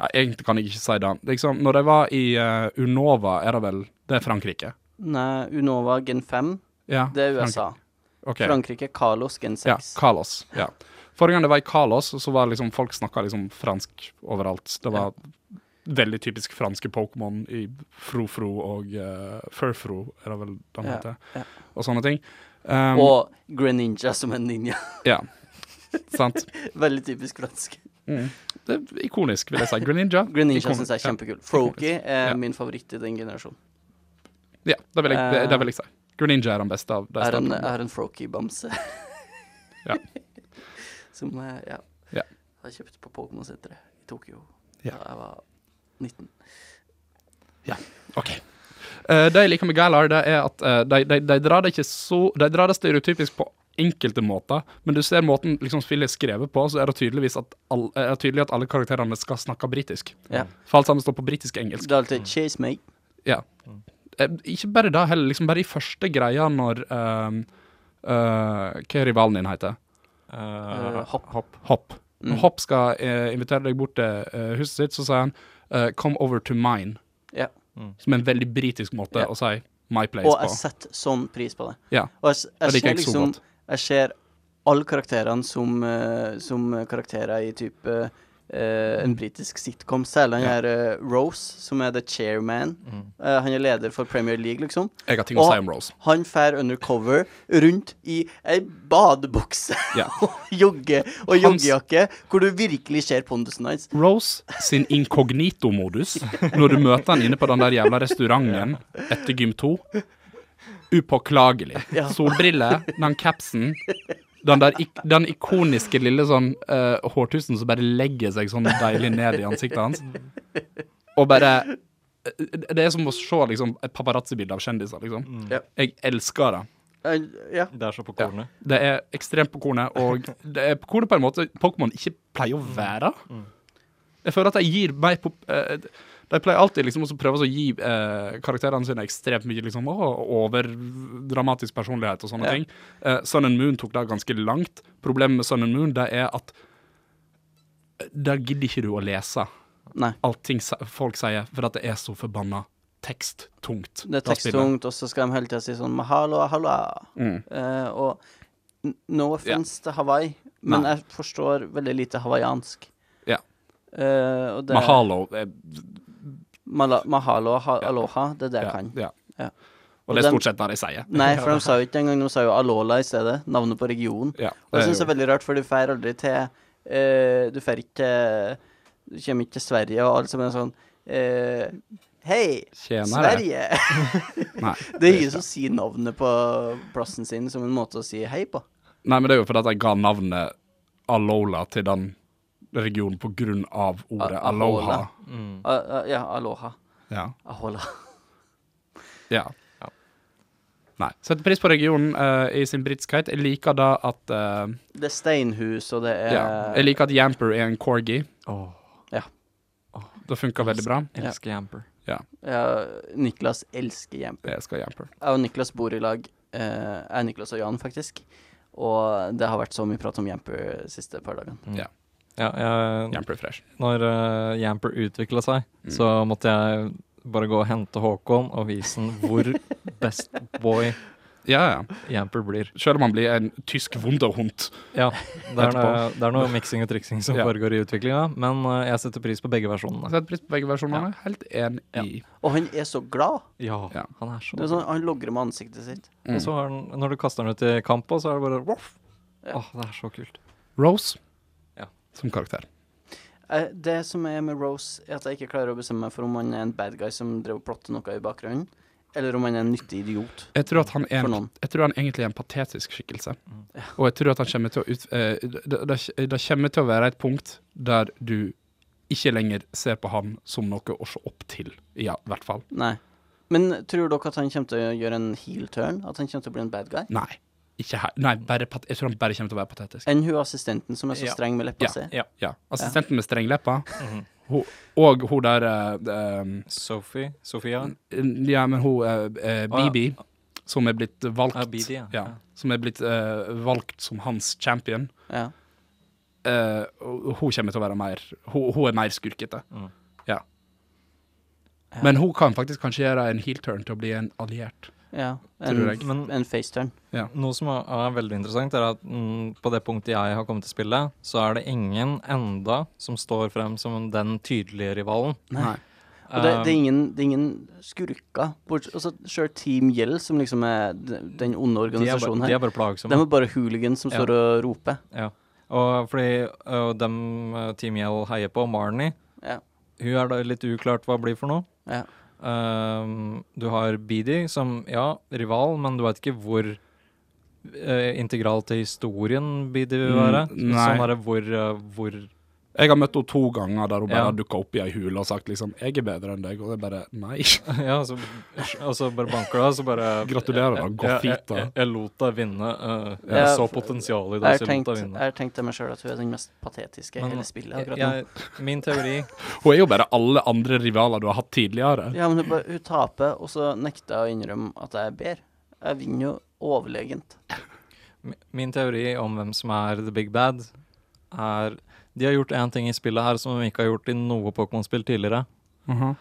ja, Egentlig kan jeg ikke si det. Liksom, når de var i eh, Unova, er det vel Det er Frankrike? Nei, Unova gen 5, Ja, det er USA. Frankrike. Ok. Frankrike, Kalos gen 6. Ja, Kalos. Ja. Forrige gang det var i Kalos, så var det liksom folk snakka liksom fransk overalt. Det var veldig typisk franske Pokémon i Frofro og eh, Furfro, er det vel Ja, de heter, ja. og sånne ting. Um, Og Greninja som en ninja. Ja. Sant. Veldig typisk fransk. Mm. Det er ikonisk, vil jeg si. Greninja. Greninja Ikon- syns jeg er ja. kjempekul. Froakie er Ja. min favoritt i den generasjonen. Ja, det vil jeg, det, det vil jeg si. Greninja er den beste av de Jeg har Eh, en, jeg statene. har en Froakie-bamse. Ja. Som jeg ja, Ja. har kjøpt på Pokémon-senteret i Tokyo Ja. da jeg var 19. OK. Eh, det jeg liker med Galar, det er at eh, de, de, de drar det ikke så De drar det stereotypisk på enkelte måter, men du ser måten liksom spillet er skrevet på, så er det tydeligvis at, all, eh, er det tydelig at alle karakterene skal snakke britisk. Ja. For alt sammen står på britisk-engelsk. Det er alltid 'chase me'. Ja. Eh, Ikke bare det heller, liksom bare i første greia når ehm, eh, Hva er rivalen din heter? Eh, Eh, hopp. Mm. Hopp. Når Hopp skal eh, invitere deg bort til eh, huset sitt, så sier han eh, 'come over to mine', Ja. som er en veldig britisk måte Ja. å si 'my place' Og jeg på. setter sånn pris på det. Ja. Og jeg, s- jeg Det ser liker jeg så liksom godt. Jeg ser alle karakterene som, eh, som karakterer i type eh, en britisk sitcom, særlig han Mm. Ja. her eh, Rose, som er the chairman. Mm. Eh, han er leder for Premier League, liksom. Jeg har ting å Og- si om Rose. Han fær undercover rundt i ei badebukse Ja. og jogge og Hans- joggejakke, hvor du virkelig ser pondusen hans. Rose sin inkognito-modus når du møter han inne på den der jævla restauranten etter Gym 2. Upåklagelig. Ja. Solbriller, den capsen, den, der, ik- den ikoniske lille sånn eh, hårtusen som bare legger seg sånn deilig ned i ansiktet hans. Og bare eh, Det er som å se liksom, et paparazzi-bilde av kjendiser, liksom. Ja. Jeg elsker det. Han- ja. Det er så på kornet. Det er ekstremt på kornet, og det er på kornet på en måte Pokémon ikke pleier å være. Mm. Jeg føler at de gir meg på, eh, De pleier alltid liksom også prøve å gi eh, karakterene sine ekstremt mye liksom, å, overdramatisk personlighet og sånne Ja. ting. Eh, Sun and Moon tok det ganske langt. Problemet med Sun and Moon det er at eh, der gidder ikke du å lese Nei. allting se- folk sier, for at det er så forbanna teksttungt. Det er teksttungt, og så skal de hele tida si sånn mahalo, halloa. Mm. Eh, og n- no offense til Hawaii, men Nei. jeg forstår veldig lite hawaiiansk. Ja. Eh, og det, Mahalo. eh, Mala, mahalo ha, Ja. aloha, det er det jeg ja, kan. ja. Ja. Og Og det er dem- stort sett det de sier. Nei, for de sa jo ikke engang De sa jo Alola i stedet. Navnet på regionen. Ja, Og jeg det er syns det er jo- veldig rart, for du drar aldri til eh, Du drar ikke til Du kommer ikke til Sverige, og alle som er sånn eh, Hei, Tjenere. Sverige! Nei, det er ikke ingen som sier navnet på plassen sin som en måte å si hei på. Nei, men det er jo fordi at jeg ga navnet Alola til den regionen på grunn av ordet A- aloha. Mm. Ahola. Ah, ah, ja, aloha. Ja. Ahola. ja. Ja. Nei. Setter pris på regionen eh, i sin britskhet. Jeg liker da at eh, Det er steinhus, og det er ja. Jeg liker at Yamper er en corgi. Åh, Det funker veldig bra. Ja. elsker Jamper. Ja, Niklas elsker Jamper. Jeg skal Yamper. Jeg og Niklas bor i lag. Eh, jeg, Niklas og Jan, faktisk. Og det har vært så mye prat om Jamper de siste par dagene. Ja, jeg, Yamper er fresh. når eh, Jamper utvikla seg, så måtte jeg bare gå og hente Håkon og vise han hvor best boy Ja, ja. Jamper blir. Selv om han blir en tysk wunderhund. Ja, det er, noe, Etterpå. det er noe miksing og triksing som Ja. foregår i utviklinga, men eh, jeg setter pris på begge versjonene. Setter pris på begge versjonene. Helt enig Ja. i. Og han er så glad! Ja, Ja. han er så Det er sånn, han logrer med ansiktet sitt. Mm. Og så har han, når du kaster den ut i kampa, så er det bare voff. Ja. Åh, det er så kult. Rose Ja. som karakter. Eh, det som er med Rose, er at jeg ikke klarer å bestemme meg for om han er en bad guy som drev og plotter noe i bakgrunnen, eller om han er en nyttig idiot. Jeg tror, at han er For en, noen. jeg tror han egentlig er en patetisk skikkelse. Mm. Og jeg tror at han kommer til å ut, eh, det, det, det kommer til å være et punkt der du ikke lenger ser på han som noe å se opp til. Ja, i hvert fall. Nei. Men tror dere at han kommer til å gjøre en heel turn? At han kommer til å bli en bad guy? Nei. Ikke her. Nei, bare, pat- jeg tror han bare kommer til å være patetisk. Enn hun assistenten som er så Ja. streng med leppa si? Ja. Assistenten med strenglepper, Mhm. hun- og hun der eh, Sophie, Sofia, Mm. eh, Ja, men hun eh, eh, Å, ja. Bibi, som er blitt valgt Ah, Bibi, ja. Ja. Som er blitt eh, valgt som hans champion. Ja. Eh, og hun kommer til å være mer Hun, hun er mer skurkete. Mm. Ja. Men hun kan faktisk kanskje gjøre en heel turn til å bli en alliert. ja. En, Tror jeg. Men- en face turn. Noe som er- er veldig interessant, er at mm, på det punktet jeg har kommet til spillet, så er det ingen enda som står frem som den tydelige rivalen. Nei. Og det, det, Um, er ingen, det er ingen skurker. Bort, altså, selv Team Gjeld, som liksom er d- den onde Um, de, er bare, organisasjonen de her, er bare plagsomme. de er bare hooligans som Ja. står og roper. Ja. Og fordi øh, dem øh, Team Yell heier på, Marnie, Ja. hun er da litt uklart hva blir for noe. Ja. Ehm, du har Beedy som, ja, rival, men du vet ikke hvor øh, integral til historien Beedy vil Mm, være. nei. sånn er det hvor, øh, hvor Jeg har møtt henne to ganger der hun bare Ja. har dukka opp i ei hule og sagt liksom 'Jeg er bedre enn deg', og det er bare Nei. Ja, så, og så bare banker du deg, så bare Gratulerer, da. Gå Jeg- jeg- fint, da. Jeg, jeg lot deg vinne. Ja. øh, jeg Ja, så for- potensialet i Jeg deg, har så jeg lot tenkt, deg jeg vinne. har tenkt til meg sjøl at hun er den mest patetiske i Men hele spillet akkurat nå. jeg, min teori Hun er jo bare alle andre rivaler du har hatt tidligere. Ja, men hun, bare, hun taper, og så nekter jeg å innrømme at jeg er bedre. Jeg vinner jo overlegent. Mi- Min teori om hvem som er the big bad, er De har gjort én ting i spillet her som de ikke har gjort i noe Pokémon-spill tidligere. Mhm.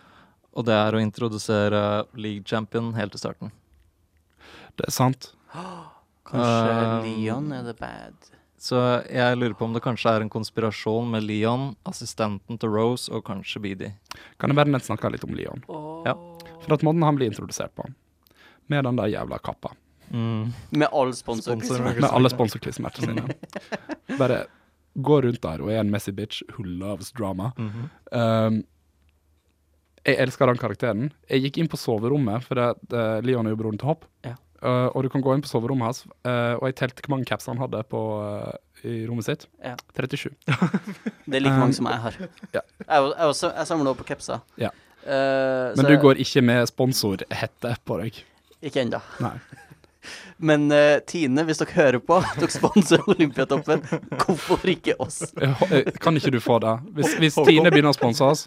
Og det er å introdusere league champion helt til starten. Det er sant. Kanskje Um, Eh, Leon er the bad. Så jeg lurer på om det kanskje er en konspirasjon med Leon, assistenten til Rose og kanskje Beedy. Kan jeg bare nett snakke litt om Leon? Ja. For at måten han blir introdusert på, med den der jævla kappa. Mm. Med all sponsor. Sponsor. liksom. Med alle sponsorklistremerkene sine. Bare gå rundt der og er en messy bitch who loves drama. Mhm. Um, jeg elsker den karakteren. Jeg gikk inn på soverommet, for det, det, Leon er jo broren til Hopp. Ja. Uh, og du kan gå inn på soverommet hans, uh, og jeg telte hvor mange caps han hadde på, uh, i rommet sitt. Ja. 37. Det er like Um, mange som jeg har. ja. Jeg, var- jeg, også, jeg samler opp på capser. Ja. Eh, Men så du jeg- går ikke med sponsorhette på deg. Ikke ennå. Nei. Men eh, Tine, hvis dere hører på, dere sponser Olympiatoppen. Hvorfor ikke oss? Jeg hå- eh, Kan ikke du få det? Hvis, hvis Tine begynner å sponse oss,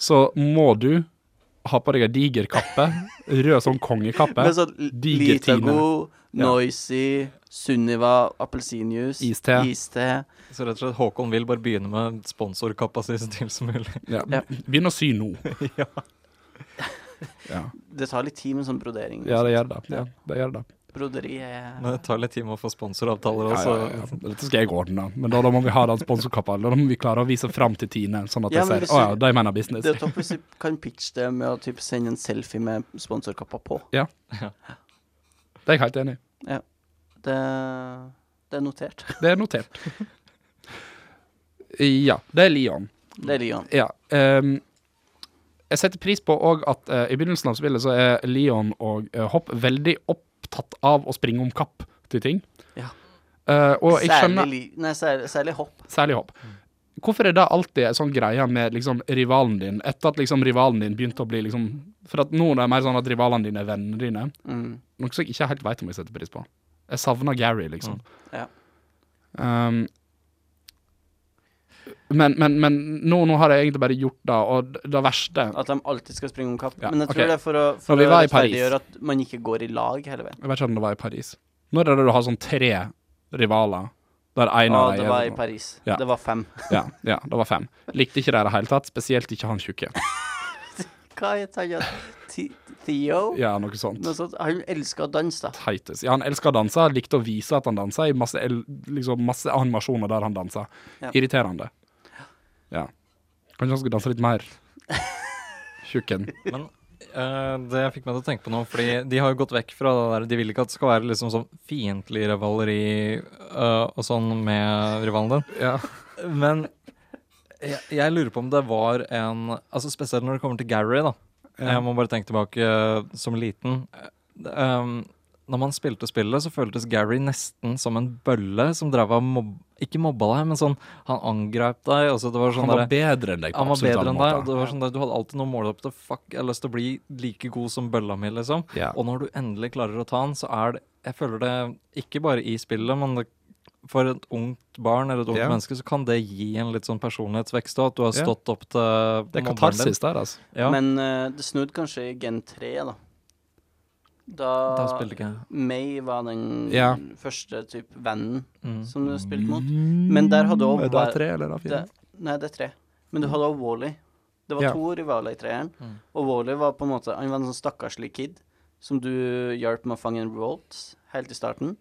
så må du ha på deg ei diger kappe. Rød sånn kongekappe. Med sånn l- Diger Tine. Litago, Ja. Noisy, Sunniva, apelsinjuice, Iste. iste. Så rett og slett Håkon vil bare begynne med sponsorkapasitet så tidlig som mulig. Ja. Ja. Begynn å sy nå. ja. Ja, Det tar litt tid med sånn brodering. ja det gjør det. Ja, det, gjør det. Broderi er Men det tar litt tid med å få sponsoravtaler Ja, også. ja, ja. Dette skal jeg ordne, men da, da må vi ha den sponsorkappa. Da må vi klare å vise fram til Tine, sånn at Ja, jeg men sier hvis å ja, du- de mener business. Det er topp hvis du kan pitche det med å typ, sende en selfie med sponsorkappa på. Det er jeg helt enig i. Det, eh, det er notert. Det er notert. Ja, det er Leon. Det er Leon. Ja. ehm, jeg setter pris på òg at eh, i begynnelsen av spillet så er Leon og eh, Hopp veldig opptatt av å springe om kapp til ting. Ja. Eh, og jeg Særlig, skjønner li nei, særlig, særlig hopp. Særlig hopp. Hvorfor er det alltid en sånn greie med liksom, rivalen din, etter at liksom, rivalen din begynte å bli liksom For at nå er det mer sånn at rivalene dine er vennene dine. Mm. Noe som jeg ikke helt veit om jeg setter pris på. Jeg savner Gary, liksom. Mm. Ja. Um, men, men, men nå, nå har jeg egentlig bare gjort det, og det verste At de alltid skal springe om kapp. Ja, Men jeg tror ok. det er for å, for Når vi å var i Paris. rettferdiggjøre at man ikke går i lag hele veien. Jeg vet ikke om det var i Paris. Når er det du har sånn tre rivaler, der én Å, av det dem var i er Paris. Ja. Det var fem. ja, ja, det var fem. Likte ikke det i det hele tatt, spesielt ikke han tjukke. Hva heter han? Ti- Theo? Ja, noe sånt. Noe sånt. Han elsker å danse, da. Titus. Ja, han elsker å danse, likte å vise at han danser i masse, el- liksom, masse animasjoner der han danser. Ja. Irriterende. Ja. Kanskje han skulle danse litt mer. Tjukken. Men eh, det fikk meg til å tenke på noe, fordi de har jo gått vekk fra det der De vil ikke at det skal være liksom sånn fiendtlig rivaleri eh, og sånn med rivalen din. Ja. Men jeg, jeg lurer på om det var en Altså Spesielt når det kommer til Gary, da. Ja. Jeg må bare tenke tilbake eh, som liten. Eh, ehm, når man spilte spillet, så føltes Gary nesten som en bølle som drev av mob... Ikke mobba deg, men sånn Han angrep deg, og så det var sånn Han var derre- bedre enn deg på han var absolutt bedre alle enn deg, og måter. det var sånn der, du hadde alltid noe mål opp til Fuck, jeg har lyst til å bli like god som bølla mi, liksom. Ja. Og når du endelig klarer å ta han, så er det Jeg føler det ikke bare i spillet, men det, for et ungt barn eller et ungt Ja. menneske, så kan det gi en litt sånn personlighetsvekst òg, at du har Ja. stått opp til Det er mobberen din. katarsis der, altså. Ja, Men eh, det snudde kanskje i Gen 3, da. Da, da spilte ikke jeg. May var den Ja. første typ vennen Mm. som du spilte mot. Men der hadde også Mm. Er det vært- tre eller er det fire? Det, nei, det er tre. Men du hadde også Wally. Det var Mm. Ja. to rivaler i treeren. Mm. Og Wally var på en måte Han var en sånn stakkarslig kid som du hjalp med å fange en revolt helt i starten.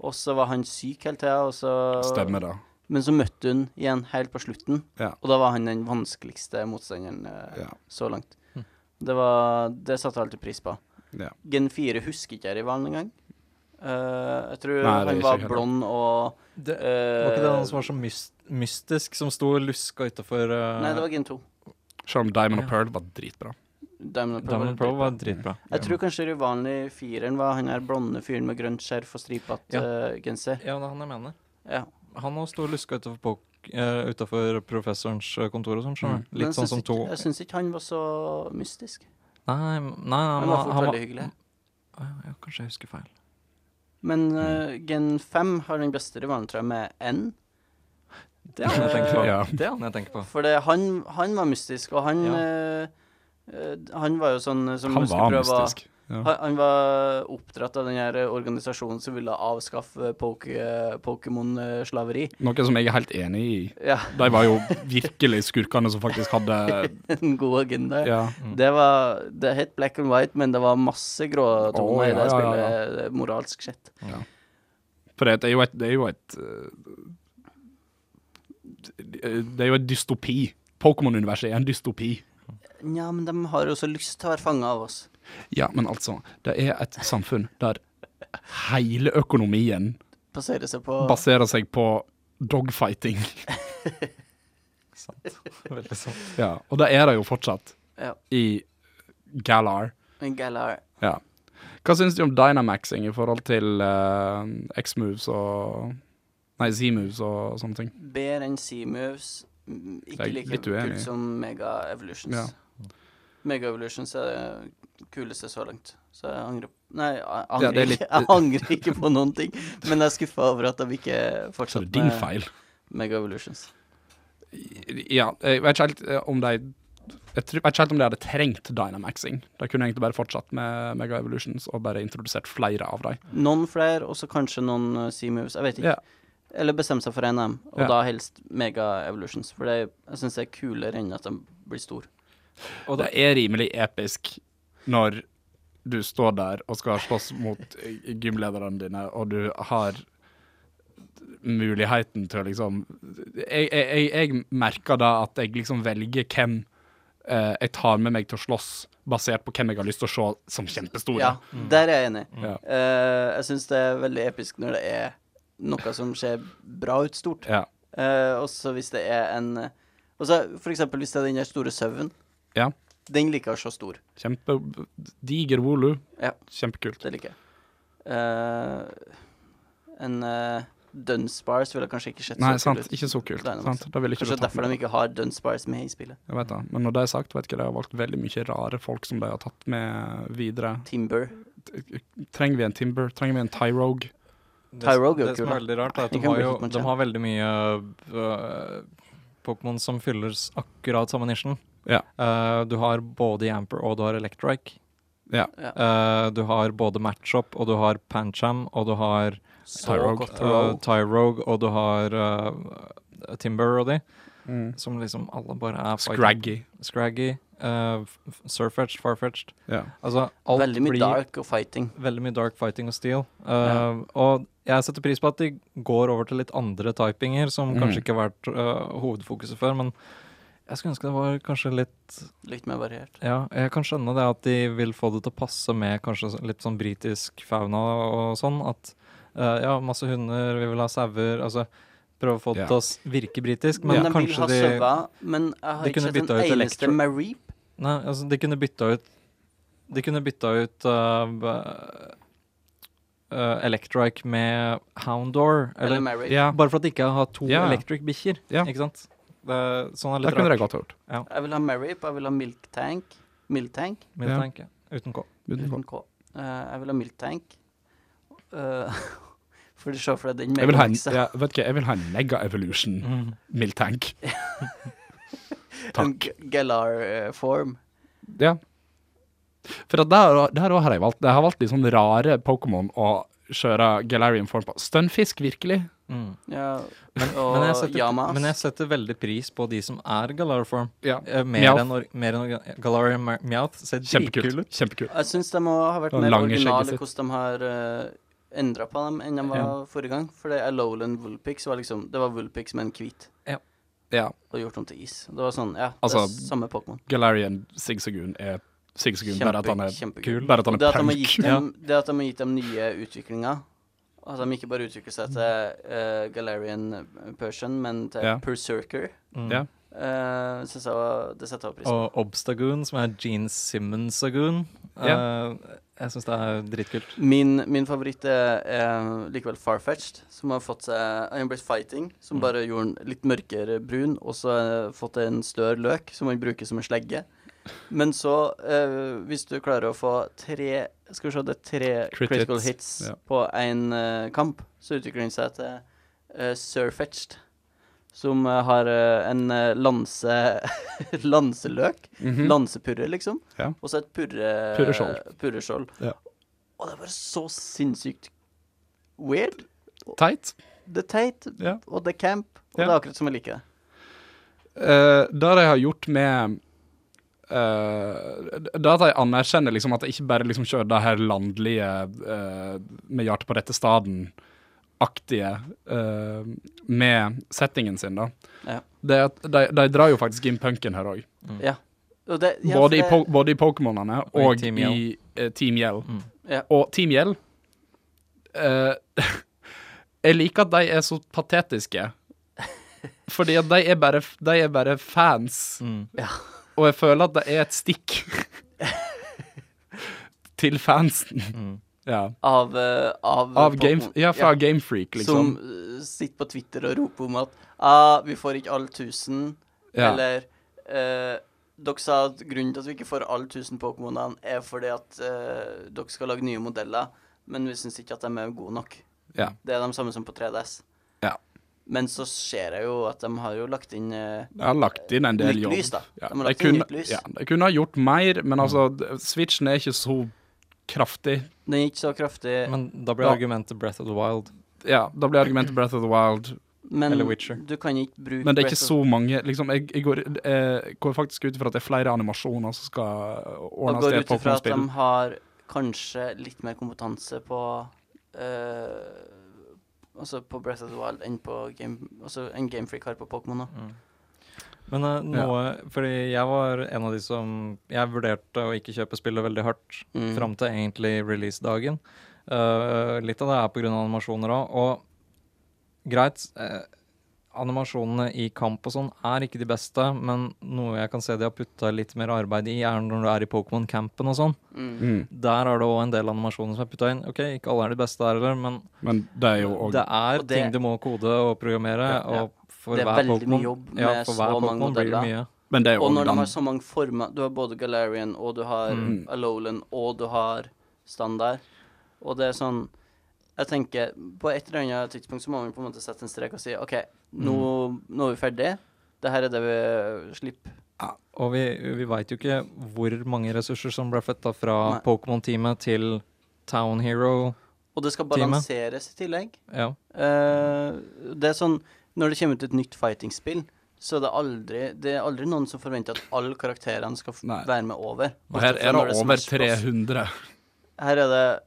Og så var han syk hele tida, og så Stemmer det. Men så møtte hun igjen helt på slutten, Ja. og da var han den vanskeligste motstanderen eh, Ja. så langt. Mm. Det var Det satte jeg alltid pris på. Ja. Gen 4 husker ikke jeg rivalen engang. Eh, jeg tror Nei, det er han ikke var jeg heller. blond og Det, eh, var ikke det han som var så mys- mystisk, som sto og luska eh, utafor Nei, det var Gen 2. Selv om Diamond Ja. og Pearl var dritbra. Diamond Pearl Diamond Pro var dritbra. Jeg tror kanskje det vanlige fireren var han her blonde fyren med grønt skjerf og stripete Ja. eh, genser. Ja, det er han jeg mener. Ja. Han òg sto og luska utafor professorens eh, kontor og sånn, skjønner du. Mm. Men jeg Litt sånn syns som ikke- to Jeg syns ikke han var så mystisk. Nei, m- nei, nei Han men var fort han Mm. veldig hyggelig. Å, ja, ja, kanskje jeg husker feil. Men eh, Gen 5 har den beste rivalen, tror jeg, med N. Det er han jeg tenker på. Ja. Det er han jeg tenker på. For det, han, han var mystisk, og han Ja. eh, eh, Han var jo sånn eh, som Han var muskelprøver- mystisk. Ja. Han, han var oppdratt av den her eh, organisasjonen som ville avskaffe poke- Pokémon-slaveri. Noe som jeg er helt enig i. Ja, De var jo virkelig skurkene som faktisk hadde en god agenda. Ja. mm. Det var Det het black and white, men det var masse grå toner Å, ja, i det ja, spillet, ja, eh, moralsk sett. For det er jo et Det er jo et, eh, det er jo et dystopi. Pokémon-universet er en dystopi. Nja, men de har jo så lyst til å være fanga av oss. Ja, men altså, det er et samfunn der hele økonomien Basere seg på baserer seg på dogfighting. Sant. Veldig sant. sånn. Ja, og det er det jo fortsatt ja, i Galar. en Galar. Ja. Hva syns du om dynamaxing i forhold til eh, X-moves og Nei, Z-moves og sånne ting? Bedre enn Seamoves. mm, Ikke Jeg er like litt uenig. kult som Mega Evolutions. Ja. Mega Evolutions er det kuleste så langt. Så jeg angrer Nei, jeg Ja, angrer, det er litt- ikke, jeg angrer ikke på noen ting. Men jeg er skuffa over at de ikke Så det fortsatte er din feil. Mega Evolutions. Ja, jeg vet ikke helt eh, om de jeg tror- jeg vet ikke helt om de hadde trengt Dynamaxing. De kunne egentlig bare fortsatt med Mega Evolutions og bare introdusert flere av dem. Noen flere, og så kanskje noen Seamoves. Jeg vet ikke. Ja. Eller bestemme seg for NM, og Ja. da helst Mega Evolutions. For det, jeg syns det er kulere enn at de blir store. Og det er rimelig episk når du står der og skal slåss mot eh, gymlederne dine, og du har muligheten til å liksom Jeg, jeg, jeg, jeg merker da at jeg liksom velger hvem eh, jeg tar med meg til å slåss, basert på hvem jeg har lyst til å se som kjempestore. Ja, der er jeg enig. Ja. Eh, jeg syns det er veldig episk når det er noe som ser bra ut stort. Ja. Eh, også hvis det er en Og så for eksempel hvis det er den der store sauen. Ja. Den liker jeg å se stor. Kjempediger volu. Ja. Kjempekult. Det liker jeg. Eh, en eh, Dunspars ville kanskje ikke sett Nei, så sant. kul ut. Ikke så kult. Dynamax. Sant? Da ville ikke Kanskje du tatt derfor med. de ikke har Dunspars med i spillet. Jeg vet det. Men når det er sagt, vet ikke, de har valgt veldig mye rare folk som de har tatt med videre. Timber. Trenger vi en Timber? Trenger vi en Tyrogue? Det, Tyrogue er jo det som kul, er veldig rart, er at de Jeg kan har, bli jo, helt med de Chen. har veldig mye øh, Pokémon som fyller s- akkurat samme nisjen. Ja. Eh, du har både Yamper og du har Electrike. Ja. Ja. Eh, du har både Matchup og du har Pancham og du har Så Tyrogue. godt. uh, Tyrogue og du har eh, Timber og de, Mm. som liksom alle bare er fighting. Scraggy. Scraggy, eh, f- f- Surfetched, Farfetched. Ja. Altså, alt Veldig mye blir dark og fighting. veldig mye dark fighting og steel. Eh, Og jeg setter pris på at de går over til litt andre typinger, som Mhm. kanskje ikke har vært eh, hovedfokuset før. Men jeg skulle ønske det var kanskje litt Litt mer variert. Ja, jeg kan skjønne det at de vil få det til å passe med kanskje så- litt sånn britisk fauna og sånn. At eh, ja, masse hunder, vi vil ha sauer. Altså prøve å få det Ja. til å s- virke britisk, men Men de vil kanskje ha de sauer, men jeg har de ikke kunne sett en bytta ut eneste Electro. med Reap. Nei, altså, de kunne bytta ut De kunne bytta ut uh, b- uh, Electric med Houndor. Eller Eller, med Reap. ja. bare for at de ikke har to Ja. Electric-bikkjer. Ja. Ikke sant? Det, er- sånn er Det litt kunne de rart. godt ha gjort. Jeg vil ha Marip, jeg vil ha Milk Tank. Milk Tank Min Ja. tanke. Uten K. uten K. Eh, jeg vil ha Milk Tank. Eh, for du ser for deg den Jeg vil ha en, megamiksa. ja, vet ikke, jeg vil ha en Mega Evolution Mm. Miltank. En Takk. G- Galar-form. Ja. For at der, der også har jeg valgt Jeg har valgt litt sånn rare Pokémon å kjøre Galarian form på. Stunfisk, virkelig. Mm. Ja, Men, jeg og setter, Yamas. men jeg setter veldig pris på de som er Galariform. Ja. Eh, Mer Meowth. enn or- mer enn or- Galarian Ma- Meowth ser dritkul Kjempekult. ut. Kjempekult. Jeg syns de må ha vært Og mer lange originale skjegget hvordan de har uh, endra på dem enn de var Ja. forrige gang. For det er Lowland Woolpix var liksom Det var Woolpix med en hvit Ja. og gjort om til is. Det var sånn, ja, Altså, det er samme Pokémon. Galarian Sigsagoon er Sigsagoon, bare at han er kjempekul. Bare at han Og Det er at, de har punk. gitt dem, det at de har gitt dem nye utviklinger At de ikke bare utvikler seg til eh, Galarian Persian, men til Ja. Berserker. Mm. Ja. eh, synes jeg var, det setter jeg pris på. Og Obstagoon, som er Gene Simmons-agoon. Ja. Eh, jeg syns det er dritkult. Min, min favoritt er, er likevel Farfetched, som har fått seg Han ble fighting, som Mm. bare gjorde den litt mørkere brun, og så eh, fått en større løk som han bruker som en slegge. Men så, eh, hvis du klarer å få tre Skal vi se, det er tre Crit critical hits, hits, ja. på én kamp, så utvikler han seg til eh, Surfetched, som eh, har eh, en eh, lanse lanseløk Mhm. lansepurre, liksom. Ja. Og så et purre, Purreskjold. purreskjold. Ja. Og det er bare så sinnssykt weird. Mm. Teit. Det er teit, Ja. og det er camp, og Ja. det er akkurat som jeg liker det. Eh, det de har gjort med eh, Det at de anerkjenner liksom at de ikke bare liksom kjører det her landlige eh, med hjertet på rette staden-aktige eh, med settingen sin, da. Ja. Det at de, de drar jo faktisk inn punken her òg. Og det ja, for både, i det- po- både i Pokémonene og, Og i i Team Team Yell. Team Yell. Mm. Ja. Og Team Yell eh, Jeg liker at de er så patetiske. Fordi at de er bare, de er bare fans. Mm. Og jeg føler at det er et stikk til fansen. Mm. Ja. Av, eh, av, Av Pokémon. game, ja, fra Gamefreak, liksom. Som eh, sitter på Twitter og roper om at ah, vi får ikke alle 1000, Ja. eller eh, dere sa at grunnen til at vi ikke får alle 1000 Pokémonene, er fordi at eh, dere skal lage nye modeller, men vi syns ikke at de er gode nok. Ja. Det er de samme som på 3DS. Ja. Men så ser jeg jo at de har jo lagt inn eh, De har lagt inn en del Nytt jobb. lys, da. De Ja, har de, lagt inn kunne, nytt lys. ja, de kunne ha gjort mer, Mm. men altså, d- switchen er ikke så kraftig. Den gikk så kraftig, men, Men da blir Ja. argumentet Breath of the Wild. Ja, da blir argumentet Breath of the Wild. eller Witcher. du kan ikke bruke Men det er ikke Breath så mange liksom, jeg, jeg, går, jeg går faktisk ut ifra at det er flere animasjoner som skal Og ordnes går til et ut ifra at de Pokémon-spill. har kanskje litt mer kompetanse på eh, Altså på Breath of the Wild enn på Game, altså enn Game Freak har på Pokémon. da. Men eh, Ja. noe Fordi jeg var en av de som Jeg vurderte å ikke kjøpe spillet veldig hardt Mm. fram til egentlig releasedagen. Eh, litt av det er pga. animasjoner òg. Og greit, eh, animasjonene i kamp og sånn er ikke de beste, men noe jeg kan se de har putta litt mer arbeid i, er når du er i Pokémon-campen og sånn. Mm. Der er det òg en del animasjoner som er putta inn. Ok, ikke alle er de beste der heller, men Men det er jo òg det er Og det- ting du må kode og programmere. Ja, ja. Og for Det er hver veldig mye Pokémon- jobb ja, med for hver så mange Pokémon blir det modeller. mye. Men det er jo Og òg når de den har så mange former Du har både Galarian, og du har Mm. Alolan, og du har standard. Og det er sånn Jeg tenker På et eller annet tidspunkt så må vi på en måte sette en strek og si OK, nå, nå er vi ferdig. Det her er det vi slipper. Og vi, vi veit jo ikke hvor mange ressurser som ble flytta fra Nei. Pokémon-teamet til Town Hero. Og det skal Time. balanseres i tillegg. Ja. Eh, det er sånn Når det kommer ut et nytt fighting-spill, så er det aldri Det er aldri noen som forventer at alle karakterene skal f Nei. være med over. Og her Bortsett fra er når det som over Smash Bros. 300. Her er det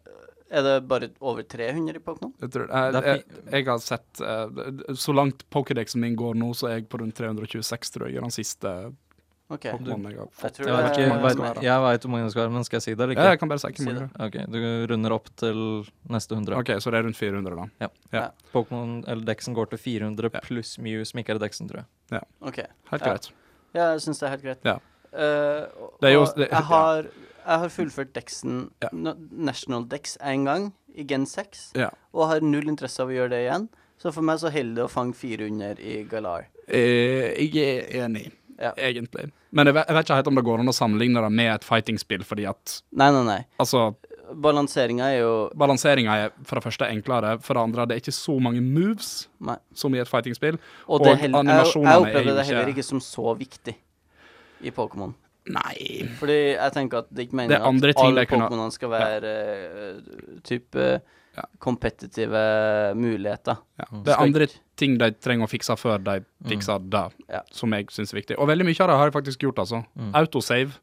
Er det bare over 300 i Pokémon? Jeg, tror, jeg, Det er jeg, jeg har sett eh, d- Så langt Pokédexen min går nå, så er jeg på rundt 326, tror jeg, i den siste OK. Pokémonen jeg har Jeg fått. tror det Jeg vet er ikke, mange vet- som er- jeg vet hvor mange det skal være, men skal jeg si det eller Ja, ikke? jeg kan bare si ikke Si mange. det er. Ok, du runder opp til neste 100. OK, så det er rundt 400, da. Pokémon eller Dexen går til 400 Ja. pluss Mew, som ikke er Dexen, tror jeg. OK. Helt Ja. greit. Ja, jeg syns det er helt greit. Ja. Eh, og- Det er jo- og det- jeg, har, jeg har fullført Dexen, Ja. na- National Dex, én gang, i Gen 6, Ja. og har null interesse av å gjøre det igjen. Så for meg så holder det å fange 400 i Galar. Eh, jeg er enig, Ja. egentlig. Men jeg vet, jeg vet ikke helt om det går an å sammenligne det med et fighting-spill, fordi at Nei, nei, nei. Altså, Balanseringa er jo balanseringa er for det første enklere, for det andre det er ikke så mange moves Nei. som i et fighting-spill. Og, det Og hel- jeg, jeg animasjonene er opplevde jo det heller ikke- ikke som så viktig i Pokémon. Nei Fordi jeg tenker at det ikke Det mener er andre at ting alle det kunne- Pokémonene skal være eh, type Ja. kompetitive muligheter. ja. Mm. Det er Skal andre ikke- ting de trenger å fikse før de fikser det, Ja. som jeg syns er viktig. Og veldig mye av det har jeg faktisk gjort, altså. Mm. Autosave.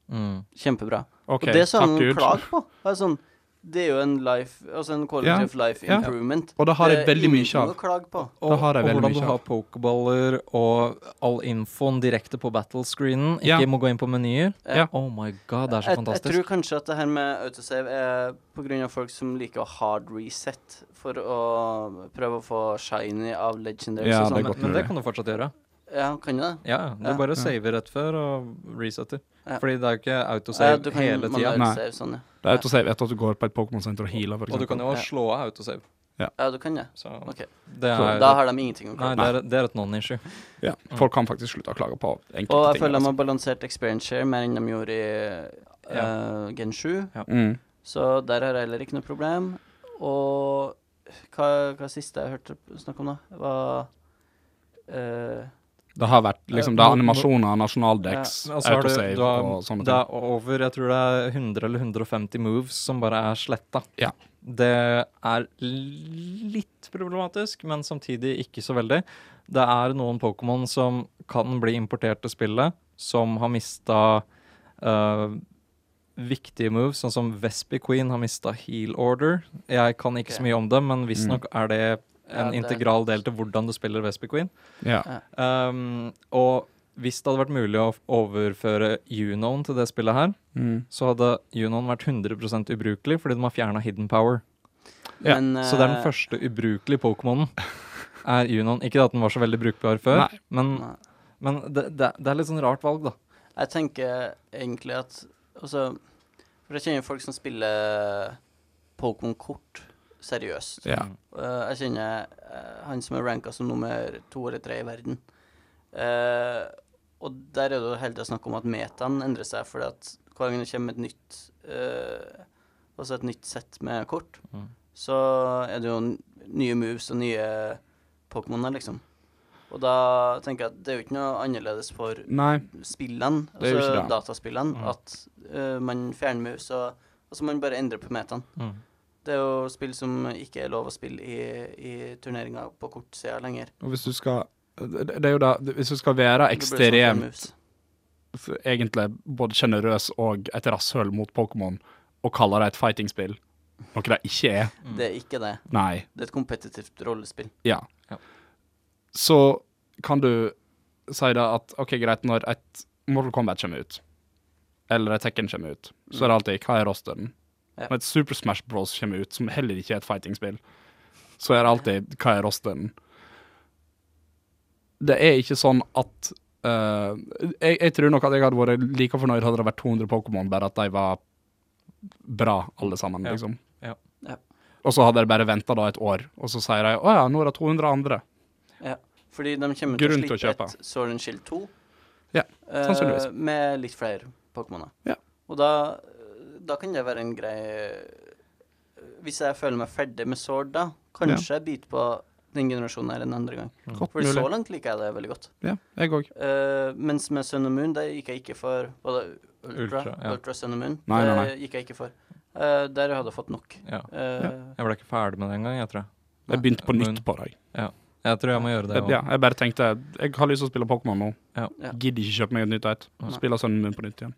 Kjempebra. OK, og det sånn som han takk Gud. klager på, er sånn Det er jo en life Altså en quality Ja, of life ja. improvement. Og det har jeg er veldig mye ingenting å av. klage på. Og, Det har jeg og veldig hvordan mye du av. har pokerballer og all infoen direkte på battle-screenen. Ikke Ja. må gå inn på menyer. Ja. Oh my god, det er så Jeg, jeg tror fantastisk. kanskje at det her med autosave er pga. folk som liker å hard reset for å prøve å få shiny av legendaries Ja, og det sånn. er godt men, men mulig. det kan du fortsatt gjøre. Ja, kan jo det. Ja, ja, du Ja. bare saver rett før og resetter. Ja. Fordi det er jo ikke Ja, autosave du kan hele tida. manuelt Nei. save sånn, ja. Det er autosave etter at du går på et Pokémon-senter og healer, for Og du eksempel. kan jo Ja. også slå av autosave. ja, du kan det. Så Ok. det Så er, Da har de ingenting å nei, klage på. det er, det er et non-issue. Ja. Folk kan faktisk slutte å klage på enkelte Og jeg ting. føler de altså. har balansert experience share mer enn de gjorde i eh, Gen 7. Mm. Så der har jeg heller ikke noe problem. Og hva, hva siste jeg hørte snakk om, da, var eh, Det har vært liksom det Eh, er nå- animasjoner, nasjonaldex, Ja, altså har du- autosave du har- og sånne Det ting. er over jeg tror det er 100 eller 150 moves som bare er sletta. Ja. Det er litt problematisk, men samtidig ikke så veldig. Det er noen Pokémon som kan bli importert til spillet, som har mista viktige moves, sånn som Vespi Queen har mista heal order. Jeg kan ikke så Ok. mye om det, men visstnok Mm. er det Ja, en det- integral del til hvordan du spiller Vespi Queen. Ja. Um, og hvis det hadde vært mulig å f- overføre Unoen til det spillet her, Mm. så hadde Unoen vært 100 ubrukelig fordi de har fjerna Hidden Power. Ja, men, Så det er den eh, første ubrukelige Pokémonen. Er Unoen. Ikke at den var så veldig brukbar før, Nei. men, nei. men det, det, det er litt sånn rart valg, da. Jeg tenker egentlig at Altså, for jeg kjenner folk som spiller Pokémon-kort seriøst. Ja. Eh, jeg kjenner eh, han som er ranka som nummer to eller tre i verden. Eh, og der er det jo hele tida snakk om at metaen endrer seg, fordi at hver gang det kommer et nytt eh, Altså et nytt sett med kort, Mm. så er det jo n- nye moves og nye Pokémoner, liksom. Og da tenker jeg at det er jo ikke noe annerledes for Nei. spillene, Det er jo ikke altså det. dataspillene, Mm. at eh, man fjerner mus og Altså man bare endrer på metaen. Mm. Det er jo spill som ikke er lov å spille i, i turneringer på kortsida lenger. Og hvis du skal det det er jo da, hvis du skal være Det blir sånn for ekstremt mus. egentlig både sjenerøs og et rasshøl mot Pokémon, og kaller det et fightingspill, noe det ikke er Det er ikke det. Nei. Det er et kompetitivt rollespill. Ja. Ja. Så kan du si det at OK, greit, når et Mortal Kombat kommer ut, eller et Tekken kommer ut, så Mm. er det alltid hva er rosteren? Ja. Når et Super Smash Bros kommer ut, som heller ikke er et fightingspill, så er det alltid hva er rosteren? det er ikke sånn at eh, jeg, jeg tror nok at jeg hadde vært like fornøyd hadde det vært 200 Pokémon, bare at de var bra alle sammen, Ja. liksom. Ja. Ja. Og så hadde de bare venta et år, og så sier de å ja, nå er det 200 andre. Ja. Fordi de kommer til å Grunn til å slippe kjøpe. et Sword and Shield 2. Ja, eh, sannsynligvis. med litt flere Pokémoner. Ja. Og da, da kan det være en grei Hvis jeg føler meg ferdig med Sword da, kanskje jeg biter på den generasjonen her en andre gang. Godt For så mulig. langt liker jeg det veldig godt. Ja, jeg òg. Eh, mens med Sun and Moon, det gikk jeg ikke for Var det Ultra? Ultra, Ultra, ja. Sun and Moon? Nei, nei, Det gikk jeg ikke for. Eh, der hadde jeg fått nok. Ja. Eh, Jeg ble ikke ferdig med det engang, jeg tror jeg. Jeg begynte på nytt Men- på deg. Jeg tror jeg må gjøre det Jeg, òg. ja, jeg bare tenkte jeg har lyst til å spille Pokémon nå. Ja. Ja. Gidder ikke kjøpe meg et nytt et. Nei. Spiller sønnen min på nytt igjen.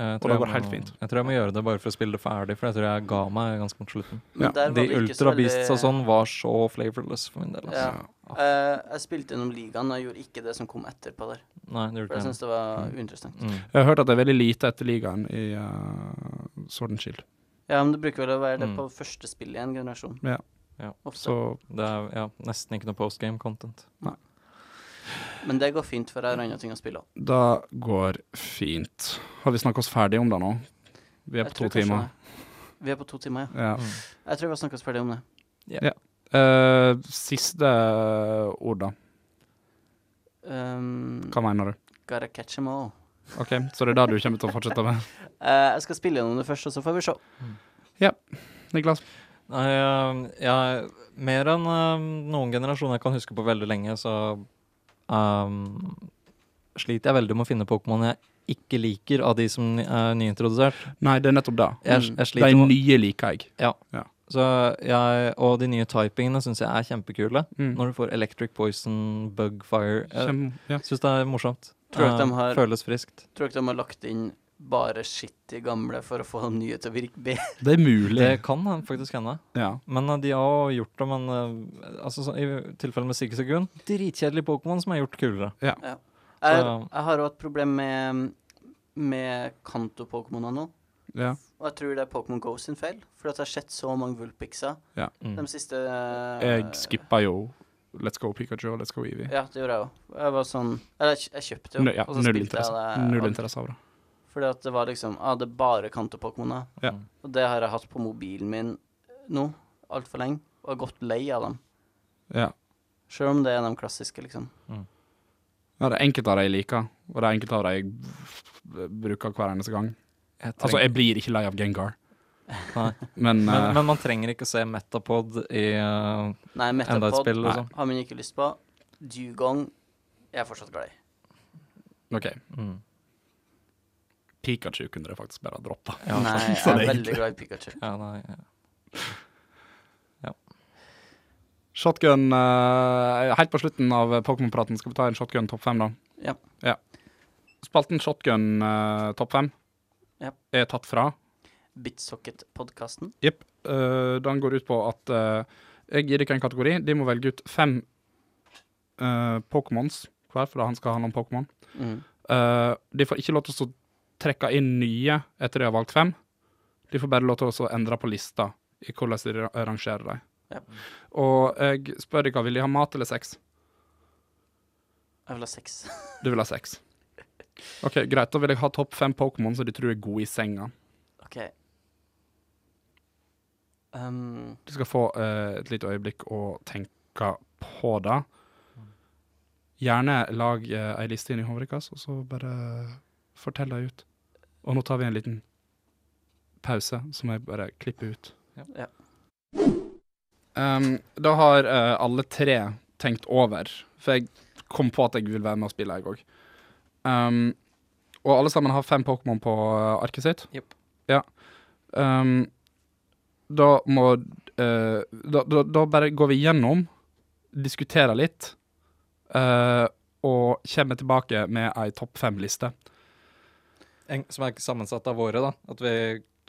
Jeg Og tror det jeg går helt må- fint. Jeg tror jeg må gjøre det bare for å spille det ferdig, for jeg tror jeg ga meg ganske mot slutten. men Ja, der var De vi ikke så Ultra Beasts og veldig- sånn var så flavorless for min del. Altså. Ja. Eh, jeg spilte gjennom ligaen, og jeg gjorde ikke det som kom etterpå der. Nei, For det gjorde jeg ikke syns det var uinteressant. det. Mm. Jeg har hørt at det er veldig lite etter ligaen i uh, Sword and Shield. Ja, men det bruker vel å være det Mm. på første spill i en generasjon. Ja. Ja. Ofte. Så Det er ja, nesten ikke noe postgame content. Men det går fint, for jeg har andre ting å spille òg. det går fint. Har vi snakka oss ferdig om det nå? Vi er på to timer. Vi er på to timer, ja. Mm. Ja. Jeg tror vi har snakka oss ferdig om det. Eh, siste ord, da. Um, Hva mener du? gotta catch 'em all. OK, så det er det du kommer til å fortsette med? Eh, jeg skal spille gjennom det først, og så får vi se. Niklas? Nei, eh, jeg Mer enn eh, noen generasjoner jeg kan huske på veldig lenge, så ehm, sliter jeg veldig med å finne Pokémon jeg ikke liker av de som er nyintrodusert. Nei, det er nettopp det. Jeg, Mm. jeg De sliter med nye liker jeg. så jeg, Og de nye typingene syns jeg er kjempekule. Mm. Når du får Electric Poison, Bugfire Jeg Kjem, ja. syns det er morsomt. Tror du at de Eh, har- Føles friskt. Tror ikke de har lagt inn bare skitt i gamle for å få de nye til å virke bedre. Det er mulig. Det kan han faktisk hende. Ja. Men eh, de har jo gjort det, men eh, altså, så, i tilfelle med Sigurd Segun Dritkjedelig Pokémon som er gjort kulere. Jeg, Så- jeg har jo hatt problem med, med kanto-pokémoner nå. ja. Og jeg tror det er Pokémon Go sin feil, for at jeg har sett så mange Vulpixer Mm. de siste eh, Jeg skippa jo Let's Go Pikachu og Let's Go Evie. Ja, det gjorde jeg òg. Jeg var sånn Eller, jeg, jeg kjøpte jo, Null, ja, og så null spilte interesse. jeg det. eh, Null aldri. interesse av det. Fordi at det var liksom Ja, ah, det er bare kanto-pokémoner. Ja. Og det har jeg hatt på mobilen min nå altfor lenge, og jeg er godt lei av dem. Ja. Sjøl om det er de klassiske, liksom. Ja, det er enkelte av de jeg liker, og det er enkelte av de jeg b- bruker hver eneste gang. Jeg Altså, trenger- jeg blir ikke lei av Gengar, Nei. men, Men, eh, men man trenger ikke se Metapod i eh, Nei, enda et Metapod spill, liksom. har man ikke lyst på. Dugong jeg er fortsatt glad i. OK. Mm. Pikachu kunne det faktisk bare droppa. Ja, Nei, jeg sånn er veldig egentlig. glad i Pikachu. Ja, nei, ja. Shotgun eh, Helt på slutten av Pokémon-praten skal vi ta en shotgun topp fem, da. Ja. Spalten shotgun eh, topp fem Ja. er tatt fra. Bitsocket-podkasten. Jepp. Eh, den går ut på at eh, jeg gir dere en kategori. De må velge ut fem eh, Pokémons hver, for han skal handle om Pokémon. Mm. Eh, de får ikke lov til å så trekke inn nye etter de har valgt fem. De får bare lov til å så endre på lista i hvordan de ra- rangerer dem. Ja. Og jeg spør dere, vil de ha mat eller sex? Jeg vil ha seks. Du vil ha sex. OK, greit. Da vil jeg ha topp fem Pokémon som de tror er gode i senga. OK. Um, Du skal få eh, et lite øyeblikk å tenke på det. Gjerne lag eh, ei liste inn i hodet deres, og så bare fortell det ut. Og nå tar vi en liten pause, som jeg bare klipper ut. Ja. Um, da har eh, alle tre tenkt over, for jeg kom på at jeg vil være med og spille, jeg òg. Um, og alle sammen har fem Pokémon på eh, arket sitt? Jepp. Ja. Um, da må eh, da, da, da bare går vi gjennom, diskuterer litt, eh, og kommer tilbake med ei topp fem-liste. En, som er ikke sammensatt av våre, da. At vi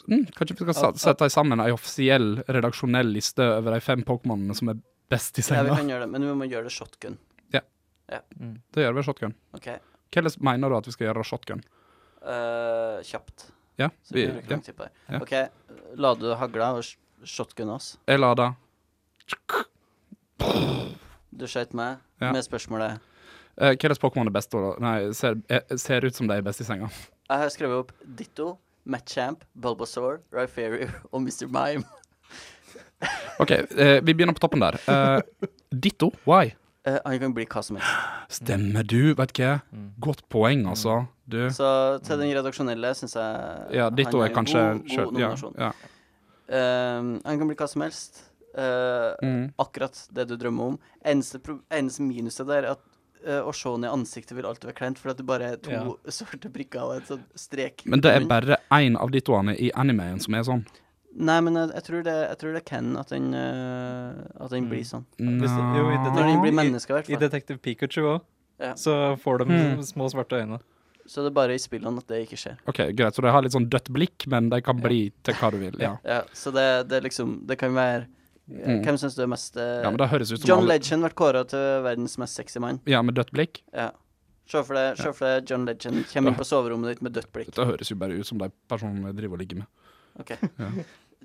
Mm, kanskje vi skal sa- sette sammen ei offisiell redaksjonell liste over de fem Pokémonene som er best i ja, vi senga. kan gjøre det, men vi må gjøre det shotgun. Det gjør vi shotgun. OK. Hvordan mener du at vi skal gjøre shotgun? Eh, kjapt. Ja, Så vi, vi, bruker ja. lang tid på det. ja. OK, la du hagla og sh- shotgun oss. Jeg lader. Du skjøt meg Ja. med spørsmålet Eh, Hva slags Pokémon er best, da? Nei, ser, eh, ser ut som de er best i senga. Jeg har skrevet opp Ditto, Matchamp, Bulbasaur, Ryferry og Mr. Mime. OK, eh, vi begynner på toppen der. Eh, Ditto, why? Eh, han kan bli hva som helst. Stemmer du, vet du hva? Mm. Godt poeng, altså. Du. Så til den redaksjonelle syns jeg Ja, Ditto han er kanskje en god, skjø- god ja, nominasjon. ja. Eh, han kan bli hva som helst. Eh, Mm. Akkurat det du drømmer om. Eneste, pro- eneste minuset der er at eh, å se henne i ansiktet vil alltid være kleint, fordi at det bare er to Ja. sorte prikker og en sånn strek. Men det er rundt. bare én av dittoene i animeen som er sånn. Nei, men jeg, jeg, tror det, jeg tror det er Ken at den, eh, at Mm. den blir sånn. Hvis det- jo, i Når den detektiv- blir i- menneske, i hvert I fall. Detektiv Pikachu òg, Ja. så får de Mm. små svarte øyne. Så det er bare i spillene at det ikke skjer. OK, greit. Så de har litt sånn dødt blikk, men de kan bli til hva du vil. Ja, Ja, så det, det er liksom Det kan være Mm. Hvem syns du er mest eh, ja men det høres ut som John alle- Legend ble kåra til verdens mest sexy mann. Ja, med dødt blikk. Ja. Se for deg se for deg John Legend kommer inn på soverommet ditt med dødt blikk. Dette høres jo bare ut som de personene jeg driver og ligger med. Ok. Ja.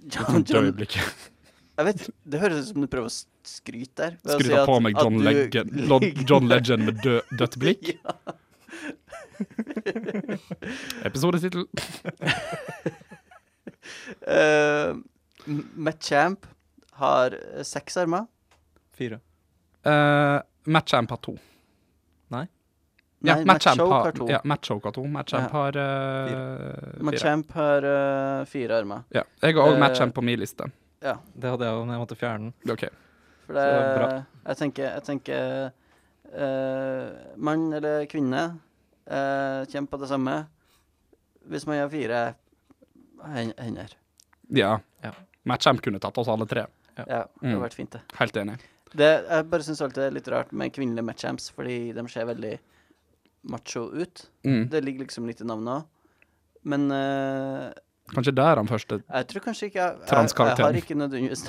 John, Døde John, blikk. jeg vet, det høres ut som du prøver å s- skryte der. ved å si Skru da at- på meg at John du Legend, ligger- John Legend med dø, dødt blikk. Ja. Episodetittel. Eh, M- Machamp har eh, seks armer. Fire. Uh, Matchamp har to. Ja, Nei, Matchamp Machoke har har to. Ja, Matchoke har to. Matchamp Ja. har eh, fire. Machamp har eh, fire armer. Ja. Jeg har òg Eh, Matchamp på min liste. Det hadde jeg jo, men jeg måtte fjerne den. OK. For Så det, bra. jeg tenker, jeg tenker eh, Mann eller kvinne uh, kommer på det samme. Hvis man har fire hen- hender. Ja. Ja. Matchamp kunne tatt oss alle tre. Ja, det Mm. hadde vært fint, det. Helt enig. det jeg bare syns alltid det er litt rart med kvinnelige matchamps, fordi de ser veldig macho ut. Mm. Det ligger liksom litt i navnet òg. Men eh, Kanskje der han første jeg tror kanskje ikke jeg, jeg, jeg Transkarakteren. har ikke nødvendigvis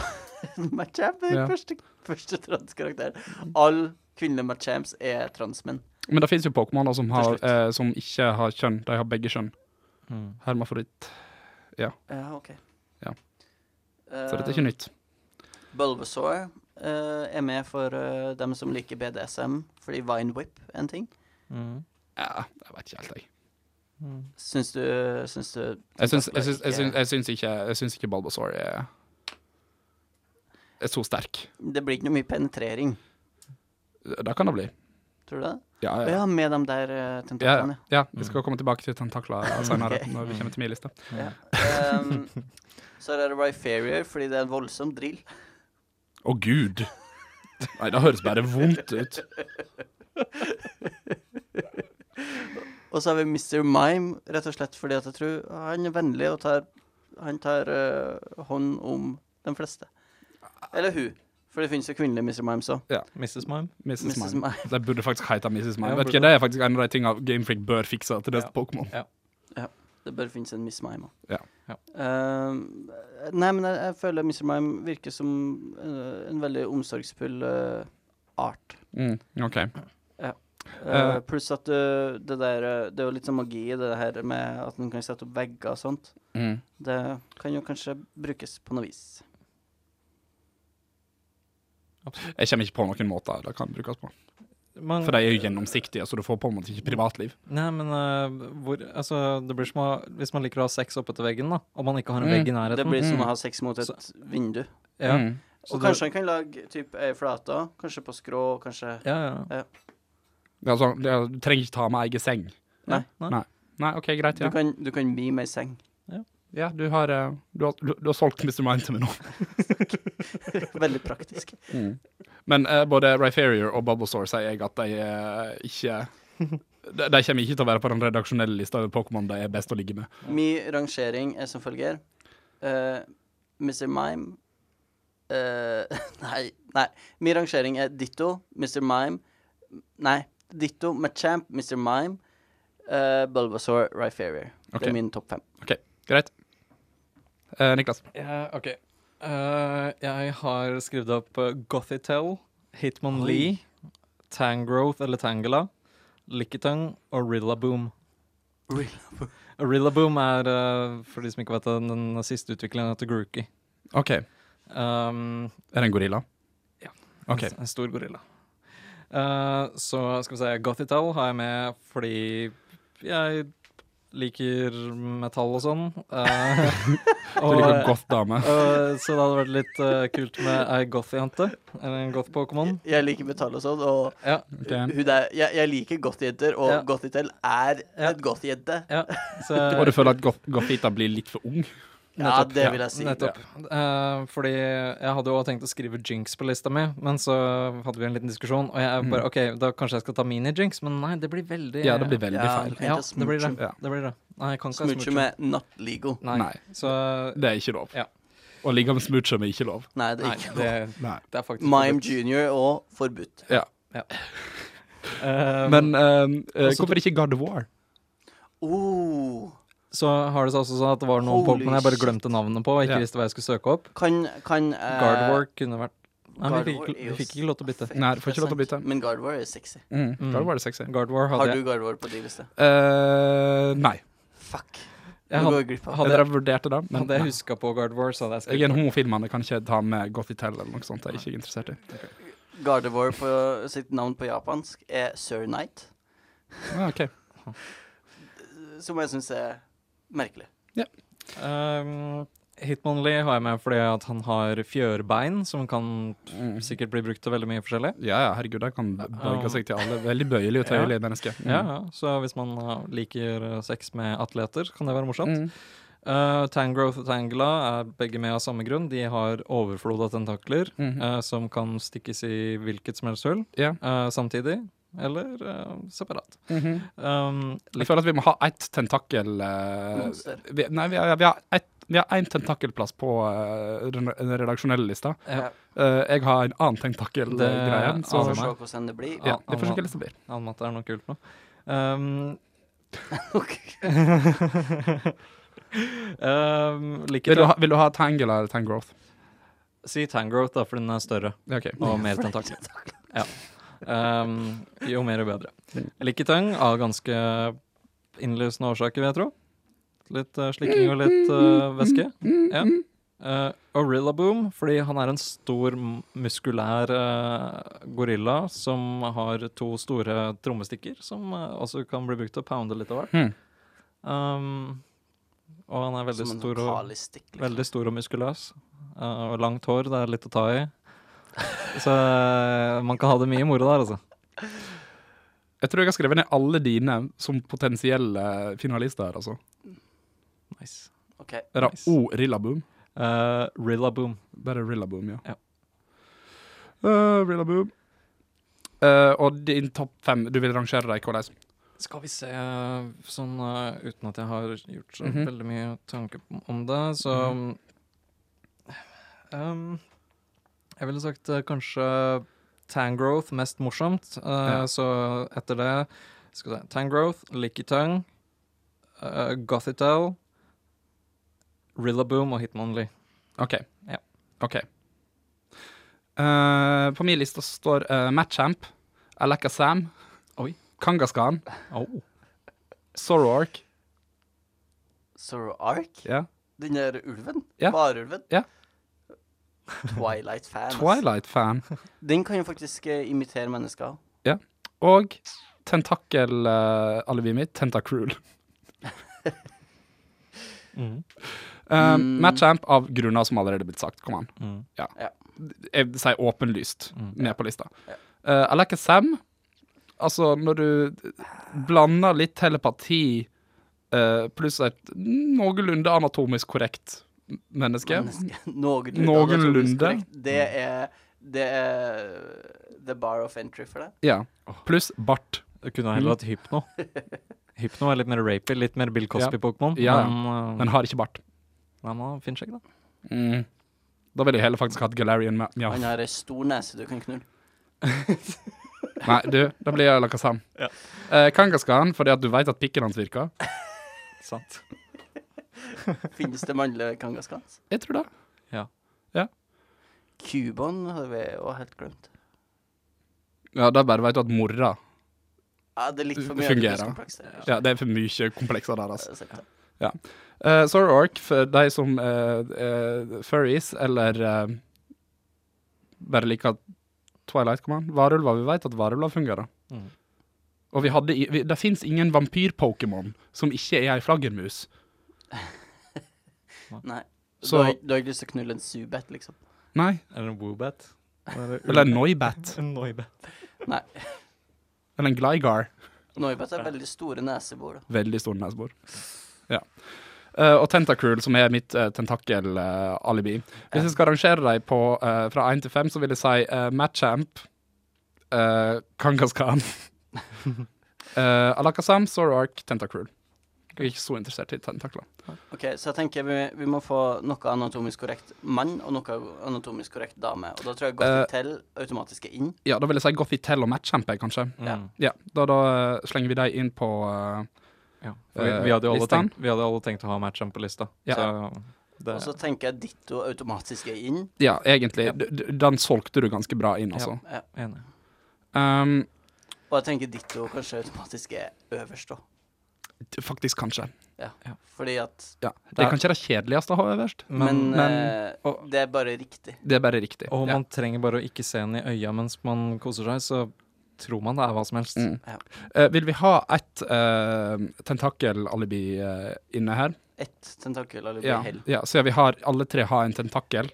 en matchamp. Det er Ja. den første, første transkarakteren. Alle kvinnelige matchamps er transmenn. Men det fins jo Pokémoner som, har, Til slutt. eh, som ikke har kjønn. De har begge kjønn. Hermafroditt. Ja, OK. Eh, Ja. Så dette er ikke nytt. Bulbasaur eh, er med for eh, dem som liker BDSM, fordi Vine Whip er en ting. Mm. Ja, jeg vet ikke helt, jeg. Mm. Syns du Syns du Jeg syns, jeg syns, jeg syns, jeg syns ikke, jeg syns ikke Bulbasaur er, er så sterk. Det blir ikke noe mye penetrering, Det kan det bli. tror du det? Ja, Å ja. ja, med de der eh, ja, tentaklene. ja vi skal komme tilbake til tentakler senere, Ok. når vi kommer til min liste. Ja. Ehm, så er det Ryferior, fordi det er en voldsom drill. Å, gud! Nei, det høres bare vondt ut. Og så har vi Mr. Mime, rett og slett fordi at jeg tror han er vennlig og tar Han tar eh, hånd om de fleste. Eller hun. For det finnes jo kvinnelige Mr. Mimes òg. Mrs. Mime. Mrs. Mrs. Mime. Mime. Det burde faktisk hete Mrs. Mime. Ja, Vet burde ikke, det er faktisk en av de tingene Gamefreak bør fikse til neste Ja. Pokémon. Det bør finnes en Miss Mime òg. Ja. Ja. Eh, nei, men jeg, jeg føler Mr. Mime virker som eh, en veldig omsorgsfull eh, art. Mm, OK. Eh, Eh. pluss at du, det der eh, Det er jo litt sånn magi i det her med at en kan sette opp vegger og sånt. Mm. Det kan jo kanskje brukes på noe vis. Jeg kommer ikke på noen måter det kan brukes på. Man, For de er jo gjennomsiktige, så du får på en måte ikke privatliv. Nei, men eh, hvor Altså, det blir som å Hvis man liker å ha sex oppetter veggen, da, og man ikke har en Mm. vegg i Det nærheten blir som Mhm. å ha sex mot et vindu. ja. Mm. Så og du- kanskje han kan lage typ ei flate, også. kanskje på skrå, kanskje ja, ja. Det er sånn, det er, du trenger ikke ta med egen seng. Nei. Nei. Nei, OK, greit. Du Ja, kan, du kan mime ei seng. ja du, har, eh, du, har, du, du har solgt Mr. Mind til meg nå. Veldig praktisk. Men eh, både Ryferior og Bubblesore sier jeg at de eh, ikke de, de kommer ikke til å være på den redaksjonelle lista over Pokémon de er best å ligge med. Min rangering er som følger. Eh, Mr. Mime eh, Nei, nei. Min rangering er Ditto, Mr. Mime Nei, Ditto, Machamp, Mr. Mime, uh, Bulbasaur, Ryferior. Det Ok. er min topp fem. OK, greit. Eh, Niklas. Ja, OK. Eh, jeg har skrevet opp eh, Gothitel, Hitman Lee, Tangrowth eller Tangela, Lickitung og Rillaboom. Rillaboom er, eh, for de som ikke vet det, den siste utviklingen til Grookey. OK. Er Um, det en gorilla? Ja. OK. en, en stor gorilla. Eh, så skal vi se Gothitell har jeg med fordi jeg liker metall og sånn. Eh, Du liker eh, godt liksom dame. og så det hadde vært litt eh, kult med ei goth-jente. Eller en goth-pokémon. Jeg liker metall og sånn, og Ja, Ok. hun der, jeg, jeg liker godt jenter, og Ja. godt jenter er Ja. et godt jente. ja. Så Og du føler at Goth- Gothita blir litt for ung? Ja, Nettopp, det vil jeg si. Nettopp. Eh, fordi jeg hadde jo også tenkt å skrive jinx på lista mi, men så hadde vi en liten diskusjon, og jeg bare OK, da kanskje jeg skal ta mini-jinx, men nei, det blir veldig Mm. Ja, det blir veldig Ja, feil. du kan Ja, ikke det blir det. smooche. Ja. det blir det. Nei, jeg kan ikke ha Smooche smooche. med not legal. Nei. Nei. Så Det er ikke lov. Ja. Å ligge med smoocher er ikke lov. Nei, det Nei, er ikke det, lov. Nei. det er faktisk Mime Junior og forbudt. Ja. Eh, Men ehm, eh, altså- hvorfor ikke God of War? Oh, så har det seg også sånn at det var noen Holy Pokémon jeg bare glemte navnet på, og ikke Ja. visste hva jeg skulle søke opp. kan, kan eh, Guardwork kunne vært Nei, vi Gardevoir fikk, er ikke- jo vi fikk ikke lov til å bytte. fett, Nei, du får ikke lov til å det er bytte. sant. Men Guardwar er sexy. Mm. God of War er sexy. Guardwar Har hadde du jeg. Guardwar på din liste? Eh, nei. Fuck. jeg Du går hadde, glipp av hadde, jeg jeg- drev og vurderte det, men hadde jeg nei. huska på Guardwar, så hadde jeg jeg er en skrevet homofil mann. Jeg kan ikke ta med Gothitel eller noe sånt. Jeg er ikke interessert i. Gardevoir på sitt navn på japansk er Sir Knight, Ah, ok. som jeg syns er merkelig. um, Hitmonlee har jeg med fordi at han har fjørbein, som kan sikkert bli brukt til veldig mye forskjellig. Ja, ja, herregud, jeg kan bøye seg til alle. Veldig bøyelig og tøyelig menneske. Mm. Ja, ja. Så hvis man uh, liker uh, sex med atleter, kan det være morsomt. Mm. Eh, Tangrowth og Tangela er begge med av samme grunn. De har overflod av tentakler Mhm. eh, som kan stikkes i hvilket som helst hull Ja. eh, samtidig. Eller eh, separat. Mhm. Um, Jeg føler at vi må ha ett tentakel eh, Monster. vi, Nei, vi har, vi har ett vi har én tentakelplass på eh, den den redaksjonelle lista. Ja. Eh, jeg har en annen tentakelgreie. Det Så Vi får aner se meg. hvordan det blir. ja, vi får se hva det blir. Anmatte er noe kult nå. Um, um, liker Vil du det. ha, vil du ha Tangle eller Tangrowth? Si Tangrowth, da, for den er større. Ja, OK. Og mer tentakler. Ja. Um, jo mer, jo bedre. Likitang av ganske innlysende årsaker, vil jeg tro. Litt eh, slikking og litt eh, væske. Ja. Eh, Orilla Boom, fordi han er en stor, m- muskulær eh, gorilla som har to store trommestikker, som eh, også kan bli brukt til å pounde litt av hvert. Mhm. Um, og han er veldig Som en stor og kalistikk, liksom. Veldig stor og muskuløs. eh, og langt hår, det er litt å ta i. Så eh, man kan ha det mye moro der, altså. Jeg tror jeg har skrevet ned alle dine som potensielle finalister. her, altså. Nice. Ok. Er det Nice. O Rillaboom? Eh, Rillaboom. Bare Rillaboom, ja. Ja. Eh, Rillaboom. Eh, og din topp fem, du vil rangere deg hvordan? Skal vi se sånn eh, uten at jeg har gjort så Mhm. veldig mye tanke om- om det, så um, Jeg ville sagt eh, kanskje Tangrowth mest morsomt. eh, Ja. Så etter det skal vi se Tangrowth, Lickitung, uh, Gothitel, Rillaboom og Hitmonlee. OK. Ja. Ok. Eh, på min liste står uh, Matchamp, Alaka Sam, Oi. Kangaskan, Oh. Sorork Sorrow Ark? ja. Den der ulven? Ja. Varulven? Ja. Twilight fan. Altså. Twilight-fan, Den kan jo faktisk eh, imitere mennesker. og tentakel-alibiet mitt, Tentacruel. Mm. Eh, Mm. Matchamp av grunner som allerede er blitt sagt. Kom an. Mm. jeg sier åpenlyst Mm. med på lista. Uh, Alaka Sam Altså, når du blander litt telepati eh, pluss et noenlunde anatomisk korrekt menneske Menneske. Noenlunde. Noenlunde. korrekt. Det er Det er the bar of entry for deg. Ja. Pluss bart. Jeg kunne heller hatt Hypno. Hypno er litt mer rapey, litt mer Bill Cosby-pokémon. Ja, ja. Men, eh, Men har ikke bart. nei, man finner seg, da. Mm. Da ville jeg heller faktisk hatt Galarian med ja. Han har ei stor nese du kan knulle. Nei, du, da blir jeg Alaka Sam. Eh, Kangaskhan, fordi at du veit at pikken hans virker. Sant. Finnes det mannlige kangaskans? Jeg tror det. Cubon hadde vi òg helt glemt. Ja, Da bare veit du at mora Ja, det er litt for mye Fungerer. arbeidskompleks der, ja, Det er for mye komplekser der, altså. altså. Jeg har sett det. Uh, Sorry Orc, for de som eh, eh, furries, eller eh, bare liker Twilight Command. Varulver, vi vet at varulver fungerer. Mm. Og vi hadde, i- vi, det fins ingen vampyr-Pokémon som ikke er ei flaggermus. Nei. Du, Så- har, du har ikke lyst til å knulle en Zubat, liksom? Nei. Eller en Woobat. Eller en Noibat. En Noibat. Nei. Eller en Gligar. Noibat har veldig store nesebor. da. Veldig stor nesebor. Ja. Eh, og Tentacruel, som er mitt uh, tentakel-alibi. Hvis jeg skal rangere dem på, eh, fra én til fem, så vil jeg si uh, Matchamp, uh, Kangaskhan, uh, Alakazam, Zoroark, Tentacruel. Jeg er ikke så interessert i tentakler. Ok, Så jeg tenker vi, vi må få noe anatomisk korrekt mann og noe anatomisk korrekt dame. Og da tror jeg Eh. Gothitell automatisk er inn. Ja, da vil jeg si Gothitell og Matchamp, jeg, kanskje. Ja. Mm. Ja, da, da eh, slenger vi dem inn på eh, Ja. For vi, Eh, vi, hadde jo alle lista? tenkt, vi hadde alle tenkt å ha matchen på lista. Ja. Så det, Og så tenker jeg Ditto automatisk er inn. Ja, egentlig. D- d- Den solgte du ganske bra inn, altså. Eh, enig. Um, Og jeg tenker Ditto kanskje automatisk er øverst, da. d- faktisk, kanskje. Ja. Ja. Fordi at Ja. Det Der- er kanskje det kjedeligste å ha øverst. Men, Men, eh, og- det er bare riktig. Det er bare riktig. og ja. man trenger bare å ikke se den i øya mens man koser seg, så tror man det er hva som helst. Mm. Ja. Eh, vil vi ha ett eh, tentakelalibi eh, inne her? Ett tentakel eller blir Ja, hell. ja, så ja, vi har alle tre har en tentakel.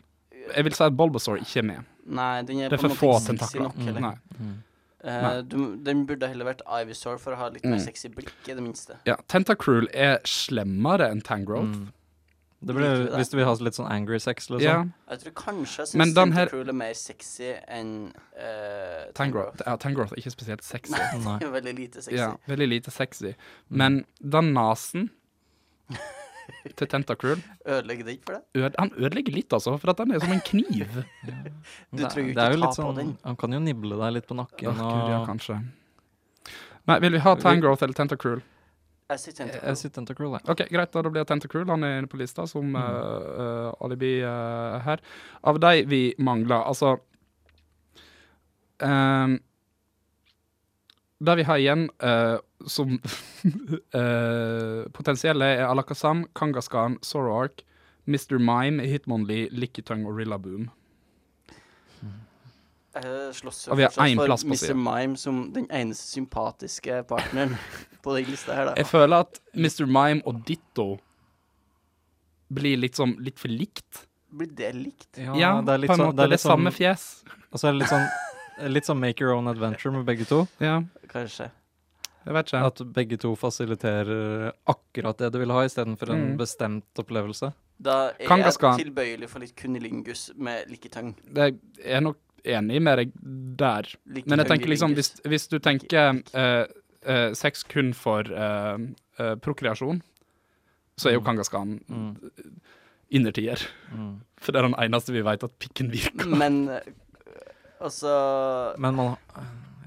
Jeg vil si at Bulbasaur ikke er med. Nei, den er, Det er på en for måte få ikke sexy tentakler. nok. Eller? Nei. Mm. Eh, Nei. du, den burde heller vært Ivysaur for å ha litt mer Mm. sexy blikk, i det minste. Ja, Tentacruel er slemmere enn Tangrowth. Mm. Det blir, Liker du det? hvis du vil ha litt sånn angry sex, liksom. Ja, Jeg tror kanskje jeg Men syns den her- Tentacruel er mer sexy enn uh, Tangrowth. Ja, Tangrowth er ikke spesielt sexy. Nei. Det er veldig lite sexy. Ja, veldig lite sexy. Men den nesen til Tentacruel Ødelegger det ikke for deg? øde, Han ødelegger litt, altså, for at den er som en kniv. Du Det- trenger jo ikke det er ta litt på sånn- den. Han kan jo nible deg litt på nakken. Åh, Gud, ja, og, kanskje. Nei, vil vi ha Tangrowth eller Tentacruel? Jeg sier jeg Tentacruel. jeg sier Tentacruel, jeg. OK, greit, da, da blir det Tentacruel. Han er inne på lista som Mm. eh, eh, alibi eh, her. Av de vi mangler, altså ehm, Det vi har igjen eh, som eh, potensielle, er Alakazam, Kangaskan, Zoroark, Mr. Mime, Hitmonlee, Lickitung og Rillaboom. Jeg slåss jo Og vi har fortsatt én for plass på Mr. siden. Mime som den eneste sympatiske partneren på den lista her, Jeg da. føler at Mr. Mime og Ditto blir litt, sånn, litt for likt. Blir det likt? Ja, Ja, det er litt på en sånn, måte. det er litt samme sånn, fjes. og så er det litt sånn Litt sånn make your own adventure med begge to. Ja, Kanskje. jeg vet ikke. At begge to fasiliterer akkurat det du vil ha, istedenfor en Mm. bestemt opplevelse. Da er Kangaskhan. jeg tilbøyelig for litt kunnilingus med liketang. Jeg er nok enig med deg der. Men jeg tenker liksom, hvis, hvis du tenker eh, eh, sex kun for eh, eh, prokreasjon, så er jo Mm. Kangaskan Mm. innertier. Mm. For det er den eneste vi vet at pikken virker. Men eh, altså Men man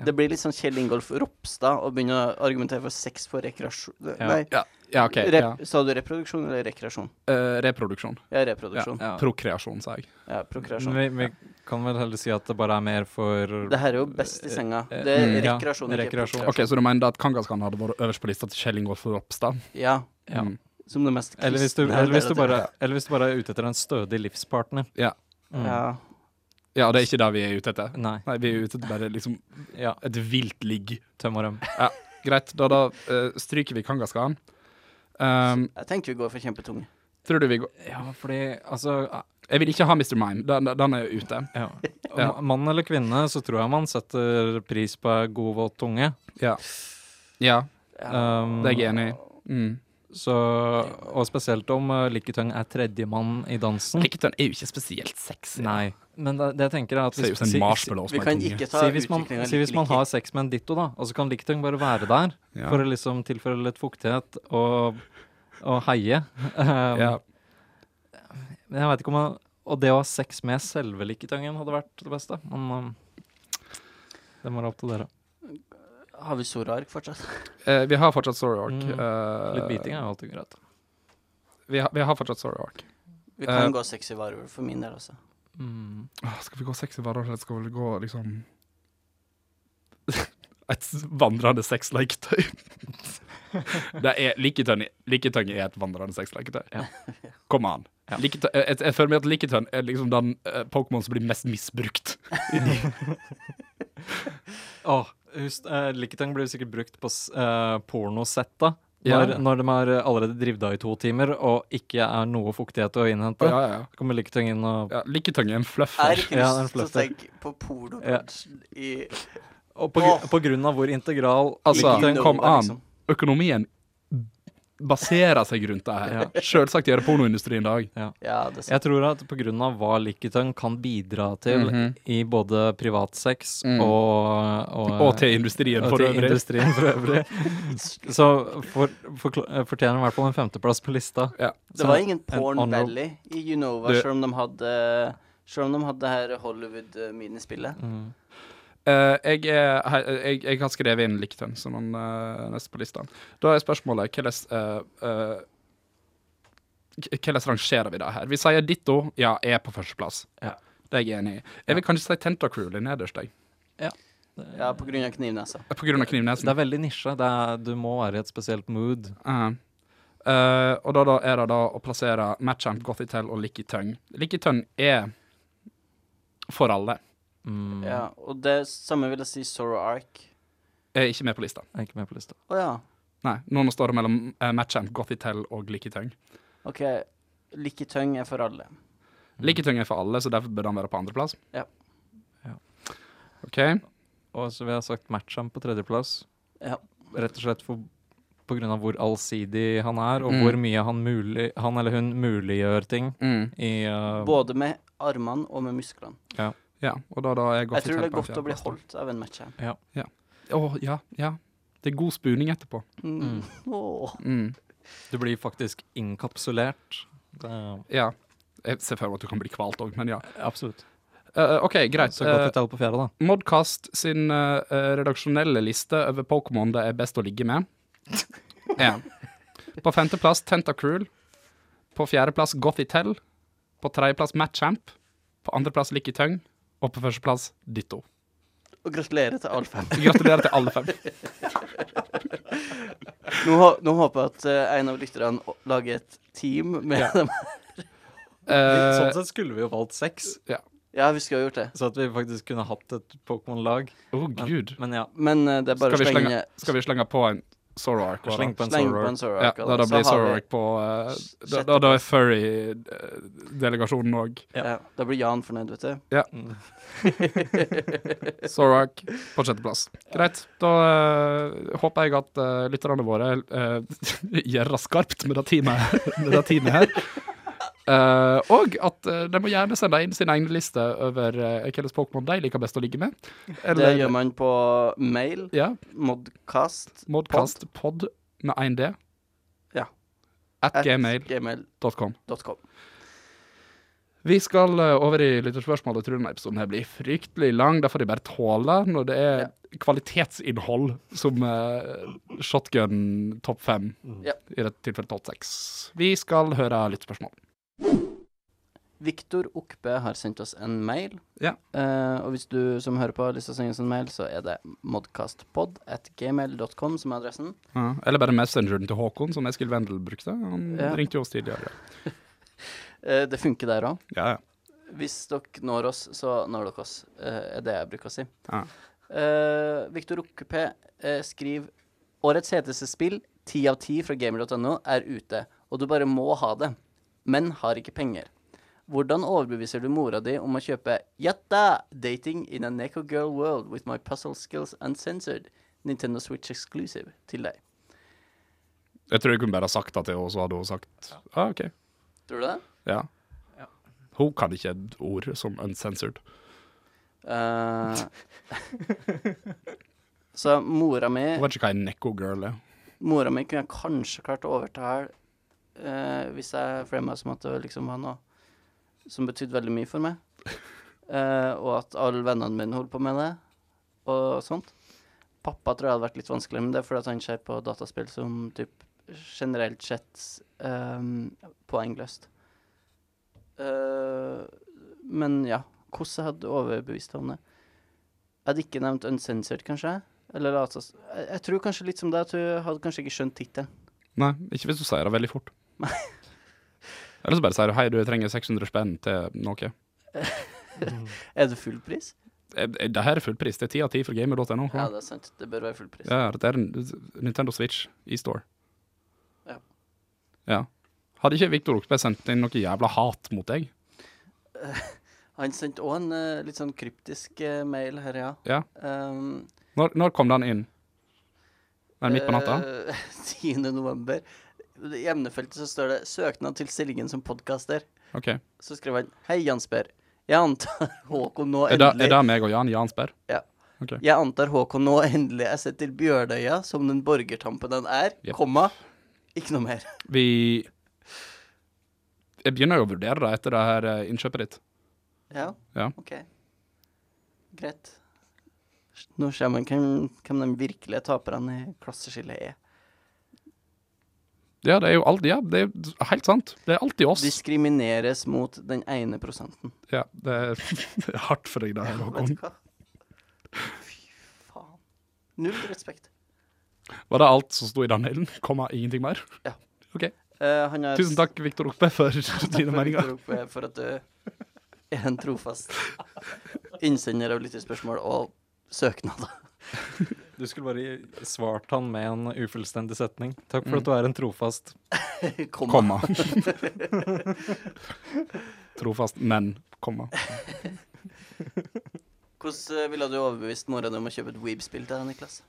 Det blir litt sånn Kjell Ingolf Ropstad å begynne å argumentere for sex for rekreasjon Ja. Nei, Ja, ja OK. rep Ja. sa du reproduksjon eller rekreasjon? Eh, reproduksjon. Ja, Ja. reproduksjon. Ja, Ja. Prokreasjon, sa jeg. prokreasjon. vi, vi kan vel heller si at det bare er mer for Det her er jo best i senga. eh, Det er mm, ja, rekreasjon, ikke rekreasjon. prokreasjon. OK, Så du mener da at Kangaskan hadde vært øverst på lista til Kjell Ingolf Ropstad? Ja, Ja. Mm. som det mest eller hvis, du, kristne eller, hvis du alternativet. bare, eller hvis du bare er ute etter en stødig livspartner. Ja. Mm. Ja. ja, det er ikke det vi er ute etter. Nei. Nei, vi er ute etter bare liksom Ja. et vilt ligg. Tøm og røm. Greit, da, da eh, stryker vi Kangaskan. Um, Jeg tenker vi går for kjempetunge. tror du vi går Ja, fordi altså Jeg vil ikke ha Mr. Mime. Den, den- den er ute. ja. Ja. Ma- Mann eller kvinne, så tror jeg man setter pris på ei god, våt tunge. Ja. ja Ja. Um, det er jeg enig i. Mm. Så, og spesielt om uh, Liketøng er tredjemann i dansen. Liketønn er jo ikke spesielt sexy. Nei. Men det, det jeg tenker er at Ser hvis, ut som en si, marshmallow Vi som er kan tunge. ikke si, ta hvis man, utviklingen si hvis man har sex med en ditto, da, og så kan Liketøng bare være der Ja. for å liksom tilføre litt fuktighet og, og heie. Um, ja. Men jeg vet ikke om man, Og det å ha sex med selve Liketøngen hadde vært det beste. Men um, det må være opp til dere. Har vi Sorark fortsatt? Eh, vi har fortsatt Story Arc. Mm. eh, Litt biting er jo alltid greit. Vi har, vi har fortsatt Story Arc. Vi kan Eh. gå sexy varulv for min del altså. også. Mm. Åh, skal vi gå sexy varer, eller skal vi gå liksom Et s- vandrende sexleketøy? det er Liketønn er eh, et vandrende sexleketøy. Kom an. Liketø- jeg, jeg, jeg føler meg at Likitønn er liksom den eh, Pokémon som blir mest misbrukt. Åh, husk, eh, Lickitung blir sikkert brukt på s- eh, pornosetta. Ja. Når, når de har allerede drivda i to timer og ikke er noe fuktighet å innhente. Ja, ja, ja. Så kommer Lickitung inn og ja Likitønn er en Jeg fluffer. har ikke Ja, den lyst til å fluffer. tenke på pornobransjen i Og på, gr- på grunn av hvor integral Altså, Ikke noe, kom an. liksom. Økonomien baserer seg rundt det her. Selvsagt gjør det pornoindustrien i dag. Ja, det er sant. Jeg tror at på grunn av hva Lickitung kan bidra til Mhm. i både privatsex Mm. og, og Og til industrien og for til øvrig. industrien for øvrig. eh, Så for, forkl- eh, fortjener de i hvert fall en femteplass på lista. Ja. Det var ingen en porn honorable- valley i Unova, Du- selv om de hadde Selv om de hadde det her eh, Hollywood-minispillet. Mm. Eh, jeg, er, he- jeg, jeg har skrevet inn Likitønn som den eh, neste på lista. Da er spørsmålet hvordan eh, eh, k- Hvordan rangerer vi det her? Vi sier Ditto ja, er på førsteplass. Ja. Det er jeg enig i. Jeg vil kanskje si Tentacruel er nederst, jeg. Eh, Ja, på grunn av altså. knivnesa. På grunn av Det knivnesen. er veldig nisje. Det er, du må være i et spesielt mood. Eh, eh, og da, da er det da å plassere Matchamp, Gothitell og Likitønn. Likitønn er for alle. Mm. Ja, og det samme vil jeg si Sorrow Ark. Er ikke med på lista. Jeg er ikke med på lista. Å ja. Nei, nå står det mellom uh, Matchamp, Gothitell og Likitønn. OK. Liketøng er for alle. Liketung er for alle, så derfor bør den være på andreplass. Ja. Ja. OK. Og så vil jeg ha sagt Matcham på tredjeplass. Ja. Rett og slett for, på grunn av hvor allsidig han er, og Mm. hvor mye han, mulig, han eller hun muliggjør ting Mm. i uh, Både med armene og med musklene. Ja, og da, da er Jeg tror det er Gothitell på godt å bli fjerdeplass. holdt av en match her. Å, ja, ja. Det er god spuning etterpå. Mm. Mm. Åh. Mm. Du blir faktisk inkapsulert. Det er, Ja. Jeg ser for meg at du kan bli kvalt òg, men ja. absolutt. Eh, OK, greit. Så godt et tall på fjerde, da. Eh, Modcast sin eh, eh, redaksjonelle liste over Pokémon det er best å ligge med. Ja. På femteplass Tentacruel. På fjerdeplass Gothitell. På tredjeplass Matchamp. På andreplass Lickitung. Og på førsteplass Ditto. Og gratulerer til alle fem. Gratulerer til alle fem. Nå, hå- nå håper jeg at eh, en av lytterne å- lager et team med Ja. dem. Eh, Sånn sett skulle vi jo valgt seks, Ja, vi skulle ha gjort det. så at vi faktisk kunne hatt et Pokémon-lag. Å, gud. Men ja, Men eh, det er bare å Skal vi, slenge, slenge skal vi slenge på en Zoroark? hva da? sleng på en Sleng på Soror. en Sorrow Ja, Ark. da, da altså. så har blir vi- Zoroark på eh, da, Sjette da, da er eh, Furry-delegasjonen òg. Ja. Ja, da blir Jan fornøyd, vet du. Mm. Zoroark på sjetteplass. Greit. Da eh, håper jeg at eh, lytterne våre eh, gjør det skarpt med det teamet, her- med det teamet her. Eh, og at eh, de må gjerne sende inn sin egen liste over uh, hvilke Pokémon de liker best å ligge med. Det gjør man på mail, Ja, modcast, Modcastpod med 1D. Ja. At at gmail.com. gmail.com. Vi skal eh, over i lytterspørsmål. Jeg tror denne episoden her blir fryktelig lang. Det får de bare tåle når det er kvalitetsinnhold som eh, shotgun topp fem. Ja. I dette tilfellet topp seks. Vi skal høre lytterspørsmål. Viktor Okpe har sendt oss en mail. Ja. Eh, og hvis du som hører på har lyst til å sende oss en mail, så er det modcastpod at gmail.com som er adressen. Ja. Eller bare messengeren til Håkon, som Eskil Wendel brukte. Han Ja. ringte jo oss tidligere. Eh, det funker der òg. Ja, ja. Hvis dere når oss, så når dere oss, eh, er det jeg bruker å si. Ja. Eh, Viktor Okpe eh, skriver Årets heteste spill, 10 av 10 fra gamer.no, er ute, og du bare må ha det, men har ikke penger. Hvordan overbeviser du mora di om å kjøpe Yatta! Dating in a Neko Girl World with my puzzle skills uncensored, Nintendo Switch exclusive, til deg. Jeg tror jeg kunne bare ha sagt det til henne, så hadde hun sagt ja, ah, OK. Tror du det? Ja. Ja. Hun kan ikke et ord som uncensored. Eh, så mora mi Hun vet ikke hva en neko girl er. Mora mi kunne jeg kanskje klart å overtale eh, hvis jeg fremma som at det liksom var noe som betydde veldig mye for meg. Eh, og at alle vennene mine holdt på med det, og sånt. Pappa tror jeg hadde vært litt vanskelig, men det er fordi at han ser på dataspill som typ generelt sett ehm, poengløst. Eh, men ja, hvordan jeg hadde overbevist ham om det? Jeg hadde ikke nevnt Uncensored, kanskje? Eller altså, jeg, jeg tror kanskje litt som deg, at hun hadde kanskje ikke skjønt tittelen. Nei, ikke hvis du sier det veldig fort. Eller så bare sier du hei, du jeg trenger 600 spenn til noe. Er det full pris? Eh, eh, Det her er full pris. Det er 10 av 10 for gamer.no. Ja, det er sant. Det bør være full pris. Ja, det er en Nintendo Switch i store. Ja. Ja. Hadde ikke Victor Oksberg sendt inn noe jævla hat mot deg? Han sendte òg en eh, litt sånn kryptisk eh, mail her, ja. Ja. Um, Når, når kom den inn? Er det midt på natta? Eh, 10. november. I emnefeltet så står det 'søknad til stillingen som podkaster'. OK. Er Så skrev han 'Hei, Jansper. Jeg antar Håkon nå det, er endelig det meg og Jan Jansberg? Ja. Ok. Jeg antar Håkon nå endelig er sett til Bjørnøya som den borgertampen han er, Jepp. komma, ikke noe mer. Vi Jeg begynner jo å vurdere det etter det her eh, innkjøpet ditt. Ja, Ja. OK. Greit. Nå ser man hvem, hvem de virkelige taperne i klasseskillet er. Ja, det er jo alt, ja, det er helt sant. Det er alltid oss. Diskrimineres mot den ene prosenten. Ja, det er, det er hardt for deg, det her, Vet Håkon. du hva? Fy faen. Null respekt. Var det alt som sto i den mailen? Komma ingenting mer? Ja. OK. Eh, han er Tusen takk, Viktor Oppe, for dine meninger. eh, For at du er en trofast innsender av lyttespørsmål og søknader. Du skulle bare svart han med en ufullstendig setning. Takk for at du er en trofast Komma. Komma. Trofast, men komma. Hvordan eh, ville du overbevist mora di om å kjøpe et Weeb-spill til deg, Niklas?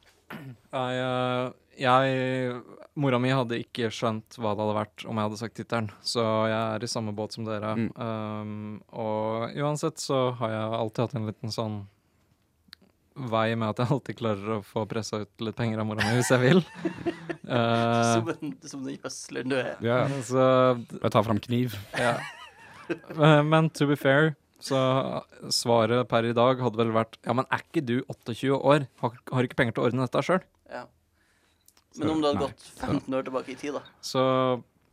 Jeg, eh, jeg Mora mi hadde ikke skjønt hva det hadde vært om jeg hadde sagt tittelen, så jeg er i samme båt som dere. Mm. Um, og uansett så har jeg alltid hatt en liten sånn vei med at jeg alltid klarer å få pressa ut litt penger av mora mi hvis jeg vil. Eh, Som, en, som den jøsleren du er. Ja. så Jeg tar fram kniv. Ja. Eh, Men to be fair, så svaret per i dag hadde vel vært Ja, men er ikke du 28 år? Har, har ikke penger til å ordne dette sjøl? Ja. Men om du hadde Nei. gått 15 år tilbake i tid, da. Så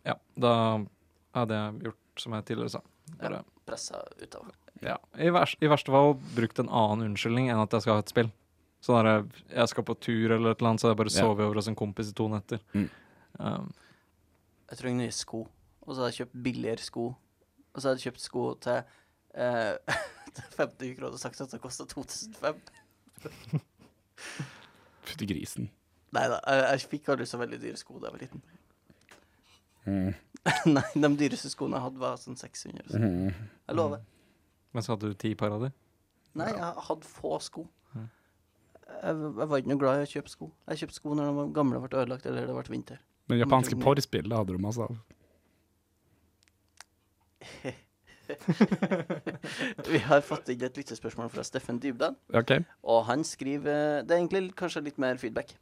ja, da hadde jeg gjort som jeg tidligere sa. Bare, Pressa utover. ja. I, vers, I verste fall brukt en annen unnskyldning enn at jeg skal ha et spill. Sånn der, jeg skal på tur eller et eller annet, så jeg bare Ja. sover over hos en kompis i to netter. Mm. Um, Jeg trenger nye sko. Og så hadde jeg kjøpt billigere sko. Og så hadde jeg kjøpt sko til, eh, til 50 kroner og sagt at det kosta 2005. Fytti grisen. Nei da, jeg, jeg fikk aldri så veldig dyre sko da jeg var liten. Mm. Nei, de dyreste skoene jeg hadde, var sånn 600. Så. Mm. Jeg lover. men så hadde du ti par av de. Nei, jeg hadde få sko. Mm. Jeg, jeg var ikke noe glad i å kjøpe sko. Jeg kjøpte sko når de var gamle og ble ødelagt, eller det ble vinter. Men Mm. japanske porrspill, det hadde du masse av. Vi har fått inn et lyttespørsmål fra Steffen Dybdahl. OK. Og han skriver Det er egentlig kanskje litt mer feedback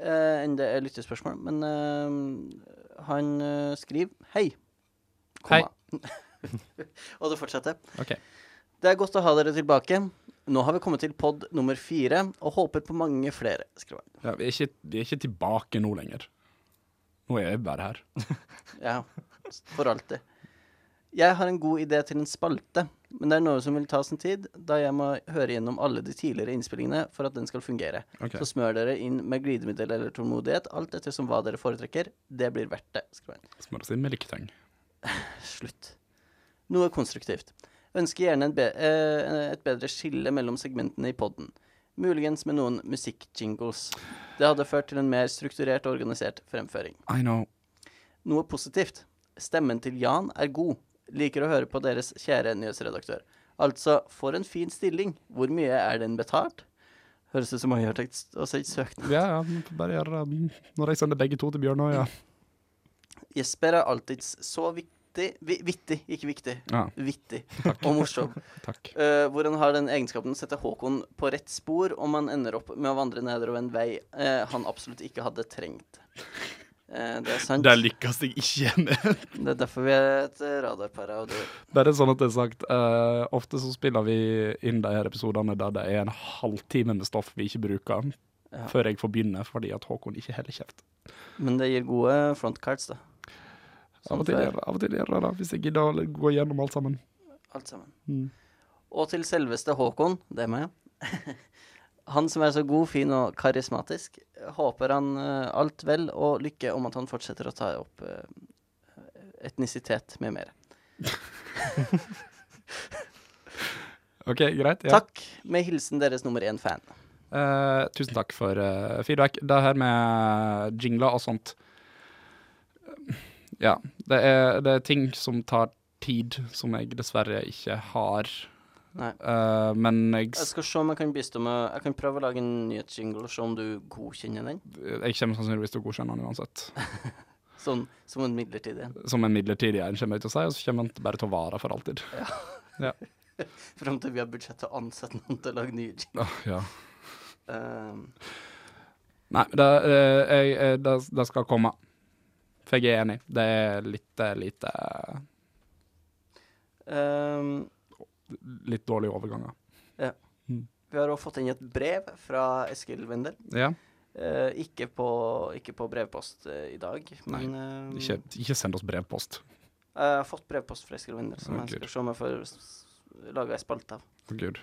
eh, enn det er lyttespørsmål, men eh, han eh, skriver Hei. komma. og det fortsetter. ok. Det er godt å ha dere tilbake. Nå har vi kommet til pod nummer fire og håper på mange flere. skriver han. Ja, vi, er ikke, vi er ikke tilbake nå lenger. Nå er jeg bare her. Ja, for alltid. Jeg har en god idé til en spalte, men det er noe som vil ta sin tid, da jeg må høre gjennom alle de tidligere innspillingene for at den skal fungere. Ok. Så smør dere inn med glidemiddel eller tålmodighet, alt etter som hva dere foretrekker. Det blir verdt det. skriver han. Smøres inn med lykketang. Slutt. Noe konstruktivt. Ønsker gjerne en be eh, et bedre skille mellom segmentene i poden. Muligens med noen musikkjingles. Det hadde ført til en mer strukturert og organisert fremføring. I know. Noe positivt. Stemmen til Jan er god. Liker å høre på deres kjære nyhetsredaktør. Altså, for en fin stilling. Hvor mye er den betalt? Høres ut som han har tenkt s- å sende søknad. Ja, ja, men bare gjør det. Når jeg sender begge to til Bjørn ja. Mm. Jesper er alltid så viktig vi, Vittig, ikke viktig. ja. Vittig og morsom. Takk. Eh, hvor han har den egenskapen å sette Håkon på rett spor om han ender opp med å vandre nedover en vei eh, han absolutt ikke hadde trengt. Eh, det er sant. Der lykkes jeg ikke med. Det er derfor vi er et eh, radarpar. av det. Bare sånn at det er sagt, eh, ofte så spiller vi inn de her episodene der det er en halvtime med stoff vi ikke bruker, Ja. før jeg får begynne, fordi at Håkon ikke holder kjeft. Men det gir gode frontcards, da. Sånn Av og til gjør av og til gjør jeg det, hvis jeg gidder å l- gå gjennom alt sammen. Alt sammen. Mm. Og til selveste Håkon, det er meg. Han som er så god, fin og karismatisk. Håper han eh, alt vel og lykke om at han fortsetter å ta opp eh, etnisitet med mer. OK, greit. Ja. Takk med hilsen deres nummer én fan. Eh, tusen takk for eh, feedback. Det her med eh, jingler og sånt Ja. Det er, det er ting som tar tid, som jeg dessverre ikke har. Nei. Eh, men jeg, Jeg skal se om jeg kan bistå med Jeg kan prøve å lage en nyhetsjingle og se om du godkjenner den. jeg kommer sannsynligvis til å godkjenne den uansett. Sånn som en midlertidig en. Som en midlertidig en, kommer jeg til å si, og så kommer den bare til å vare for alltid. Fram til vi har budsjett til å ansette noen til å lage nye jingler. Åh, ja. Ehm, Nei, det, eh, jeg, eh, det, det skal komme. For jeg er enig. Det er litt, eh, lite, ehm, litt dårlige overganger. vi har også fått inn et brev fra Eskil Wendel. Ja. Eh, ikke, på, ikke på brevpost eh, i dag, men ehm, Ikke, ikke send oss brevpost. jeg har fått brevpost fra Eskil Wendel, som Å, jeg Gud. skal se om jeg får s- s- laga ei spalte av. Å, Gud.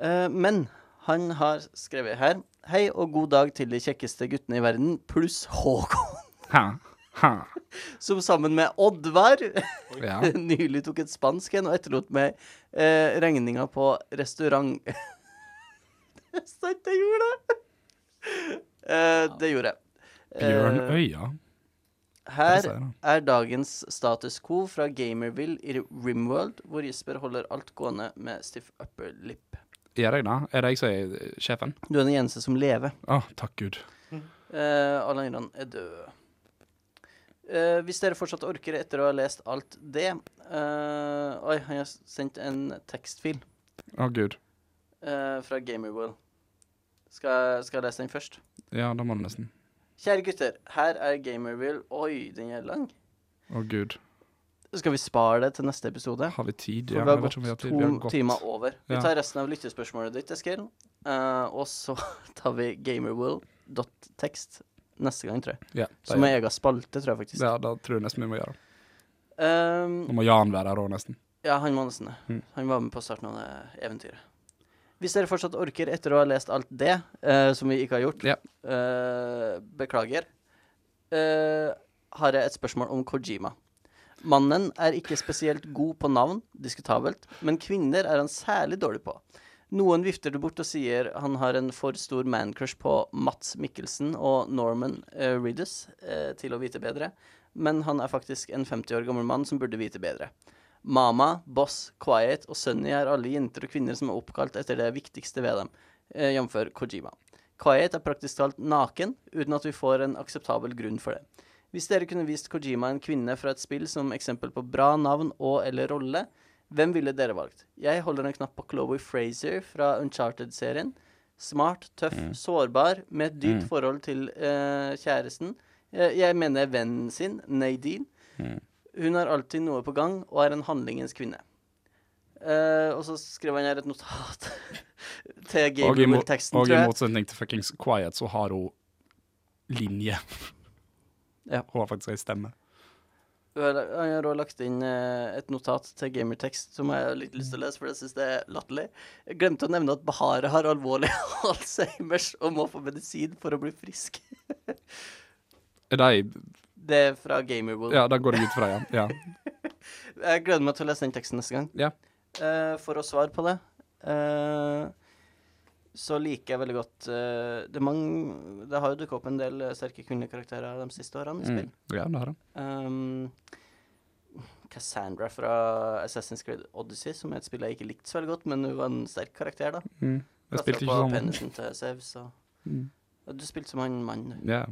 Eh, men han har skrevet her Hei og god dag til de kjekkeste guttene i verden, pluss Håkon, Hæ? Hæ? som sammen med Oddvar Ja. nylig tok et spansk en og etterlot meg eh, regninga på restaurant. det er sant, jeg gjorde det! Eh, det gjorde jeg. Eh, Bjørnøya. Her sier han. er dagens status quo fra Gamerville i Rimworld, hvor Jesper holder alt gående med stiff upper lip. Gjør jeg det? Er det jeg som er eh, sjefen? Du er den eneste som lever. Å, takk Gud. Eh, alle andre er døde. Eh, hvis dere fortsatt orker etter å ha lest alt det eh, Oi, han har sendt en tekstfil Å, Gud. eh, fra Gamerworld. Skal, skal jeg lese den først? Ja, det må du nesten. Kjære gutter, her er Gamerville Oi, den er lang. Å, Gud. Skal vi spare det til neste episode? Har vi tid? For Ja, vi har jeg vet gått ikke om vi har tid. to Vi har gått. timer over. Vi Ja. tar resten av lyttespørsmålet ditt, Eskil. Eh, og så tar vi gamerwill.tekst neste gang, tror jeg. Ja, det, Som er egen spalte, tror jeg faktisk. ja, det tror jeg nesten vi må gjøre. Ehm, Nå må Jan være her òg, nesten. ja, han var nesten det. Mm. Han var med på starten av det eventyret. eh, Hvis dere fortsatt orker etter å ha lest alt det, eh, som vi ikke har gjort, Ja. eh, beklager, eh, har jeg et spørsmål om Kojima. Mannen er ikke spesielt god på navn, diskutabelt, men kvinner er han særlig dårlig på. Noen vifter det bort og sier han har en for stor mancrush på Mats Mikkelsen og Norman uh, Reedus eh, til å vite bedre, men han er faktisk en 50 år gammel mann som burde vite bedre. Mama, Boss, Quiet og Sunny er alle jenter og kvinner som er oppkalt etter det viktigste ved dem, eh, jf. Kojima. Quiet er praktisk talt naken, uten at vi får en akseptabel grunn for det. Hvis dere kunne vist Kojima en kvinne fra et spill som eksempel på bra navn og eller rolle, hvem ville dere valgt? Jeg holder en knapp på Chloé Fraser fra Uncharted-serien. Smart, tøff, Mm. sårbar, med et dypt forhold til eh, kjæresten. Eh, jeg mener vennen sin, Nadine. Mm. Hun har alltid noe på gang og er en handlingens kvinne. Eh, og så skrev han her et notat til Og i, mo- Gabriel-teksten, og tror i jeg. motsetning til fuckings Quiet, så har hun linje. Ja. Hun har faktisk ei stemme. Jeg har- Jeg har også lagt inn eh, et notat til Gamertekst som jeg har litt lyst til å lese, for jeg syns det er latterlig. Jeg glemte å nevne at Bahare har alvorlig Alzheimers og må få medisin for å bli frisk. Er det, Det er fra Gamerworld. Eh, ja, det går jeg ut fra, ja. ja. Jeg gleder meg til å lese den teksten neste gang. Ja. Eh, for å svare på det eh, så liker jeg veldig godt eh, det, er mange, det har jo dukket opp en del eh, sterke kvinnekarakterer de siste årene i spill. Mm. Ja, det har det. Um, Cassandra fra Assassin's Creed Odyssey, som er et spill jeg ikke likte så veldig godt, men hun var en sterk karakter, da. Mm. Jeg Klatret spilte ikke på sånn. penisen til Zeus, og Mm. Ja, Du spilte som han mannen. Ja.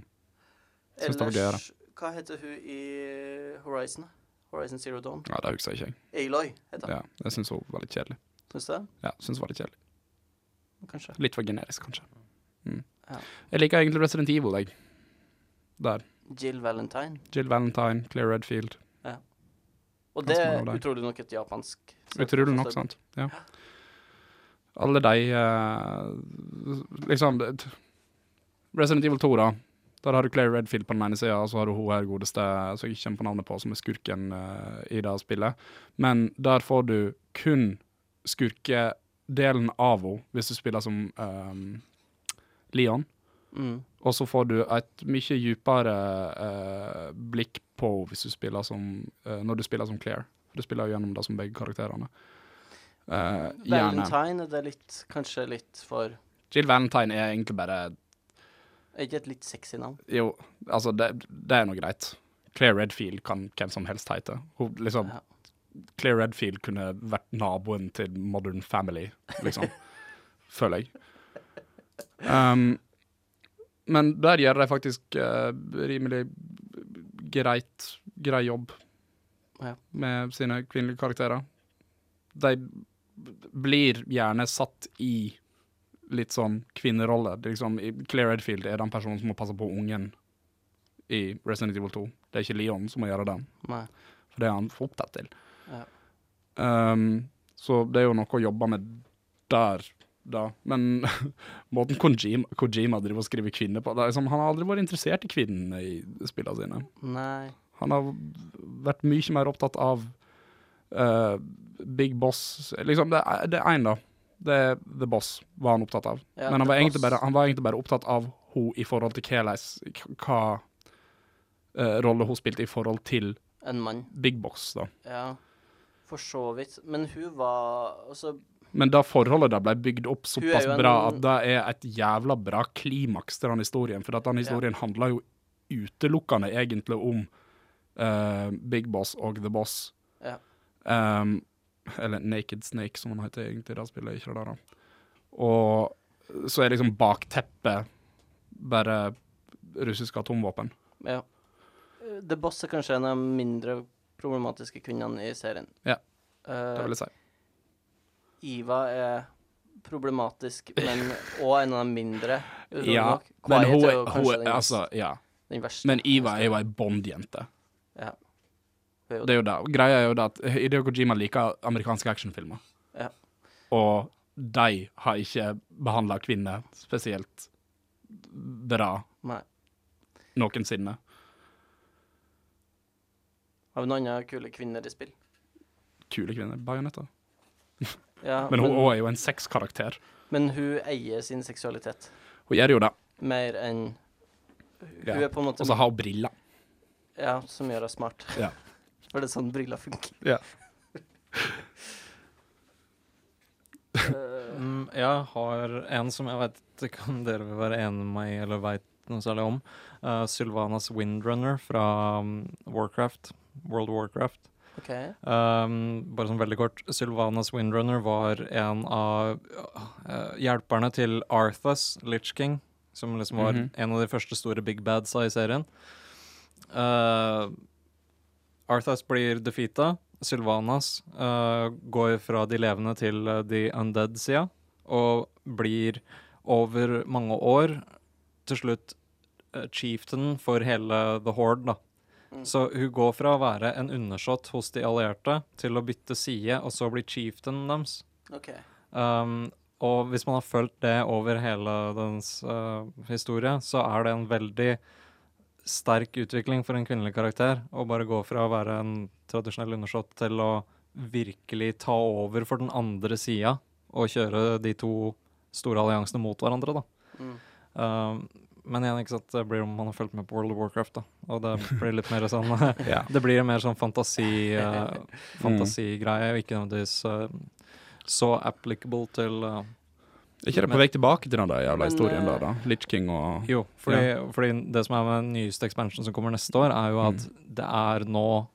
Synes det var gøy, da. hva heter hun i Horizon? da? Horizon Zero Dawn? ja, det husker jeg ikke, jeg. Aloy heter hun. Ja, jeg syns hun var litt kjedelig. Syns du det? Ja, synes hun var litt kjedelig. Kanskje. Litt for generisk, kanskje. Mm. Ja. Jeg liker egentlig Resident Evil, jeg. Der. Jill Valentine. Jill Valentine, Claire Redfield. Og Kan det smake er av deg. utrolig nok et japansk Utrolig nok, altså, sånn. sant. Ja. Alle de eh, Liksom det- Resident Evil 2, da. Der har du Claire Redfield på den ene sida, og så har du hun her godeste som jeg ikke kommer på navnet på, som er skurken eh, i det spillet. Men der får du kun skurkedelen av henne hvis du spiller som eh, Leon. Mm. Og så får du et mye dypere eh, blikk på henne hvis du spiller som, eh, når du spiller som Claire. For du spiller jo gjennom det som begge karakterene. Eh, gjerne. Valentine det er litt, kanskje litt for Jill Valentine er egentlig bare Er ikke et litt sexy navn? Jo, altså, det, det er noe greit. Claire Redfield kan hvem som helst hete. Hun liksom Ja. Claire Redfield kunne vært naboen til Modern Family, liksom. Føler jeg. Um, men der gjør de faktisk eh, rimelig greit, grei jobb Ja. med sine kvinnelige karakterer. De b- blir gjerne satt i litt sånn kvinnerolle. Det er Liksom, i- Claire Redfield er den personen som må passe på ungen i Resident Evil 2. Det er ikke Leon som må gjøre det. Nei. For det er han for opptatt til. Ja. Ehm, så det er jo noe å jobbe med der, da. Men måten Kojima, Kojima driver og skriver kvinner på det er liksom, Han har aldri vært interessert i kvinnene i spillene sine. Nei. Han har vært mye mer opptatt av eh, Big Boss Liksom, det er- det er én, da. Det er The Boss var han opptatt av. Ja, Men han The var, egentlig Boss. bare, han var egentlig bare opptatt av hun i forhold til Keleis, k- hva eh, rolle hun spilte i forhold til En mann. Big Boss, da. Ja. For så vidt. Men hun var Altså, Men det forholdet der ble bygd opp Hun er såpass jo en- bra at det er et jævla bra klimaks til den historien. For at den historien handler jo utelukkende egentlig om eh, Big Boss og The Boss. Ja. Ehm, eller Naked Snake, som han heter egentlig i det spillet. Ikke det der, da. Og så er liksom bakteppet bare russiske atomvåpen. ja. eh, The Boss er kanskje en av de mindre problematiske kvinnene i serien. Ja. Det Eh, vil jeg si. Iva er problematisk, men òg en av de mindre. utrolig Ja, nok. men Quiet hun, er er- jo kanskje hun, den er- mest- altså, ja. den verste. Men Iva er jo ei Bond-jente. Ja. Hun er jo Det er jo det. Og Greia er jo det at Hideo Kojima liker amerikanske actionfilmer. Ja. Og de har ikke behandla kvinner spesielt bra Nei. noensinne. Har vi noen andre kule kvinner i spill? Kule kvinner. Bajonetter. Ja, Men hun også er jo en sexkarakter. men hun eier sin seksualitet Hun gjør jo det. mer enn Hun Ja. Altså, er på en måte Og så har hun briller. Ja, som gjør henne smart. Ja. For det er sånn briller funker. Ja. Eh, Mm, jeg har en som jeg vet ikke om dere vil være enig med meg i eller veit noe særlig om. Eh, Sylvanas Windrunner fra mm, Warcraft. World of Warcraft. OK. Um, bare sånn veldig kort. Sylvanas Windrunner var en av uh, hjelperne til Arthas, Litch King, som liksom var Mhm. en av de første store big badsa i serien. Uh, Arthas blir defeata. Sylvanas uh, går fra de levende til uh, de undead-sida, og blir over mange år til slutt uh, chieftain for hele The Horde, da. Mm. Så hun går fra å være en undersått hos de allierte til å bytte side, og så bli chieftain deres. ok. Um, og hvis man har fulgt det over hele dens uh, historie, så er det en veldig sterk utvikling for en kvinnelig karakter. Å bare gå fra å være en tradisjonell undersått til å virkelig ta over for den andre sida og kjøre de to store alliansene mot hverandre, da. Mm. Um, men igjen, ikke sant, det blir om man har fulgt med på World of Warcraft, da. Og det blir litt mer sånn Ja. Det blir en mer sånn fantasi eh, fantasigreie, og ikke nødvendigvis eh, så applicable til eh, Er ikke det på vei tilbake til den der jævla Men, historien eh, der, da? Litch King og Jo, fordi, fordi det som er med den nyeste expansion som kommer neste år, er jo at Mm. det er nå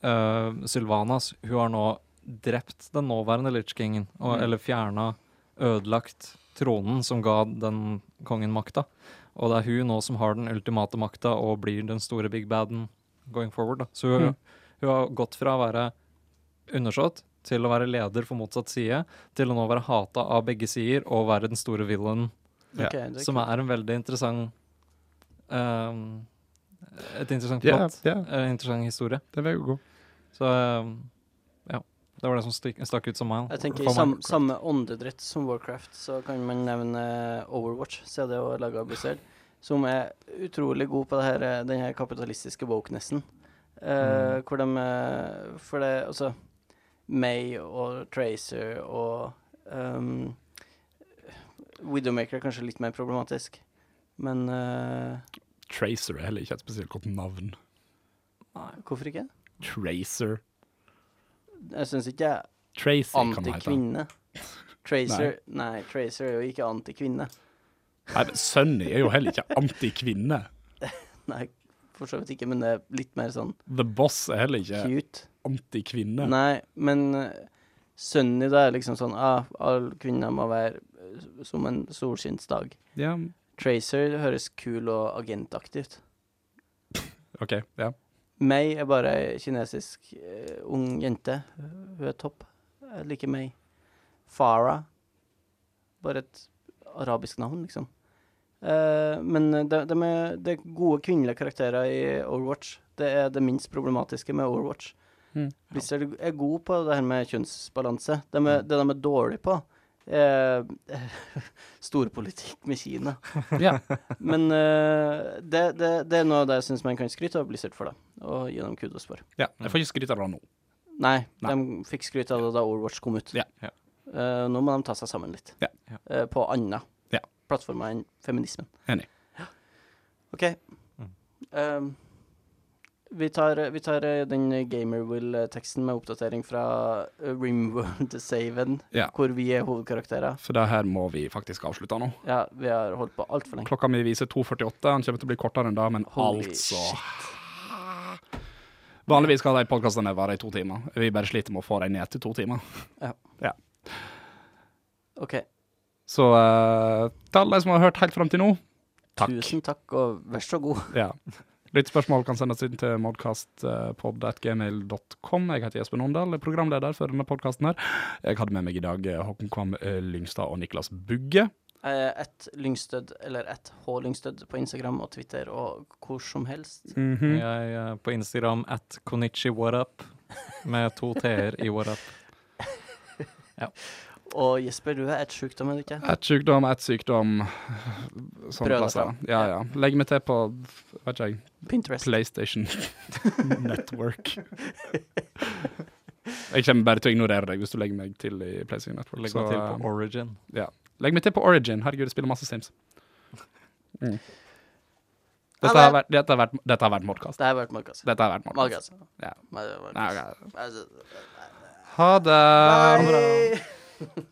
eh, Sylvanas Hun har nå drept den nåværende Litch Kingen, og, Mm. eller fjerna, ødelagt tronen som ga den kongen makta. Og det er hun nå som har den ultimate makta og blir den store big baden going forward. Da. Så hun, Mm. hun har gått fra å være undersått til å være leder for motsatt side, til å nå være hata av begge sider og være den store villainen Ja. Ok, det er som kult. er en veldig interessant ehm, Et interessant Ja, plott. ja. En interessant historie. Det vil jo gå. Så ehm, ja. Det var det som stikk, stakk ut som meg. Jeg tenker for I sam, meg. samme åndedrett som Warcraft, så kan man nevne Overwatch, siden det er laga av Blizzard, som er utrolig god på det her, eh, den her kapitalistiske wokenessen. Eh, Mm. Hvor de eh, For det Altså, May og Tracer og um, Widowmaker er kanskje litt mer problematisk, men eh, Tracer er heller ikke et spesielt godt navn. Hvorfor ikke? Tracer. Jeg syns ikke jeg er Tracy kan det hete. antikvinne. Tracer nei. Tracer er jo ikke antikvinne. Nei, men Sunny er jo heller ikke antikvinne. Nei, for så vidt ikke, men det er litt mer sånn The Boss er heller ikke cute. antikvinne. Nei, men eh, Sunny, da er liksom sånn ah, Alle kvinner må være eh, som en solskinnsdag. Ja, Tracer høres kul og agentaktig ut. OK. Ja. Mei er bare ei kinesisk eh, ung jente. Hun er topp. Jeg liker Mei. Farah Bare et arabisk navn, liksom. Eh, men det, det, med, det er gode kvinnelige karakterer i Overwatch. Det er det minst problematiske med Overwatch. Mm. Blizzard er god på det her med kjønnsbalanse. De er, det de er dårlig på, er storpolitikk med Kina. ja. Men eh, det, det, det er noe av det jeg syns man kan skryte av Blizzard for, da. Og gi dem kudos for. ja. Jeg får ikke skryt av det nå. Nei, Nei. de fikk skryt av det da Overwatch kom ut. Ja. Ja. Eh, nå må de ta seg sammen litt. Ja. Ja. Eh, på andre Ja. plattformer enn feminismen. Enig. Ja. OK. Eh, vi tar, vi tar eh, den Gamerwill-teksten med oppdatering fra eh, Rimworld-saven, Ja. hvor vi er hovedkarakterer. For det her må vi faktisk avslutte nå. Ja, vi har holdt på altfor lenge. Klokka mi viser 2.48. Den kommer til å bli kortere enn det, men Holy altså Vanligvis skal de podkastene vare i to timer. Vi bare sliter med å få dem ned til to timer. OK. Så eh, til alle som har hørt helt fram til nå, takk. Tusen takk, og vær så god. Ja. Lyttspørsmål kan sendes inn til eh, modcastpod.gmail.com. Jeg heter Jesper Nondal, er programleder for denne podkasten her. Jeg hadde med meg i dag eh, Håkon Kvam eh, Lyngstad og Niklas Bugge. Eh, Ett lyngstødd, eller ett H-lyngstødd på Instagram og Twitter og hvor som helst. Mhm. Jeg er på Instagram at Konichi Whatup med to t-er i Whatup. Og Jesper, du er et sjukdom, er du ikke? Et sykdom, et sykdom. eh, Sånne Prøv deg plasser. fram. Ja, ja. Legg meg til på vet ikke jeg, Pinterest. PlayStation Network. Jeg kommer bare til å ignorere deg hvis du legger meg til i PlayStation Network. Legg så, meg til eh, på Origin. Legg meg til på Origin. Herregud, jeg spiller masse Sims. Mm. Dette, Ha har det. vært, dette, har vært, dette har vært modcast. Det her har vært Markas. Dette har vært modcast. Markas. Ja. Markas. Nei, ok. Altså, Ha det. Hei!